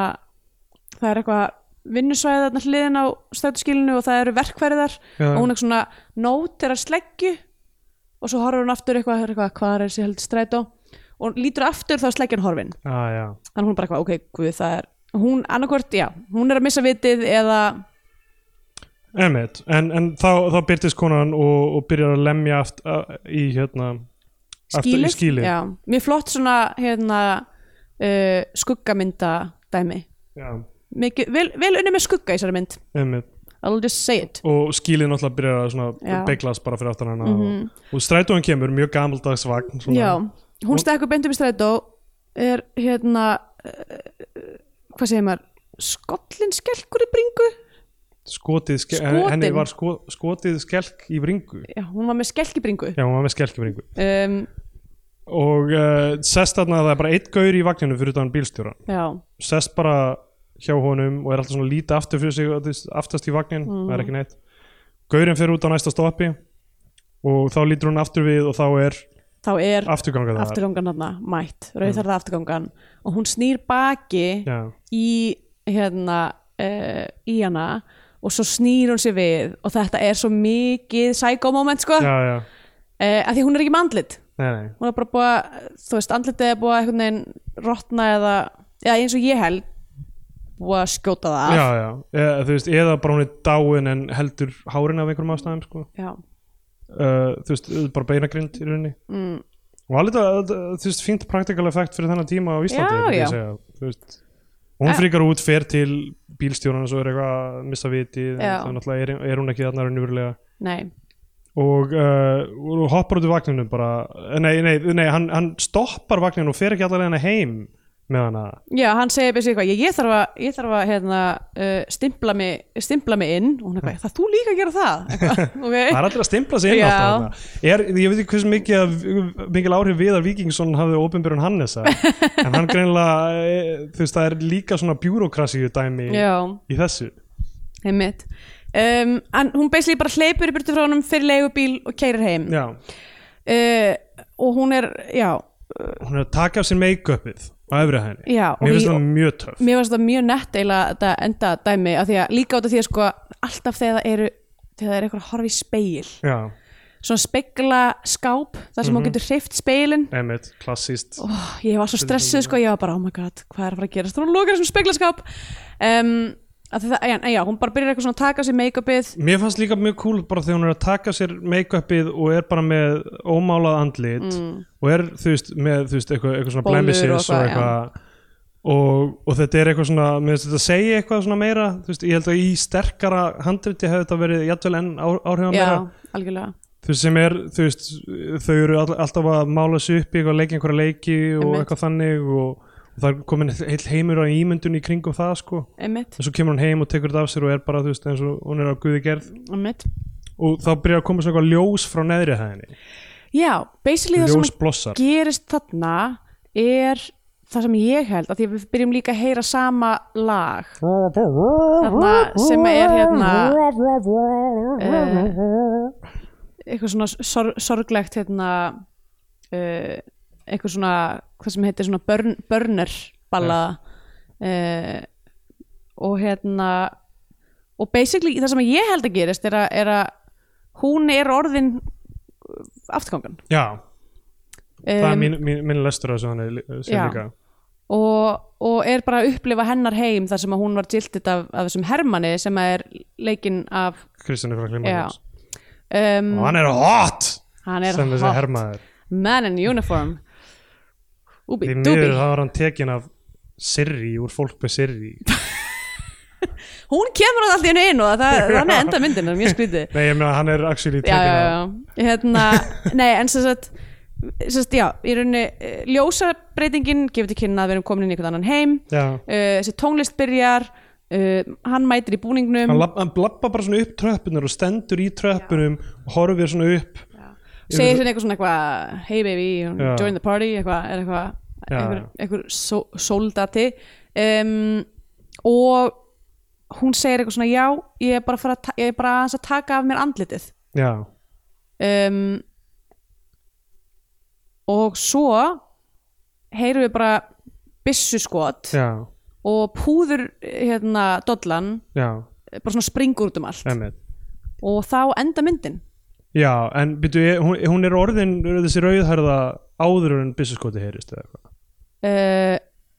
[SPEAKER 2] það er eitthvað vinnusvæði þarna hliðin á stætuskilinu og það eru verkfæri þar
[SPEAKER 3] Já.
[SPEAKER 2] og hún er svona nót er að sleggju og svo horfur hún aftur eitthvað, eitthvað hvað er þessi heldur strætó og hún lítur aftur þá er sleggjan horfin
[SPEAKER 3] já, já.
[SPEAKER 2] þannig hún bara eitthvað, ok, guð, það er hún annarkvort, já, hún er að missa vitið eða,
[SPEAKER 3] Einmitt. En, en þá, þá byrtist konan og, og byrjar að lemja aft, að, í hérna
[SPEAKER 2] skýlið,
[SPEAKER 3] aftur, í skýlið.
[SPEAKER 2] Já, mjög flott svona hérna, uh, skuggamynda dæmi
[SPEAKER 3] Já,
[SPEAKER 2] Mikið, vel, vel unni með skugga í þessari mynd
[SPEAKER 3] einmitt.
[SPEAKER 2] I'll just say it
[SPEAKER 3] og skýlið náttúrulega byrjar að svona
[SPEAKER 2] Já. Mhm.
[SPEAKER 3] beglast bara fyrir aftan hana og, og strætóin kemur mjög gamaldags vagn svona.
[SPEAKER 2] Já, hún stekkur beint upp í strætó er hérna uh, hvað segir maður skollin skelkur í bringu
[SPEAKER 3] skotið, ske-
[SPEAKER 2] Skotin.
[SPEAKER 3] henni var sko, skotið skelk í bringu
[SPEAKER 2] Já, hún var með skelk í bringu
[SPEAKER 3] já, hún var með skelk í bringu
[SPEAKER 2] um,
[SPEAKER 3] og uh, sest þarna að það er bara eitt gaur í vagninu fyrir utan bílstjóran
[SPEAKER 2] Já,
[SPEAKER 3] sest bara hjá honum og er alltaf svona lítið aftur fyrir sig þú veist, aftast í vagnin, það er ekki neitt Gaurinn fer út á næsta stoppi og þá lítur hún aftur við og þá er
[SPEAKER 2] þá er
[SPEAKER 3] afturganga það
[SPEAKER 2] afturgangan hann mætt, rauðarða afturgangan og hún snýr baki
[SPEAKER 3] Mm. Já,
[SPEAKER 2] í hérna uh, í hana og svo snýr hún sér við og þetta er svo mikið psycho moment sko uh,
[SPEAKER 3] já, já,
[SPEAKER 2] að því hún er ekki með andlit
[SPEAKER 3] nei, nei
[SPEAKER 2] hún er bara búið að, þú veist, andlitið er búið að einhvern veginn rotna eða, eða eins og ég held búið að skjóta það
[SPEAKER 3] já,
[SPEAKER 2] af.
[SPEAKER 3] já, eða, þú veist, eða bara hún er dáin en heldur hárin af einhverjum ástæðum sko.
[SPEAKER 2] Já.
[SPEAKER 3] uh, þú veist, bara beinagrind í rauninni
[SPEAKER 2] Mm.
[SPEAKER 3] og alveg það, þú veist, fínt praktikal effekt fyrir þennan tíma á Íslandi
[SPEAKER 2] Já,
[SPEAKER 3] myndi ég
[SPEAKER 2] já.
[SPEAKER 3] segja, þú veist hún
[SPEAKER 2] Eh.
[SPEAKER 3] fríkar út, fer til bílstjóran og svo er eitthvað að missa viti
[SPEAKER 2] Já.
[SPEAKER 3] þannig að er, er hún ekki þarna raunverulega
[SPEAKER 2] Nei,
[SPEAKER 3] og, uh, og hoppar út í vagninu bara, eh, nei, nei, nei hann, hann stoppar vagninu og fer ekki allar leina heim með hana,
[SPEAKER 2] já, hann segir basically eitthvað, ég, ég þarf að, ég þarf að hérna, uh, stimpla, mig, stimpla mig inn og hún er eitthvað, það þú líka að gera það Eitthvað,
[SPEAKER 3] það
[SPEAKER 2] ok,
[SPEAKER 3] er allir að stimpla sig inn
[SPEAKER 2] Já.
[SPEAKER 3] alltaf þarna. er, ég veit ekki hversu mikið af- mikil áhrif Viðar Víkingsson hafði opinbyrjun Hannesa, en hann greinilega eh, þú veist, það er líka svona bjúrokrasíu dæmi
[SPEAKER 2] já
[SPEAKER 3] í þessu
[SPEAKER 2] einmitt um, en hún basically bara hleypur í burtu frá honum fyrir leigubíl og keirir heim
[SPEAKER 3] já,
[SPEAKER 2] uh, og hún er, já
[SPEAKER 3] hún er að taka af sér make-upið á efri henni,
[SPEAKER 2] Já, og
[SPEAKER 3] mér finnst
[SPEAKER 2] í-
[SPEAKER 3] það mjög töff
[SPEAKER 2] mér varst það mjög nett eiginlega þetta enda dæmi af því að líka út af því að sko alltaf þegar það eru þegar það er eitthvað að horfa í speil
[SPEAKER 3] já,
[SPEAKER 2] svona spegla skáp þar sem
[SPEAKER 3] Mhm.
[SPEAKER 2] hún getur hreift speilin
[SPEAKER 3] einmitt, klassíst
[SPEAKER 2] Ó, ég var svo stressuð sko, ég var bara oh my god, hvað er að fara að gerast, hún lokar þessum speglaskáp um, að það, en, en já, hún bara byrjar eitthvað svona að taka sér make-upið
[SPEAKER 3] Mér fannst líka mjög cool bara þegar hún er að taka sér make-upið og er bara með ómálað andlit og er þú veist með þú veist, eitthvað, eitthvað svona
[SPEAKER 2] Bólur Mm. og
[SPEAKER 3] blemisins og,
[SPEAKER 2] eitthvað,
[SPEAKER 3] eitthvað og, og þetta er eitthvað svona mér finnst þetta að segja eitthvað svona meira þú veist, ég held að í sterkara handriti hefði þetta verið jættvel enn á, áhrifan
[SPEAKER 2] já,
[SPEAKER 3] meira
[SPEAKER 2] algjörlega
[SPEAKER 3] þú veist sem er, þú veist þau eru all, alltaf að mála sig upp í eitthvað leiki einhverja leiki og
[SPEAKER 2] Einmitt.
[SPEAKER 3] eitthvað þannig og, og það er komin heil heimur á ímyndun í kringum það sko
[SPEAKER 2] einmitt,
[SPEAKER 3] en svo kemur hún heim og tekur þetta af sér og er bara þú veist eins og hún er á guði gerð
[SPEAKER 2] einmitt
[SPEAKER 3] og þá byrjar að koma svona eitthvað ljós frá neðri hæðinni,
[SPEAKER 2] Já, basically það sem
[SPEAKER 3] ljós blossar
[SPEAKER 2] gerist þarna er það sem ég held að því við byrjum líka að heyra sama lag þarna sem er hérna uh, eitthvað svona sor sorglegt hérna uh, eitthvað svona hvað sem heitir svona burn burner ballada uh, og hérna og basically það sem ég held að gerist er að, er að hún er orðin afturkangan
[SPEAKER 3] já, það er
[SPEAKER 2] Um,
[SPEAKER 3] mín, mín, mín lestur af þessu hann sem
[SPEAKER 2] Já.
[SPEAKER 3] líka
[SPEAKER 2] og, og er bara að upplifa hennar heim þar sem að hún var gildið af, af þessum hermanni sem að er leikinn af
[SPEAKER 3] Kristján er frá
[SPEAKER 2] já,
[SPEAKER 3] Klimanjans
[SPEAKER 2] um,
[SPEAKER 3] og hann er hot
[SPEAKER 2] hann er
[SPEAKER 3] sem þessi
[SPEAKER 2] hot
[SPEAKER 3] hermaður
[SPEAKER 2] man in uniform Úbi,
[SPEAKER 3] því
[SPEAKER 2] dúbi,
[SPEAKER 3] miður þá var hann tekin af Sirri, úr fólk með Sirri
[SPEAKER 2] hún kemur alltaf í hennu inn og það, þannig enda myndin er mjög skrítið
[SPEAKER 3] nei, ég meina hann er actually
[SPEAKER 2] já,
[SPEAKER 3] tekin
[SPEAKER 2] já,
[SPEAKER 3] af
[SPEAKER 2] já. Hérna, nei, en sem sagt, sem sagt já, í rauninni eh, ljósabreitingin gefur til kynna að við erum komin inn í einhvern annan heim uh,
[SPEAKER 3] já.
[SPEAKER 2] þessi tónlist byrjar uh, hann mætir í búningnum
[SPEAKER 3] hann, lab, hann blabba bara svona upp tröppunar og stendur í tröppunum og horfir svona upp
[SPEAKER 2] segir sinni eitthvað svona eitthvað hey baby, you know,
[SPEAKER 3] Já.
[SPEAKER 2] join the party eitthvað, er eitthvað
[SPEAKER 3] Já,
[SPEAKER 2] einhver,
[SPEAKER 3] já.
[SPEAKER 2] einhver só, sóldati um, og hún segir eitthvað svona já, ég er bara, að fara að ta- ég er bara aðeins að taka af mér andlitið
[SPEAKER 3] já,
[SPEAKER 2] um, og svo heyrum við bara byssu skot
[SPEAKER 3] já,
[SPEAKER 2] og púður hérna dollan
[SPEAKER 3] já,
[SPEAKER 2] bara svona springur út um allt
[SPEAKER 3] emmitt
[SPEAKER 2] og þá enda myndin
[SPEAKER 3] Já, en byrju, er- hún, hún er orðin þessi rauðhærða áður en byssuskoti heyrist eða eitthvað.
[SPEAKER 2] uh,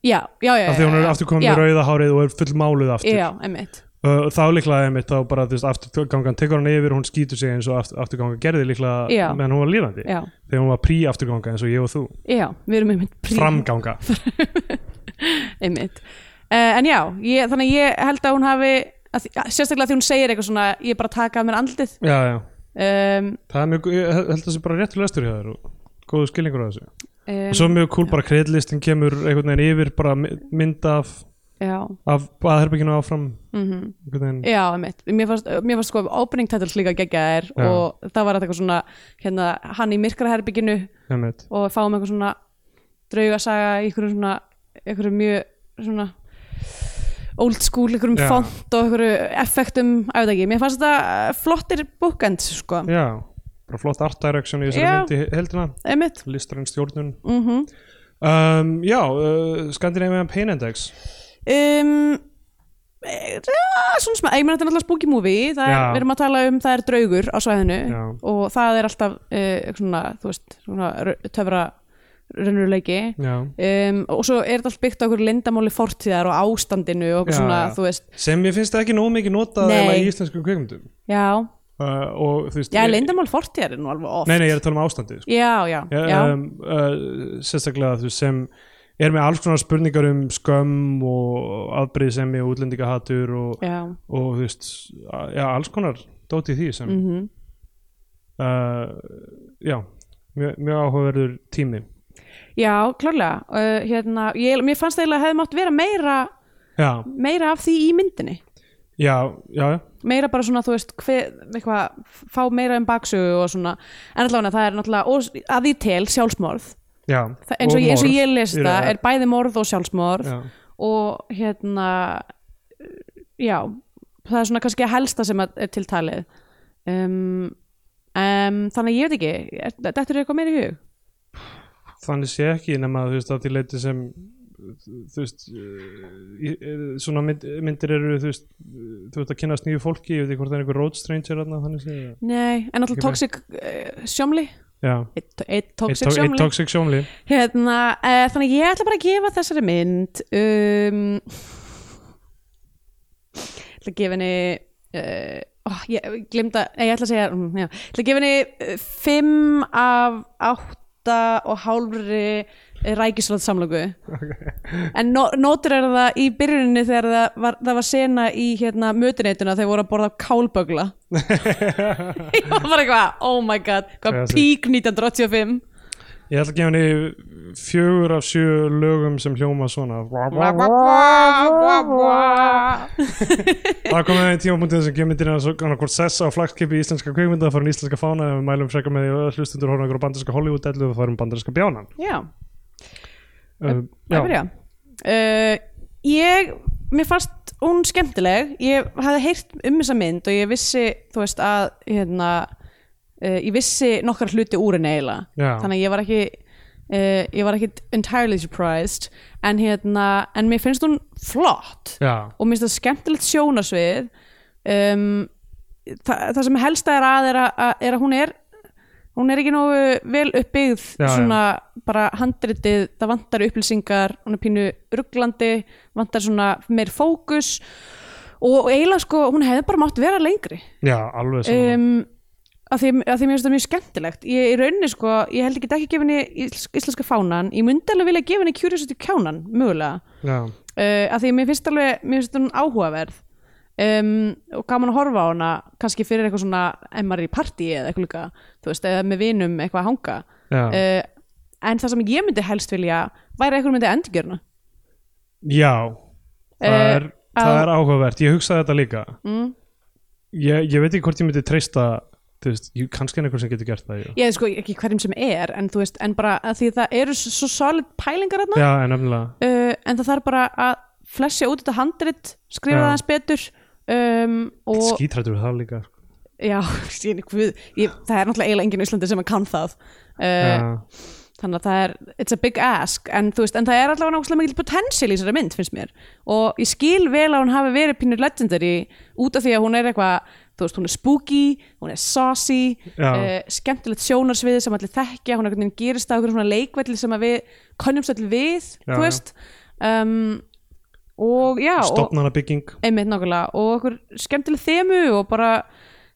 [SPEAKER 2] já, já, já, já
[SPEAKER 3] Af því hún er
[SPEAKER 2] já,
[SPEAKER 3] aftur komin
[SPEAKER 2] Eh, já.
[SPEAKER 3] með rauða hárið og er full máluð aftur.
[SPEAKER 2] Já, einmitt
[SPEAKER 3] Uh, þá líklega einmitt þá bara þú veist, afturgangan tekur hann yfir, hún skýtur sig eins og aftur, afturgangan gerði líklega
[SPEAKER 2] Já.
[SPEAKER 3] meðan hún var lífandi.
[SPEAKER 2] Já,
[SPEAKER 3] Þegar hún var prí-afturganga eins og ég og þú.
[SPEAKER 2] já, við erum einmitt prí-
[SPEAKER 3] Framganga.
[SPEAKER 2] einmitt. Uh, En já, ég, þannig að ég held að hún hafi að því, að, Sérstaklega því hún segir eitthvað svona Ég er bara að taka af mér andlitið
[SPEAKER 3] já, já.
[SPEAKER 2] um,
[SPEAKER 3] Það er mjög, ég held að það sé bara réttur lestur hjá þér og góðu skilningur á þessu.
[SPEAKER 2] um,
[SPEAKER 3] og svo mjög cool bara kreðlistin kemur einhvern veginn yfir bara my- mynd af,
[SPEAKER 2] Já,
[SPEAKER 3] af aðherbygginu áfram.
[SPEAKER 2] mhm
[SPEAKER 3] einhvern veginn.
[SPEAKER 2] Já, einmitt, mér fannst, mér fannst sko opening titles líka geggjaðir
[SPEAKER 3] Já.
[SPEAKER 2] og það var eitthvað svona hérna, hann í myrkraherbygginu
[SPEAKER 3] Einmitt.
[SPEAKER 2] og fáum eitthvað svona draugasaga í einhverjum svona einhverjum mjög svona old school, einhverjum
[SPEAKER 3] Já.
[SPEAKER 2] font og einhverjum effektum, að veit ekki mér fannst þetta eh, flottir bookends sko.
[SPEAKER 3] Já, bara flott art direction í þessari
[SPEAKER 2] Já.
[SPEAKER 3] mynd í heldina
[SPEAKER 2] einmitt
[SPEAKER 3] listræn stjórnun
[SPEAKER 2] mm
[SPEAKER 3] um, Já, uh, Scandinavian Pain Index
[SPEAKER 2] um, eh, svona smá, ég meina þetta er náttúrulega spooky movie það er,
[SPEAKER 3] Já.
[SPEAKER 2] við erum að tala um, það er draugur á svæðinu
[SPEAKER 3] Já.
[SPEAKER 2] eh, og það er alltaf uh, svona, þú veist, svona rau- töfra raunveruleiki
[SPEAKER 3] já.
[SPEAKER 2] um, og svo er þetta allt byggt á okkur lindamáli fortíðar og ástandinu og okkur
[SPEAKER 3] Já,
[SPEAKER 2] svona,
[SPEAKER 3] já.
[SPEAKER 2] þú veist
[SPEAKER 3] sem ég finnst ekki nóg mikið notað
[SPEAKER 2] Nei.
[SPEAKER 3] eiginlega í íslenskum kveikmyndum
[SPEAKER 2] já,
[SPEAKER 3] uh, og þú veist
[SPEAKER 2] já,
[SPEAKER 3] ég-
[SPEAKER 2] lindamáli fortíðar er nú alveg oft
[SPEAKER 3] nei, nei, ég er að tala um ástandið sko.
[SPEAKER 2] já, já, já,
[SPEAKER 3] ég, um, uh, sérstaklega þú veist, sem er með alls konar spurningar um skömm og afbrýðisemi og útlendingahatur og,
[SPEAKER 2] já.
[SPEAKER 3] og þú veist, já, alls konar dóti því sem
[SPEAKER 2] Mm
[SPEAKER 3] uh, já, mjög, mjög áhugaverður tími
[SPEAKER 2] Já, klárlega uh, hérna, ég, Mér fannst eiginlega að hefði mátt vera meira
[SPEAKER 3] já,
[SPEAKER 2] meira af því í myndinni
[SPEAKER 3] já, já, já.
[SPEAKER 2] meira bara svona, þú veist, hver, eitthvað fá meira um baksögu og svona en allavega það er náttúrulega, og að því til sjálfsmorð,
[SPEAKER 3] já.
[SPEAKER 2] það, eins, og, ég- eins og ég les
[SPEAKER 3] Í
[SPEAKER 2] þetta,
[SPEAKER 3] raun.
[SPEAKER 2] er bæði morð og sjálfsmorð
[SPEAKER 3] já.
[SPEAKER 2] og hérna já, það er svona kannski að helsta sem að- er til talið um, um, þannig að ég veit ekki er- dettur þér eitthvað meira í hug?
[SPEAKER 3] þannig sé ekki nema þú veist að því leiti sem þú veist eh, í- svona mynd, myndir eru þú veist þú veist að kynast nýju fólki ég veit ekki hvort það er einhver road stranger þarna, þannig sé
[SPEAKER 2] Nei, en alltaf
[SPEAKER 3] Ekki meira.
[SPEAKER 2] tóksik uh, sjómli
[SPEAKER 3] já
[SPEAKER 2] eitt eitt
[SPEAKER 3] Eitt
[SPEAKER 2] tóksik
[SPEAKER 3] tó- eitt
[SPEAKER 2] sjómli
[SPEAKER 3] toxic sjómli
[SPEAKER 2] Hérna, uh, þannig að ég ætla bara að gefa þessari mynd um, ætla að gefa henni uh, ó, ég glimta, nei, ég ætla að segja mm, já, ætla að gefa henni eh, fimm af átta og hálfri rækisröld samlöku en no, notur er það í byrjuninni þegar það var, það var sena í hérna, mötuneituna þegar voru að borða kálbögla ég var bara eitthvað, oh my god hvað
[SPEAKER 3] Classic.
[SPEAKER 2] pík 1985
[SPEAKER 3] ég ætla að gefa henni fjögur af sjö lögum sem hljóma svona það komið að einn tímapunktið sem gefur myndir hann hvort sessa og flagskipi í íslenska kveikmynda það fara íslenska fána ef við mælum frekar með því að hlustundur horfum okkur á bandarska Hollywood-dellu og það erum bandarska bjánan
[SPEAKER 2] já
[SPEAKER 3] uh,
[SPEAKER 2] að byrja uh, ég, mér fannst hún skemmtileg, ég hafði heyrt um þessa mynd og ég vissi þú veist að hérna, uh, ég vissi nokkar hluti úr henni eiginlega
[SPEAKER 3] Já.
[SPEAKER 2] þannig að ég var ekki uh, ég var ekki entirely surprised en hérna, en mér finnst hún flott
[SPEAKER 3] já,
[SPEAKER 2] og mér finnst það skemmtilegt sjónasvið um, þa það sem helsta er að er að, að, er að hún er hún er ekki nógu vel uppbyggð
[SPEAKER 3] Já,
[SPEAKER 2] svona bara handritið það vantar upplýsingar, hún er pínu rugglandi, vantar svona meir fókus og, og eiginlega sko hún hefði bara mátt vera lengri
[SPEAKER 3] já, alveg saman
[SPEAKER 2] um, að, því, að því mér finnst það mjög skemmtilegt ég í rauninni sko, ég held ekki ekki gefa henni ísl- íslenska fánan, ég myndi alveg vilja gefa henni Curiosity kjánan, mögulega
[SPEAKER 3] já,
[SPEAKER 2] uh, að því að mér finnst alveg mér finnst hún áhugaverð um, og gaman að horfa á hana kannski fyrir eitthvað svona ef maður er í partí eða eitthvað líka þú veist, eða með vinum eitthvað að hanga
[SPEAKER 3] já.
[SPEAKER 2] uh, en það sem ég myndi helst vilja væri að eitthvað myndi endurgjörna
[SPEAKER 3] Já, það
[SPEAKER 2] Eh,
[SPEAKER 3] er, það
[SPEAKER 2] á-
[SPEAKER 3] er áhugavert Ég hugsaði þetta líka
[SPEAKER 2] Mm.
[SPEAKER 3] ég, ég veit ekki hvort ég myndi treysta þú veist, jú, kannski er einhver sem getur gert það já,
[SPEAKER 2] ég sko ekki hverjum sem er en þú veist, en bara að því að það eru s- svo solid pælingar þarna
[SPEAKER 3] já en nefnilega
[SPEAKER 2] uh, en það þarf bara að flesja út þetta handrit skrifa
[SPEAKER 3] Já.
[SPEAKER 2] það hans betur um, og
[SPEAKER 3] skítrættur við það líka sko.
[SPEAKER 2] já, ég, guð, ég, það er náttúrulega eiginlega enginn á Íslandi sem að kann það uh,
[SPEAKER 3] já,
[SPEAKER 2] þannig að það er, it's a big ask en, þú veist, en það er allavega nákvæmlega mikil potential í þessari mynd finnst mér og ég skil vel að hún hafi verið pínur legendary út af því að hún er eitthvað þú veist, hún er spooky, hún er saucy
[SPEAKER 3] Já.
[SPEAKER 2] uh, skemmtilegt sjónarsviði sem allir þekkja, hún er einhvern veginn gerist á einhverjum svona leikvelli sem að við konjumst allir við, þú
[SPEAKER 3] Já, já.
[SPEAKER 2] veist um, og já og,
[SPEAKER 3] stopnana bygging
[SPEAKER 2] einmitt nákvæmlega og okkur skemmtileg þemu og bara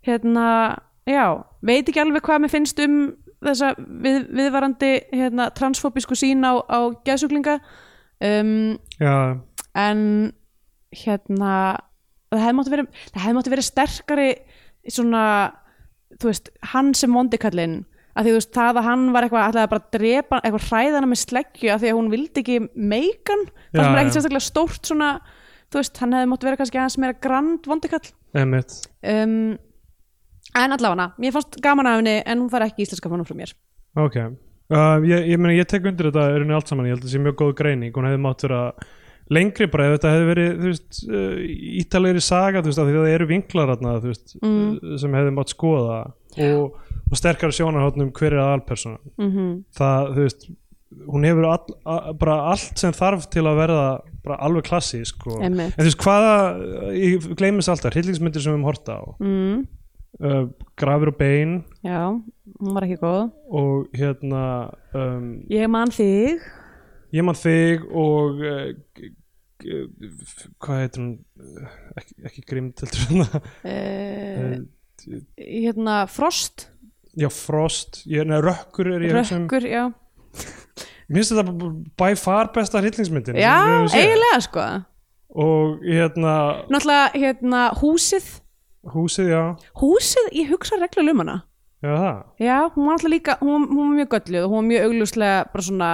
[SPEAKER 2] hérna, já, veit ekki alveg hvað mér finnst um þessa við, viðvarandi hérna, transfóbísku sín á, á geðsuglinga um,
[SPEAKER 3] já,
[SPEAKER 2] en hérna það hefði mátti verið, það hefði mátti verið sterkari svona, þú veist hann sem vondikallinn að því þú veist það að hann var eitthvað alltaf bara að drepa eitthvað hræðana með sleggju að því að hún vildi ekki meikan, það
[SPEAKER 3] Já,
[SPEAKER 2] sem er ekkert
[SPEAKER 3] já.
[SPEAKER 2] sérstaklega stórt svona, þú veist, hann hefði mátt vera kannski aðeins meira grand vondikall
[SPEAKER 3] emitt
[SPEAKER 2] um, en allavega, mér fannst gaman af henni en hún fær ekki íslenska fannum frá mér
[SPEAKER 3] ok uh, ég, ég, meni, ég tek undir þetta er henni allt saman, ég held að það sé mjög góð greining hún hefði mátt vera lengri bara ef þetta hefði verið þú veist, uh, ítalegri saga þú veist, af því að það eru vinklar þarna, þú veist, mm. sem hefði mátt skoða og, og sterkara sjónarhóttnum hver er aðalpersona
[SPEAKER 2] mm -hmm.
[SPEAKER 3] það, þú veist hún hefur all, a, bara allt sem þarf til að verða bara alveg klassísk og, en
[SPEAKER 2] Einmitt.
[SPEAKER 3] þú veist hvaða, ég gleymis alltaf hryllingsmyndir sem við höfum horta á
[SPEAKER 2] mm.
[SPEAKER 3] uh, Grafir og bein
[SPEAKER 2] já, hún var ekki góð
[SPEAKER 3] og hérna um,
[SPEAKER 2] ég man þig
[SPEAKER 3] Ég man þig og uh, g- g- f- hvað heitir hún Uh, ekki, ekki grimd heldur svona
[SPEAKER 2] uh,
[SPEAKER 3] uh,
[SPEAKER 2] hérna Frost,
[SPEAKER 3] já Frost, ég, neða Rökkur er ég að hugsa um.
[SPEAKER 2] Rökkur já,
[SPEAKER 3] mér finnst þetta b- by far besta hryllingsmyndin sem
[SPEAKER 2] já
[SPEAKER 3] við höfum séð.
[SPEAKER 2] eiginlega sko
[SPEAKER 3] og hérna
[SPEAKER 2] náttúrulega hérna húsið
[SPEAKER 3] húsið já,
[SPEAKER 2] húsið, ég hugsa reglulega um hana
[SPEAKER 3] já það
[SPEAKER 2] já, hún var alltaf líka, hún, hún var mjög gölluð og hún var mjög augljóslega bara svona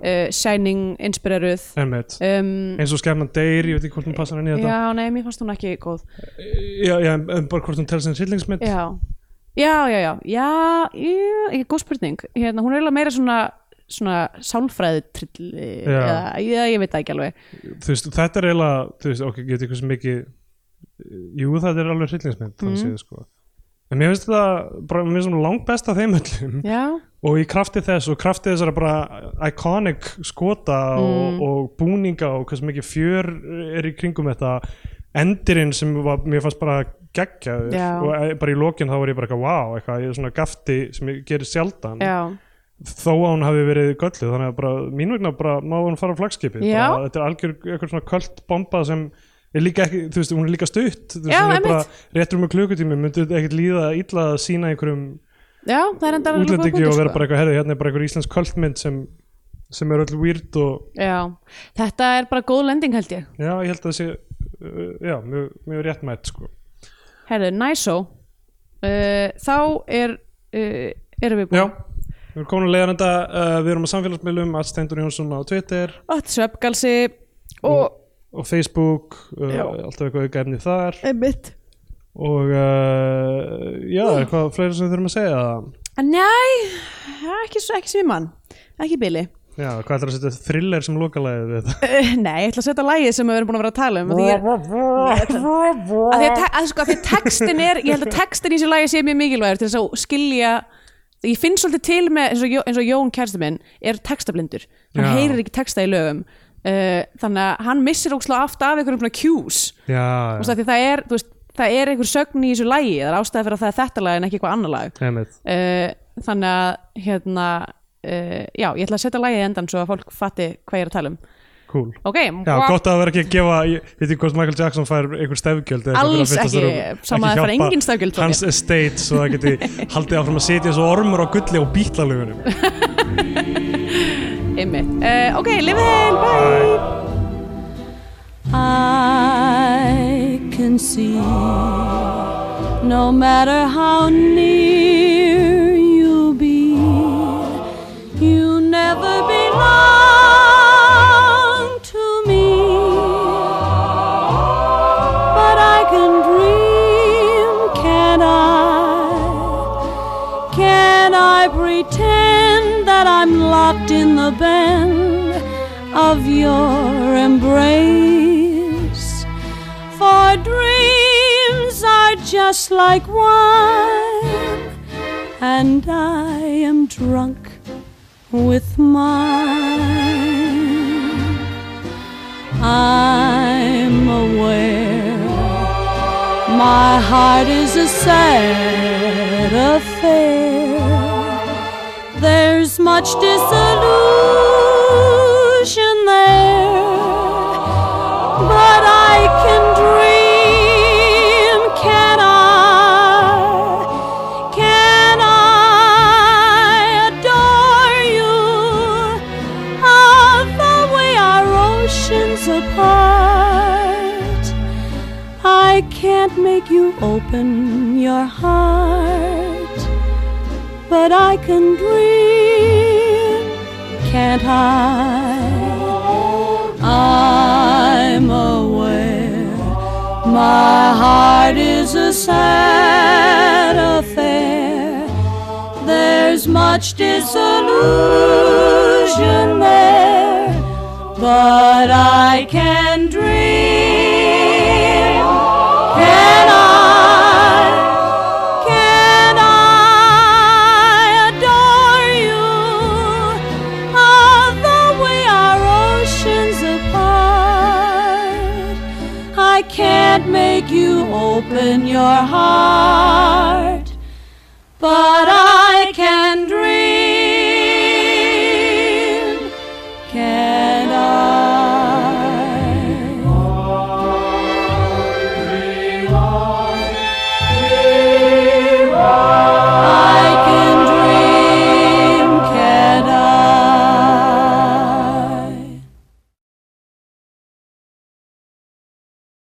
[SPEAKER 2] uh, shining, inspireruð
[SPEAKER 3] Einmitt.
[SPEAKER 2] um,
[SPEAKER 3] eins og skemman deyr, ég veit ekki hvort hún passar inn í þetta Eh,
[SPEAKER 2] já, nei, mér fannst hún ekki góð
[SPEAKER 3] já, já, en en bara hvort hún telst sem hryllingsmynd
[SPEAKER 2] já, já, já, já, já ég, ég, góð spurning hérna, hún er eiginlega meira svona svona sálfræði trill
[SPEAKER 3] Já.
[SPEAKER 2] eða, ég, ég veit það ekki alveg
[SPEAKER 3] þú veist, þetta er eiginlega þú veist, ok, ég veit ekki hversu mikið jú, þetta er alveg hryllingsmynd
[SPEAKER 2] Mhm.
[SPEAKER 3] þannig séð, sko en mér finnst þetta, bara, mér finnst þetta langt best af þeim öllum
[SPEAKER 2] já,
[SPEAKER 3] og í krafti þess og krafti þessara bara iconic skota og,
[SPEAKER 2] Mhm.
[SPEAKER 3] og búninga og hversu mikið fjör er í kringum þetta endirinn sem var, mér fannst bara geggjaður
[SPEAKER 2] Já.
[SPEAKER 3] og eh, bara í lokin þá var ég bara eitthvað wow, eitthvað, ég er svona gafti sem ég gerir sjaldan
[SPEAKER 2] já,
[SPEAKER 3] þó að hún hafi verið gölluð þannig að bara mín vegna bara má hún fara á flagskipi
[SPEAKER 2] Já.
[SPEAKER 3] bara, þetta er algjör eitthvað svona kvöld bomba sem er líka ekki, þú veist, hún er líka stutt þú veist,
[SPEAKER 2] Já,
[SPEAKER 3] hún er
[SPEAKER 2] einmitt.
[SPEAKER 3] bara réttur með klukkutími myndi ekkert líða illa að sína einhverjum
[SPEAKER 2] já, það er enda alveg góð
[SPEAKER 3] útlendingi
[SPEAKER 2] punktur,
[SPEAKER 3] og
[SPEAKER 2] sko.
[SPEAKER 3] vera bara eitthvað herði, hérna er bara einhver íslensk kvöldmynd sem, sem er öll weird og
[SPEAKER 2] Já, þetta er bara góð lending held ég
[SPEAKER 3] já, ég held að það sé uh, já, mjög, mjög réttmætt sko
[SPEAKER 2] Herðu, næsó uh, Þá er uh, erum við
[SPEAKER 3] já,
[SPEAKER 2] búin
[SPEAKER 3] við erum komin að leiða þetta uh, við erum á samfélagsmiðlum, að Steindur Jónsson á Twitter
[SPEAKER 2] Ótt svefgalsi og
[SPEAKER 3] og Facebook uh,
[SPEAKER 2] Já.
[SPEAKER 3] alltaf eitthvað auka efni þar
[SPEAKER 2] einmitt
[SPEAKER 3] og uh, já, eitthvað fleira sem við þurfum að segja
[SPEAKER 2] Nei, ekki, s- ekki svimann ekki í bili
[SPEAKER 3] já, hvað ætlar að setja thriller sem lokalæðið við þetta
[SPEAKER 2] uh, Nei, ég ætla að setja lagið sem við erum búin að vera að tala um að því ég er að því, að, te- að, sko, að því að textin er ég held að textin í þessu lagi sé mjög mikilvægur til þess að skilja ég finn svolítið til með eins og, Jó- eins og Jón kærstu minn er textablindur hann
[SPEAKER 3] Já.
[SPEAKER 2] heyrir ekki texta í lögum uh, þannig að hann missir ókslega aft af einhverjum svona cues Þú
[SPEAKER 3] já,
[SPEAKER 2] veist, af því það er, þú veist, það er einhver sögn í þessu lagi það er ástæði fyrir að það er þetta lag en ekki eitthvað annar lag
[SPEAKER 3] já, einmitt
[SPEAKER 2] uh, þannig að hérna, uh, já, ég ætla að setja lagið í endan svo að fólk fatti hvað ég er að tala um
[SPEAKER 3] cool
[SPEAKER 2] ok,
[SPEAKER 3] Já, gott að vera ekki að gefa, ég veit ekki hvort Michael Jackson fær einhver stefgjöld eða
[SPEAKER 2] Alls
[SPEAKER 3] eitthvað fyrir að
[SPEAKER 2] ekki,
[SPEAKER 3] fyllast þér um-
[SPEAKER 2] sama að fær
[SPEAKER 3] hjálpa
[SPEAKER 2] engin stefgjöld frá
[SPEAKER 3] Hans estate, svo það geti haldið áfram að sitja svo ormur á gulli og bítlalugunum
[SPEAKER 2] uh, ok, lifið heil, bye
[SPEAKER 4] I can see no matter how near you'll be, you'll never belong to me. But I can dream, can I? Can I pretend that I'm locked in the bend of your embrace? For dreams are just like wine, and I am drunk with mine. I'm aware. My heart is a sad affair. There's much disillusion there, but I can dream. Can I? Can I adore you? Although we are oceans apart. I can't make you open your heart, but I can dream, can't I? I'm aware my heart is a sad affair. There's much disillusion there, but I can dream. Can I? Can I adore you? Although we are oceans apart, I can't make you open your heart.